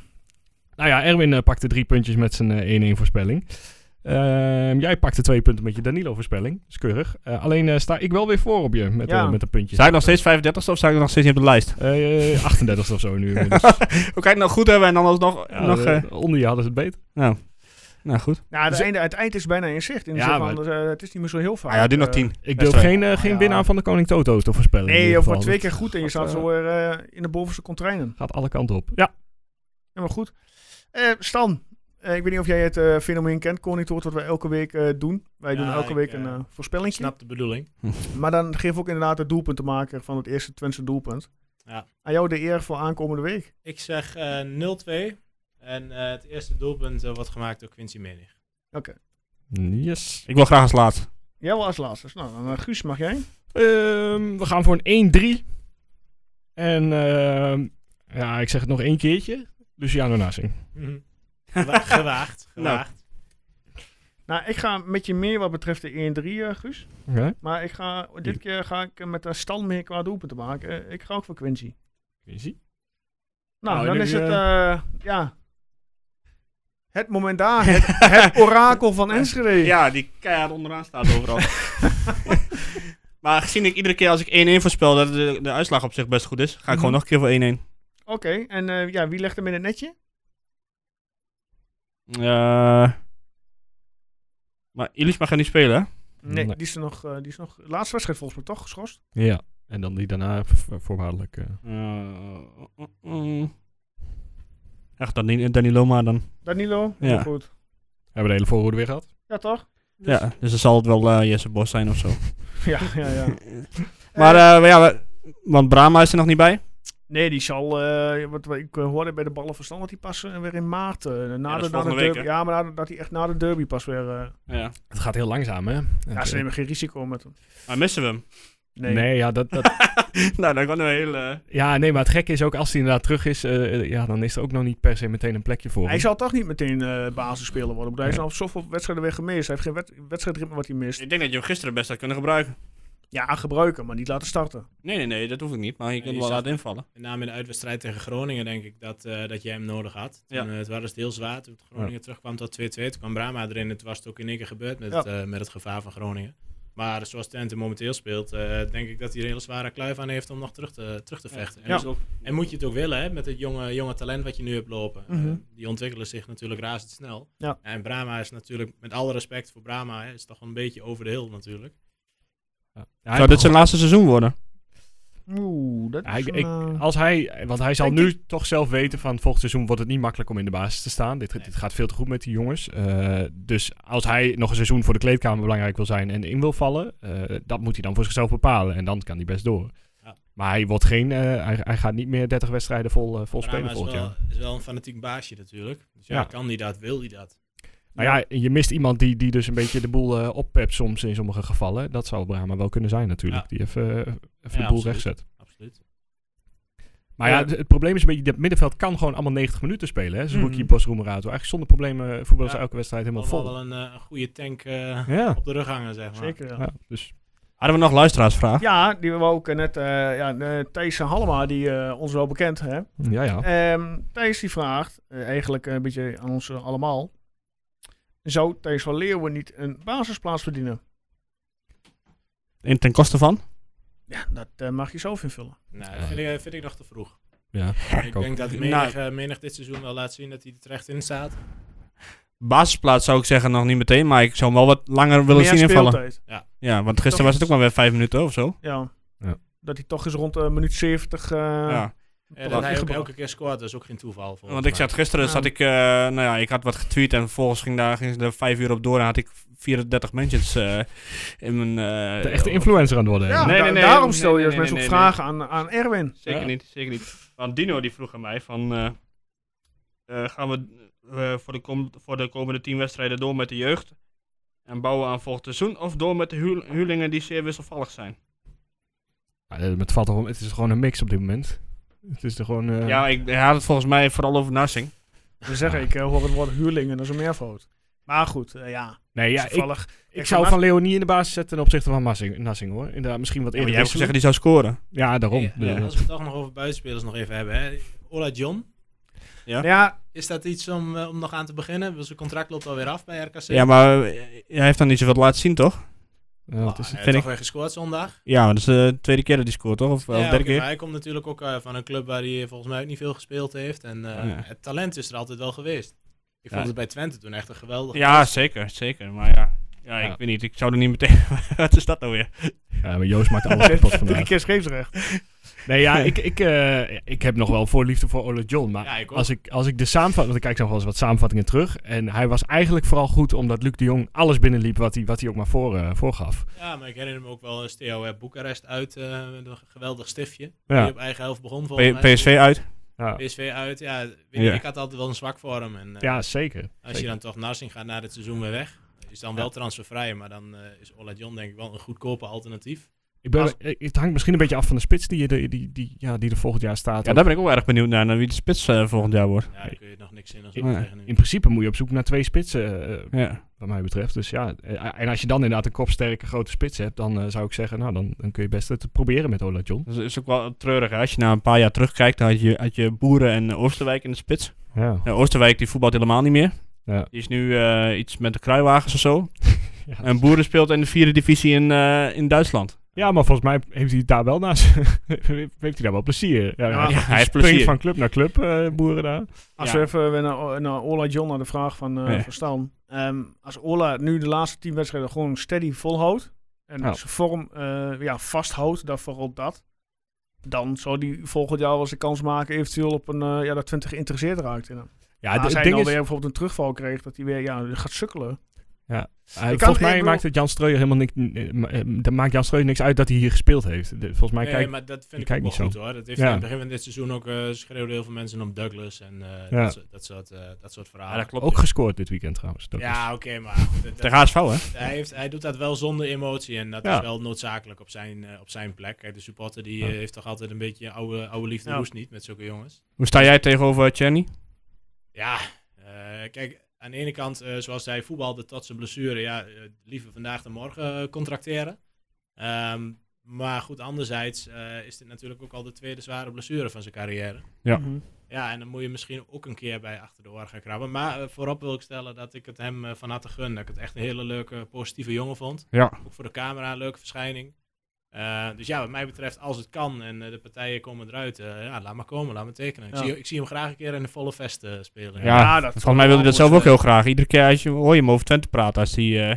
Speaker 2: Nou ja, Erwin pakte drie puntjes met zijn 1-1 voorspelling. Uh, jij pakte twee punten met je Danilo-voorspelling. Is keurig. Uh, alleen uh, sta ik wel weer voor op je met, ja. met een puntje.
Speaker 3: Sta ik nog steeds 35ste of sta ik nog steeds niet op de lijst?
Speaker 2: 38ste of zo nu inmiddels.
Speaker 3: Hoe kan nog nou, goed hebben en dan alsnog...
Speaker 2: Ja,
Speaker 3: nog,
Speaker 2: de, onder je hadden ze het beter.
Speaker 3: Nou, nou goed.
Speaker 1: Nou, het, einde, het eind is bijna in zicht. In ja, van, dus, het is niet meer zo heel vaak. eh.
Speaker 3: Ah, ja, dit nog tien.
Speaker 2: Ik durf geen, eh, geen winnaar van de Koning Toto te voorspellen.
Speaker 1: Nee, je wordt twee keer goed en je
Speaker 3: eh,
Speaker 1: staat zo eh, in de bovenste contrainen.
Speaker 2: Gaat alle kanten op. Ja.
Speaker 1: Ja, maar goed. Eh, Stan, ik weet niet of jij het uh, fenomeen kent, Koning Toort, wat wij elke week uh, doen. Wij ja, doen elke ik, week een uh, voorspelling.
Speaker 4: Snap de bedoeling.
Speaker 1: maar dan geef ook inderdaad het doelpunt te maken van het eerste Twentse doelpunt.
Speaker 4: Ja.
Speaker 1: Aan jou de eer voor aankomende week.
Speaker 4: Ik zeg 0-2. En eh, het eerste doelpunt eh, wordt gemaakt door Quincy Menig.
Speaker 1: Oké.
Speaker 2: Okay. Yes.
Speaker 3: Ik wil graag als laatst.
Speaker 1: Jij wil als laatste. Nou, dan, Guus, mag jij?
Speaker 2: Um, we gaan voor een 1-3. En ehm, ja, ik zeg het nog één keertje. Luciano Nassing. Mm
Speaker 1: Mhm.
Speaker 2: -hmm.
Speaker 4: gewaagd, gewaagd. gewaagd.
Speaker 1: Nou. nou. ik ga met je meer wat betreft de 1-3, uh, Guus.
Speaker 2: Okay.
Speaker 1: Maar ik ga, dit keer ga ik met de stand meer qua doelpunt te maken. Uh, ik ga ook voor Quincy.
Speaker 2: Quincy?
Speaker 1: Nou, nou dan is je... het, uh, ja... Het moment daar, het, het orakel van Enschede.
Speaker 3: Ja, die keihard onderaan staat overal. maar gezien ik iedere keer als ik 1-1 voorspel dat de, de, uitslag op zich best goed is, ga ik mm -hmm. gewoon nog een keer voor
Speaker 1: 1-1. Oké, okay, en eh, ja, wie legt hem in het netje?
Speaker 3: Uh, maar Illich mag gaan niet spelen, hè?
Speaker 1: Nee, nee, Die, is er nog, uh, die is nog... Laatste wedstrijd volgens mij toch geschorst?
Speaker 2: Ja, en dan die daarna voorwaardelijk... eh, Uh.
Speaker 3: Eh, Echt, dan Danilo maar dan.
Speaker 1: Danilo? Ja. Goed. We
Speaker 2: hebben de hele voorhoede weer gehad.
Speaker 1: Ja, toch?
Speaker 3: Dus. Ja, dus dan zal het wel Jesse Bos zijn of zo.
Speaker 1: ja, ja, ja.
Speaker 3: maar ja, we, want Brahma is er nog niet bij.
Speaker 1: Nee, die zal, uh, wat ik hoorde bij de ballen verstand, dat die pas weer in maart. Uh, na ja, de, na de derby, week, ja, maar dat, dat hij echt na de derby pas weer. Uh,
Speaker 2: ja. Het gaat heel langzaam, hè? eh,
Speaker 1: Ja, ze nemen geen risico met hem.
Speaker 3: Maar missen we hem?
Speaker 2: Nee, ja, dat, dat,
Speaker 3: nou, dat kan een hele...
Speaker 2: ja, nee, maar het gekke is ook als hij inderdaad terug is, eh, ja, dan is er ook nog niet per se meteen een plekje voor.
Speaker 1: Hij
Speaker 2: hem.
Speaker 1: zal toch niet meteen eh basisspeler worden. want Hij is
Speaker 2: Nee.
Speaker 1: al zoveel wedstrijden weer gemist. Hij heeft geen wed- wedstrijdritme wat hij mist.
Speaker 3: Ik denk dat je hem gisteren best had kunnen gebruiken.
Speaker 1: Ja, gebruiken, maar niet laten starten.
Speaker 3: Nee, nee, nee, dat hoef ik niet. Maar je kunt
Speaker 4: je
Speaker 3: hem wel
Speaker 4: zag-
Speaker 3: laten invallen.
Speaker 4: Met name in de uitwedstrijd tegen Groningen denk ik dat, eh, dat jij hem nodig had. Toen,
Speaker 3: Ja.
Speaker 4: eh, het was dus heel zwaar. Toen Groningen terugkwam tot 2-2. Toen kwam Brama erin. Het was het ook in één keer gebeurd met,
Speaker 1: Ja.
Speaker 4: het, eh, met het gevaar van Groningen. Maar zoals Twente momenteel speelt, eh, denk ik dat hij er een hele zware kluif aan heeft om nog terug te, terug te vechten. En,
Speaker 1: Ja.
Speaker 4: dus ook- en moet je het ook willen, hè, met het jonge, jonge talent wat je nu hebt lopen. Eh,
Speaker 1: Mhm.
Speaker 4: die ontwikkelen zich natuurlijk razendsnel.
Speaker 1: Ja.
Speaker 4: En Brama is natuurlijk, met alle respect voor Brama, hè, is toch wel een beetje over de hill natuurlijk.
Speaker 2: Ja,
Speaker 3: Zou dit zijn laatste seizoen worden?
Speaker 1: Oeh, dat
Speaker 2: Ja,
Speaker 1: is
Speaker 2: ik-
Speaker 1: een,
Speaker 2: ik-
Speaker 1: eh,
Speaker 2: Als hij, want hij zal
Speaker 1: Denk
Speaker 2: nu toch zelf weten van volgend seizoen wordt het niet makkelijk om in de basis te staan. Dit, dit gaat veel te goed met die jongens. Eh, dus als hij nog een seizoen voor de kleedkamer belangrijk wil zijn en in wil vallen, eh, dat moet hij dan voor zichzelf bepalen. En dan kan hij best door.
Speaker 4: Ja.
Speaker 2: Maar hij wordt geen, eh, hij, hij gaat niet meer 30 wedstrijden vol, eh, vol spelen
Speaker 4: Brama is
Speaker 2: volgend jaar.
Speaker 4: wel, is wel een fanatiek baasje natuurlijk. Dus ja,
Speaker 2: Ja.
Speaker 4: kan die dat, wil die dat.
Speaker 2: Nou ja, je mist iemand die, die dus een beetje de boel eh oppept soms in sommige gevallen. Dat zou Brahma wel kunnen zijn natuurlijk.
Speaker 4: Ja.
Speaker 2: Die even, eh, even de boel
Speaker 4: absoluut.
Speaker 2: rechtzet.
Speaker 4: Absoluut.
Speaker 2: Maar ja,
Speaker 1: Ja.
Speaker 2: het, het probleem is een beetje, dat middenveld kan gewoon allemaal 90 minuten spelen. Hè? Zo'n
Speaker 1: Mhm.
Speaker 2: Boes Roemerato. Eigenlijk zonder problemen voetballen ze
Speaker 4: Ja.
Speaker 2: elke wedstrijd helemaal
Speaker 4: Allemaal
Speaker 2: vol.
Speaker 4: wel een, eh, een goede tank eh,
Speaker 2: Ja.
Speaker 4: op de rug hangen, zeg maar.
Speaker 1: Zeker, ja.
Speaker 2: ja, dus
Speaker 3: Hadden we nog luisteraarsvraag?
Speaker 1: Ja, die we ook eh, net... eh ja, eh, Thijs Halma, die eh, ons wel bekend, hè.
Speaker 3: Oh.
Speaker 2: ja, ja.
Speaker 1: Ehm, Thijs die vraagt, eh, eigenlijk een beetje aan ons eh, allemaal. Zou Thijs van Leeuwen niet een basisplaats verdienen?
Speaker 3: In ten koste van?
Speaker 1: Ja, dat eh, mag je zelf invullen.
Speaker 4: Nou,
Speaker 2: Ja.
Speaker 4: dat vind ik, vind ik nog te vroeg.
Speaker 2: ja.
Speaker 4: ik
Speaker 2: ook. Nou.
Speaker 4: denk dat menig, eh, menig dit seizoen wel laat zien dat hij er terecht in staat.
Speaker 3: Basisplaats zou ik zeggen nog niet meteen, maar ik zou hem wel wat langer willen zien invallen.
Speaker 1: speeltijd.
Speaker 3: Ja, want gisteren was het ook maar weer vijf minuten of zo.
Speaker 1: Ja.
Speaker 2: Ja.
Speaker 1: Dat hij toch eens rond eh, minuut 70... eh,
Speaker 3: ja.
Speaker 4: En
Speaker 1: toch
Speaker 4: dat hij ook
Speaker 1: ingebracht.
Speaker 4: elke keer scoort, dat is ook geen toeval. volgens
Speaker 3: Want ik
Speaker 4: mij.
Speaker 3: zat gisteren,
Speaker 1: Ja.
Speaker 3: zat ik, eh, nou ja, ik had wat getweet en vervolgens ging daar ging ze er vijf uur op door en had ik 34 mentions eh, in mijn... eh,
Speaker 2: De echte influencer aan het worden.
Speaker 1: Ja,
Speaker 2: hè?
Speaker 3: Nee,
Speaker 1: da-
Speaker 3: nee, nee,
Speaker 1: daarom
Speaker 3: nee,
Speaker 1: stel je
Speaker 3: nee,
Speaker 1: als
Speaker 3: nee,
Speaker 1: mensen
Speaker 3: nee,
Speaker 1: ook
Speaker 3: nee.
Speaker 1: vragen aan, aan Erwin.
Speaker 3: Zeker
Speaker 2: Ja.
Speaker 3: niet, zeker niet. Want Dino die vroeg aan mij van, eh, eh, gaan we eh, voor, de kom- voor de komende tien wedstrijden door met de jeugd en bouwen aan volgend seizoen of door met de huur- huurlingen die zeer wisselvallig zijn?
Speaker 2: Ja, eh, het, valt wel- het is gewoon een mix op dit moment. Het is er gewoon... eh,
Speaker 3: Ja, ik hij had het volgens mij vooral over Narsing.
Speaker 1: We zeggen, ik eh, hoor het woord huurling en dat is een meervoud. Maar goed, eh, ja.
Speaker 2: nee, ja, ik,
Speaker 1: toevallig.
Speaker 2: ik zou Van Leeuwen niet in de basis zetten ten opzichte van Massing, Nassing hoor. Inderdaad, misschien wat eerder wisselen.
Speaker 3: die zou scoren.
Speaker 2: Ja, daarom.
Speaker 4: Ja,
Speaker 2: Dus,
Speaker 4: ja,
Speaker 2: eh,
Speaker 4: Als we het toch nog over buitenspelers nog even hebben. Hè. Ola John,
Speaker 1: Nou ja,
Speaker 4: is dat iets om, eh, om nog aan te beginnen? Want Zijn contract loopt alweer af bij RKC.
Speaker 3: Ja, maar eh, hij heeft dan niet zoveel laten zien, toch?
Speaker 2: ja, wat is het?
Speaker 4: Ah, hij
Speaker 3: vind
Speaker 4: heeft
Speaker 3: ik-
Speaker 4: toch weer gescoord zondag.
Speaker 3: Ja, dat is de tweede keer dat hij scoort, toch? Of, eh,
Speaker 4: Ja,
Speaker 3: of
Speaker 4: oké,
Speaker 3: derde keer?
Speaker 4: maar hij komt natuurlijk ook eh, van een club waar hij volgens mij ook niet veel gespeeld heeft. En eh,
Speaker 3: Oh, Ja.
Speaker 4: het talent is er altijd wel geweest. Ik
Speaker 3: Ja.
Speaker 4: vond het bij Twente toen echt een geweldig.
Speaker 3: Ja, zeker, zeker. Maar ja, ja ik
Speaker 2: Ja.
Speaker 3: weet niet. Ik zou er niet meteen... Wat is dat nou weer?
Speaker 2: Ja, maar Joost maakt alles kapot vandaag.
Speaker 1: drie keer scheepsrecht.
Speaker 2: Nee, ja, ik, ik, eh, ik heb nog wel voorliefde voor Ole John. Maar
Speaker 4: Ja, ik ook.
Speaker 2: als, ik, als ik de samenvatting... Want ik kijk nog wel eens wat samenvattingen terug. En hij was eigenlijk vooral goed omdat Luc de Jong alles binnenliep wat hij, wat hij ook maar voor, eh, voorgaf.
Speaker 4: Ja, maar ik herinner me ook wel eens Theo eh, Boekarest uit. eh, met een geweldig stiftje. Die
Speaker 2: Ja.
Speaker 4: op eigen helft begon volgens
Speaker 3: P-
Speaker 4: mij.
Speaker 3: PSV uit.
Speaker 2: Ja,
Speaker 4: PSV uit, ja, weet je,
Speaker 3: Ja.
Speaker 4: ik had altijd wel een zwak voor hem. En, eh,
Speaker 2: ja zeker.
Speaker 4: als je dan toch Narsing gaat na dit seizoen weer weg, is dan wel transfervrij, maar dan eh, is Ola John denk ik wel een goedkope alternatief.
Speaker 2: Ik ben, eh, het hangt misschien een beetje af van de spits die, je de, die, die, ja, die er volgend jaar staat.
Speaker 3: Ja, daar ben ik ook erg benieuwd naar, naar wie de spits eh, volgend jaar wordt.
Speaker 4: Ja, daar kun je nog niks in als
Speaker 2: Ik-
Speaker 4: zeggen nu.
Speaker 2: In principe moet je op zoek naar twee spitsen, eh,
Speaker 3: Ja.
Speaker 2: wat mij betreft. Dus ja, eh, en als je dan inderdaad een kopsterke grote spits hebt, dan eh, zou ik zeggen, nou, dan, dan kun je best het proberen met Ola John.
Speaker 3: Dat is- is ook wel treurig. Hè? Als je na een paar jaar terugkijkt, dan had je, had je Boeren en eh, Oosterwijk in de spits.
Speaker 2: Ja.
Speaker 3: Nou, Oosterwijk die voetbalt helemaal niet meer.
Speaker 2: Ja.
Speaker 3: Die is nu eh, iets met de kruiwagens of zo.
Speaker 2: Ja.
Speaker 3: En Boeren speelt in de vierde divisie in, eh, in Duitsland.
Speaker 2: Ja, maar volgens mij heeft hij het daar wel naast. heeft hij daar wel plezier. Ja,
Speaker 1: Ja,
Speaker 2: hij
Speaker 3: hij heeft
Speaker 2: springt
Speaker 3: plezier.
Speaker 2: van club naar club, eh, boeren daar.
Speaker 1: Als
Speaker 3: Ja.
Speaker 1: we even weer naar, naar Ola John, naar de vraag van, eh
Speaker 3: Ja.
Speaker 1: van Stan. Ehm, als Ola nu de laatste tien wedstrijden gewoon steady volhoudt. En
Speaker 2: Ja.
Speaker 1: zijn vorm eh, ja, vasthoudt, dat vooral dat. Dan zou die volgend jaar wel eens een kans maken, eventueel op een, eh, ja, dat
Speaker 3: Ah,
Speaker 1: Twente geïnteresseerd raakt in hem.
Speaker 2: Ja,
Speaker 1: Maar
Speaker 2: d-
Speaker 1: als hij
Speaker 2: het
Speaker 1: dan
Speaker 2: ding is,
Speaker 1: weer bijvoorbeeld een terugval kreeg, dat hij weer ja, gaat sukkelen.
Speaker 2: Ja. Eh,
Speaker 1: kan-
Speaker 2: volgens
Speaker 1: ik
Speaker 2: mij
Speaker 1: bedoel-
Speaker 2: maakt het Jan Streuer helemaal niks. eh, ma- eh, dat maakt Jan Streuer niks uit dat hij hier gespeeld heeft. De- volgens mij
Speaker 4: nee,
Speaker 2: kijkt.
Speaker 4: maar dat
Speaker 2: je
Speaker 4: vind ik ook
Speaker 2: kijkt
Speaker 4: wel
Speaker 2: niet
Speaker 4: goed
Speaker 2: zo.
Speaker 4: hoor. Dat heeft
Speaker 2: Ja.
Speaker 4: aan het begin van dit seizoen ook eh schreeuwden heel veel mensen om Douglas en eh,
Speaker 2: Ja.
Speaker 4: dat, soort- dat, soort, eh, dat soort verhalen.
Speaker 2: ook gescoord dit weekend trouwens. Dat is-
Speaker 4: Ja, oké, maar goed, dat- dat-
Speaker 3: Tegen HSV, hè?
Speaker 4: hij, heeft, hij doet dat wel zonder emotie en dat
Speaker 2: Ja.
Speaker 4: is wel noodzakelijk op zijn, eh, op zijn plek. Kijk, de supporter die
Speaker 2: Ja.
Speaker 4: eh, heeft toch altijd een beetje oude, oude liefde
Speaker 1: Ja.
Speaker 4: roest niet met zulke jongens.
Speaker 3: Hoe sta jij tegenover Chenny?
Speaker 4: Ja, eh, kijk, aan de ene kant, eh, zoals hij voetbalde tot zijn blessure, ja, eh, liever vandaag dan morgen eh, contracteren. Ehm, maar goed, anderzijds eh, is dit natuurlijk ook al de tweede zware blessure van zijn carrière.
Speaker 3: Ja.
Speaker 1: Mhm.
Speaker 4: Ja, en dan moet je misschien ook een keer bij achter de oor gaan krabben. Maar eh, voorop wil ik stellen dat ik het hem eh, van harte gun. Dat ik het echt een hele leuke, positieve jongen vond.
Speaker 3: Ja.
Speaker 4: Ook voor de camera een leuke verschijning. Eh, dus ja, wat mij betreft, als het kan en eh, de partijen komen eruit, eh, ja, laat maar komen, laat maar tekenen. Ik,
Speaker 1: Ja.
Speaker 4: zie, ik zie hem graag een keer in de volle vest eh, spelen.
Speaker 3: Ja,
Speaker 1: dat
Speaker 3: Ah, Volgens mij wilde hij dat zelf ook
Speaker 1: moeten-
Speaker 3: heel graag. Iedere keer als je, hoor je hem over Twente praten. Als hij, eh,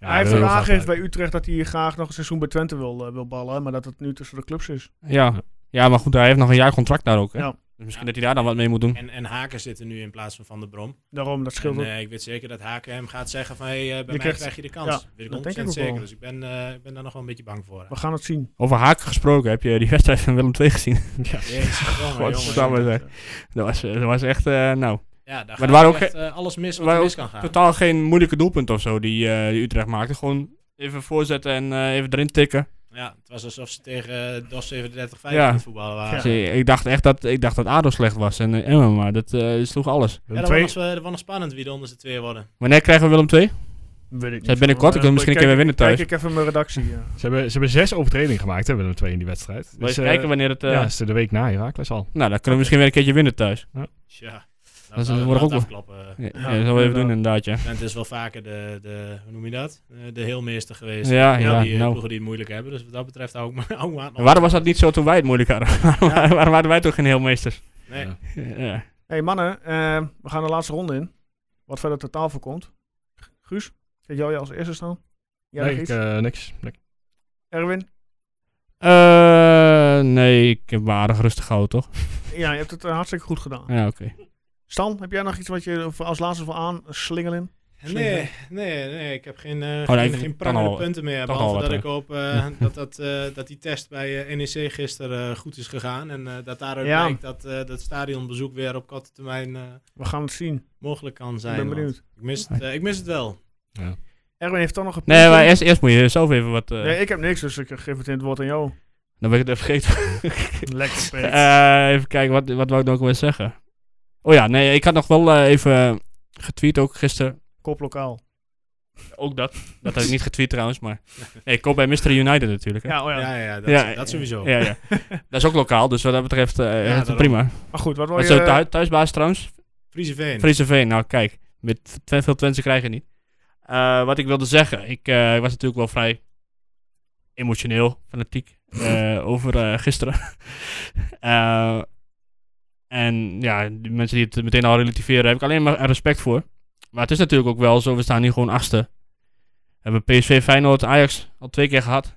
Speaker 2: Ja,
Speaker 1: hij heeft
Speaker 2: heel
Speaker 1: ook
Speaker 2: graag
Speaker 1: aangegeven
Speaker 2: uit.
Speaker 1: bij Utrecht dat hij graag nog een seizoen bij Twente wil, eh, wil ballen, maar dat het nu tussen de clubs is.
Speaker 3: ja. ja, maar goed, hij heeft nog een jaar contract daar ook. Hè?
Speaker 1: Ja.
Speaker 3: Dus misschien dat hij daar dan wat mee moet doen.
Speaker 4: En, en Haken zit er nu in plaats van Van der Brom.
Speaker 1: Daarom, dat scheelt
Speaker 4: En,
Speaker 1: ook.
Speaker 4: eh, ik weet zeker dat Haken hem gaat zeggen van, hey, eh, bij mij
Speaker 1: krijgt-
Speaker 4: krijg je de kans.
Speaker 1: ja,
Speaker 4: weet ik
Speaker 1: dat denk ik
Speaker 4: 100%
Speaker 1: ook wel.
Speaker 4: zeker. Dus ik ben, eh, ik ben daar nog wel een beetje bang voor.
Speaker 1: We gaan het zien.
Speaker 3: Over haken gesproken, heb je die wedstrijd van Willem II gezien?
Speaker 4: Jezus, jongen, jongen,
Speaker 3: Godsamme,
Speaker 4: jongen.
Speaker 3: zeg. Dat was, dat was echt, eh, nou,
Speaker 4: Ja, daar
Speaker 3: Maar
Speaker 4: gaat
Speaker 3: er waren ook
Speaker 4: echt, eh, alles mis wat
Speaker 3: waren
Speaker 4: er
Speaker 3: ook
Speaker 4: mis kan gaan.
Speaker 3: totaal geen moeilijke doelpunt of zo die, eh, die Utrecht maakte. Gewoon even voorzetten en eh, even erin tikken.
Speaker 4: Ja, het was alsof ze tegen eh, DOS 37 5
Speaker 3: Ja.
Speaker 4: aan het voetballen waren.
Speaker 1: Ja.
Speaker 4: Ja.
Speaker 3: Dus, eh, ik dacht echt dat, ik dacht dat ADO slecht was en eh, Emmen, maar dat eh, sloeg alles.
Speaker 4: dat,
Speaker 1: Twee-
Speaker 4: was nog, eh, dat was nog spannend wie er onder z'n tweeën worden.
Speaker 3: Wanneer krijgen we Willem II?
Speaker 1: Weet ik
Speaker 3: Zij
Speaker 1: niet.
Speaker 3: binnenkort, ik wil
Speaker 1: Eh,
Speaker 3: misschien een
Speaker 1: kijk-
Speaker 3: keer weer winnen thuis.
Speaker 1: Kijk ik even mijn redactie. ja.
Speaker 2: Ze hebben, ze hebben zes overtredingen gemaakt, hebben we twee in die wedstrijd.
Speaker 3: Wil je eens
Speaker 2: eh,
Speaker 3: kijken wanneer het... eh,
Speaker 2: ja, is er de week na Herakles al.
Speaker 3: Nou, dan kunnen we misschien weer een keertje winnen thuis.
Speaker 4: Tja,
Speaker 3: is-
Speaker 4: dat zou
Speaker 3: wordt ook wel-
Speaker 4: afkloppen.
Speaker 3: Ja, ja,
Speaker 1: Ja,
Speaker 3: dat zullen we even doen
Speaker 1: inderdaad.
Speaker 3: inderdaad, ja.
Speaker 4: Het is wel vaker de, de, hoe noem je dat? Eh, De heelmeester geweest.
Speaker 3: Ja,
Speaker 4: Van
Speaker 3: ja,
Speaker 4: die eh,
Speaker 3: nou.
Speaker 4: ploegen die het moeilijk hebben. Dus wat dat betreft hou ik me hou me aan.
Speaker 3: En waarom was dat niet zo toen wij het moeilijk hadden? waarom waren wij toch geen heelmeesters?
Speaker 4: Nee.
Speaker 2: Ja.
Speaker 3: Ja.
Speaker 1: hey, mannen, eh, we gaan de laatste ronde in. Wat verder ter tafel komt. Guus, kijk jou als eerste staan. Jij
Speaker 2: nee,
Speaker 1: nog
Speaker 2: ik,
Speaker 1: iets?
Speaker 2: eh, niks. niks.
Speaker 1: Erwin?
Speaker 3: Eh, nee, ik heb me aardig rustig gehouden, toch?
Speaker 1: Ja, je hebt het eh, hartstikke goed gedaan.
Speaker 3: Ja, oké.
Speaker 1: Stan, heb jij nog iets wat je voor- als laatste wil aanslingelen?
Speaker 4: Nee, nee, nee, ik heb geen, eh
Speaker 3: Oh, nee,
Speaker 4: geen,
Speaker 3: ik-
Speaker 4: geen
Speaker 3: kan
Speaker 4: prangende
Speaker 3: al-
Speaker 4: punten meer.
Speaker 3: kan al
Speaker 4: Behalve
Speaker 3: wat,
Speaker 4: dat
Speaker 3: hè.
Speaker 4: ik hoop eh, dat, dat, eh, dat die test bij eh, NEC gisteren eh, goed is gegaan. En eh, dat daaruit
Speaker 1: Ja.
Speaker 4: blijkt dat eh, dat stadionbezoek weer op korte termijn eh,
Speaker 1: We gaan het zien.
Speaker 4: mogelijk kan
Speaker 1: Ik
Speaker 4: zijn.
Speaker 1: ben
Speaker 4: want
Speaker 1: benieuwd.
Speaker 4: Ik mis, het, eh, ik mis het
Speaker 3: Oh
Speaker 4: wel.
Speaker 1: Erwin heeft toch nog een
Speaker 3: Nee,
Speaker 1: puntje.
Speaker 3: maar eerst, eerst moet je zelf even wat... eh,
Speaker 1: Nee, ik heb niks, dus ik geef het in het woord aan jou.
Speaker 3: Dan ben ik het even vergeten.
Speaker 1: Lekker speelt.
Speaker 3: Eh, even kijken, wat, wat wou ik nou ook weer zeggen? Oh ja, nee, ik had nog wel eh, even getweet ook gisteren.
Speaker 1: Koplokaal.
Speaker 3: Ook dat. Dat had ik niet getweet trouwens, maar... Nee, ik koop bij Mr. United natuurlijk. Hè?
Speaker 1: Ja, oh ja.
Speaker 4: Ja, ja, dat,
Speaker 3: Ja,
Speaker 4: dat sowieso.
Speaker 3: Ja, ja. dat is ook lokaal, dus wat dat betreft eh,
Speaker 4: Ja, daarom.
Speaker 3: prima.
Speaker 1: Maar goed, wat wil
Speaker 3: Wat is
Speaker 1: je...
Speaker 3: de thui- thuisbaas trouwens?
Speaker 4: Friese Veen.
Speaker 3: Friese Veen, nou kijk. Met tw- veel Twente krijgen niet. Eh, wat ik wilde zeggen, ik eh, was natuurlijk wel vrij emotioneel, fanatiek eh, over eh, gisteren. Eh, en ja, de mensen die het meteen al relativeren, heb ik alleen maar respect voor. Maar het is natuurlijk ook wel zo, we staan hier gewoon achtste. We hebben PSV, Feyenoord, Ajax al twee keer gehad.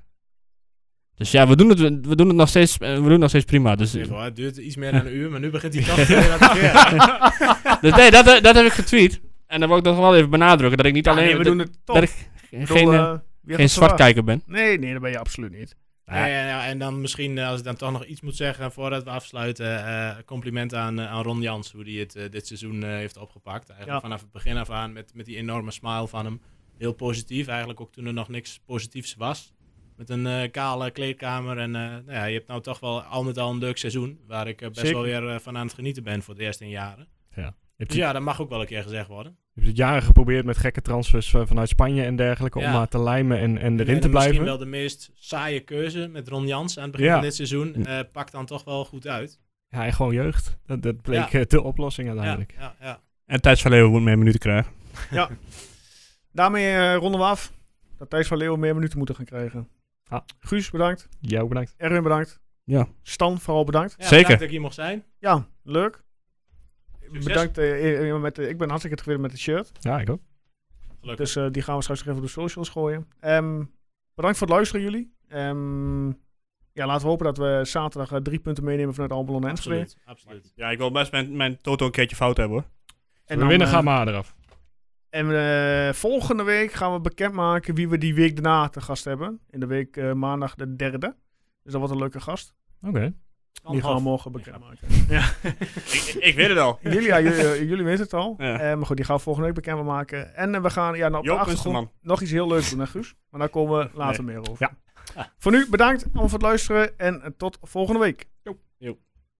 Speaker 3: Dus ja, we doen het, we doen het, nog, steeds, eh, we doen het nog steeds prima. Dus,
Speaker 4: Even, hoor, Het duurt iets meer dan een uur, maar nu begint die kast weer aan te keren.
Speaker 3: dus nee, dat, dat heb ik getweet. En dan wil ik dat wel even benadrukken, dat ik niet
Speaker 1: Ja,
Speaker 3: alleen
Speaker 1: nee, we
Speaker 3: dat-
Speaker 1: doen het top.
Speaker 3: dat
Speaker 1: Ik
Speaker 3: ik geen,
Speaker 1: bedoel, eh, wie
Speaker 3: eh,
Speaker 1: had
Speaker 3: geen
Speaker 1: het verwacht?
Speaker 3: zwartkijker ben.
Speaker 1: Nee, nee, dat ben je absoluut niet.
Speaker 4: Ja, ja, ja, en dan misschien, eh, als ik dan toch nog iets moet zeggen voordat we afsluiten, eh, compliment aan, eh, aan Ron Jans, hoe hij het eh, dit seizoen eh, heeft opgepakt. Eigenlijk
Speaker 1: Ja.
Speaker 4: vanaf het begin af aan met, met die enorme smile van hem. Heel positief, eigenlijk ook toen er nog niks positiefs was. Met een eh, kale kleedkamer en eh, nou ja, je hebt nou toch wel al met al een leuk seizoen, waar ik eh, best
Speaker 2: Zeker.
Speaker 4: wel weer eh, van aan het genieten ben voor de eerste in jaren.
Speaker 2: Je hebt,
Speaker 4: Dus
Speaker 2: het,
Speaker 4: ja, dat mag ook wel een keer gezegd worden.
Speaker 2: je hebt het jaren geprobeerd met gekke transfers eh, vanuit Spanje en dergelijke om
Speaker 4: Ja.
Speaker 2: maar te lijmen en, en
Speaker 4: En-
Speaker 2: erin
Speaker 4: en eh,
Speaker 2: te blijven.
Speaker 4: Misschien wel de meest saaie keuze met Ron Jans aan het begin
Speaker 2: Ja. Mm.
Speaker 4: van dit seizoen. eh, pakt dan toch wel goed uit.
Speaker 2: Ja, en gewoon jeugd. Dat, dat bleek
Speaker 4: Ja.
Speaker 2: eh, de oplossing
Speaker 4: Ja,
Speaker 2: uiteindelijk.
Speaker 4: ja, ja.
Speaker 3: En Thijs van Leeuwen meer minuten krijgen.
Speaker 1: Daarmee eh, ronden we af. Dat Thijs van Leeuwen meer minuten moeten gaan krijgen.
Speaker 2: Ah.
Speaker 1: Guus, bedankt.
Speaker 2: Jou bedankt.
Speaker 1: Erwin, bedankt.
Speaker 3: Ja.
Speaker 1: Stan, vooral bedankt.
Speaker 4: Ja,
Speaker 3: Zeker.
Speaker 4: bedankt dat ik hier mocht zijn.
Speaker 1: Ja, leuk. Bedankt. eh, eh, met, de- ik ben hartstikke tevreden met het shirt.
Speaker 2: Ja, ik ook.
Speaker 4: Gelukkig.
Speaker 1: Dus eh, die gaan we straks nog even op de socials gooien. Ehm, bedankt voor het luisteren, jullie. Ehm, ja, laten we hopen dat we zaterdag eh, drie punten meenemen vanuit Almelo en Enschede.
Speaker 4: absoluut, absoluut.
Speaker 3: Ja, ik wil best mijn, mijn toto een keertje fout hebben hoor.
Speaker 2: we
Speaker 1: dan,
Speaker 2: winnen
Speaker 1: eh,
Speaker 2: gaan maar eraf.
Speaker 1: En eh, volgende week gaan we bekendmaken wie we die week daarna te gast hebben. In de week eh, maandag de derde. Dus dat wordt een leuke gast.
Speaker 2: Oké.
Speaker 1: Die gaan we morgen bekendmaken. Ja.
Speaker 3: ik, ik weet het al.
Speaker 1: Jullie, ja, jullie, eh, jullie weten het al.
Speaker 3: Ja.
Speaker 1: Eh, maar goed, die gaan we volgende week bekendmaken. En eh, we gaan ja, nou, op
Speaker 3: Joop
Speaker 1: de achtergrond
Speaker 3: Munsterman.
Speaker 1: nog iets heel leuks doen, hè, Guus? Maar daar komen we later meer over. Voor nu bedankt allemaal voor het luisteren en eh, tot volgende week.
Speaker 2: Joep.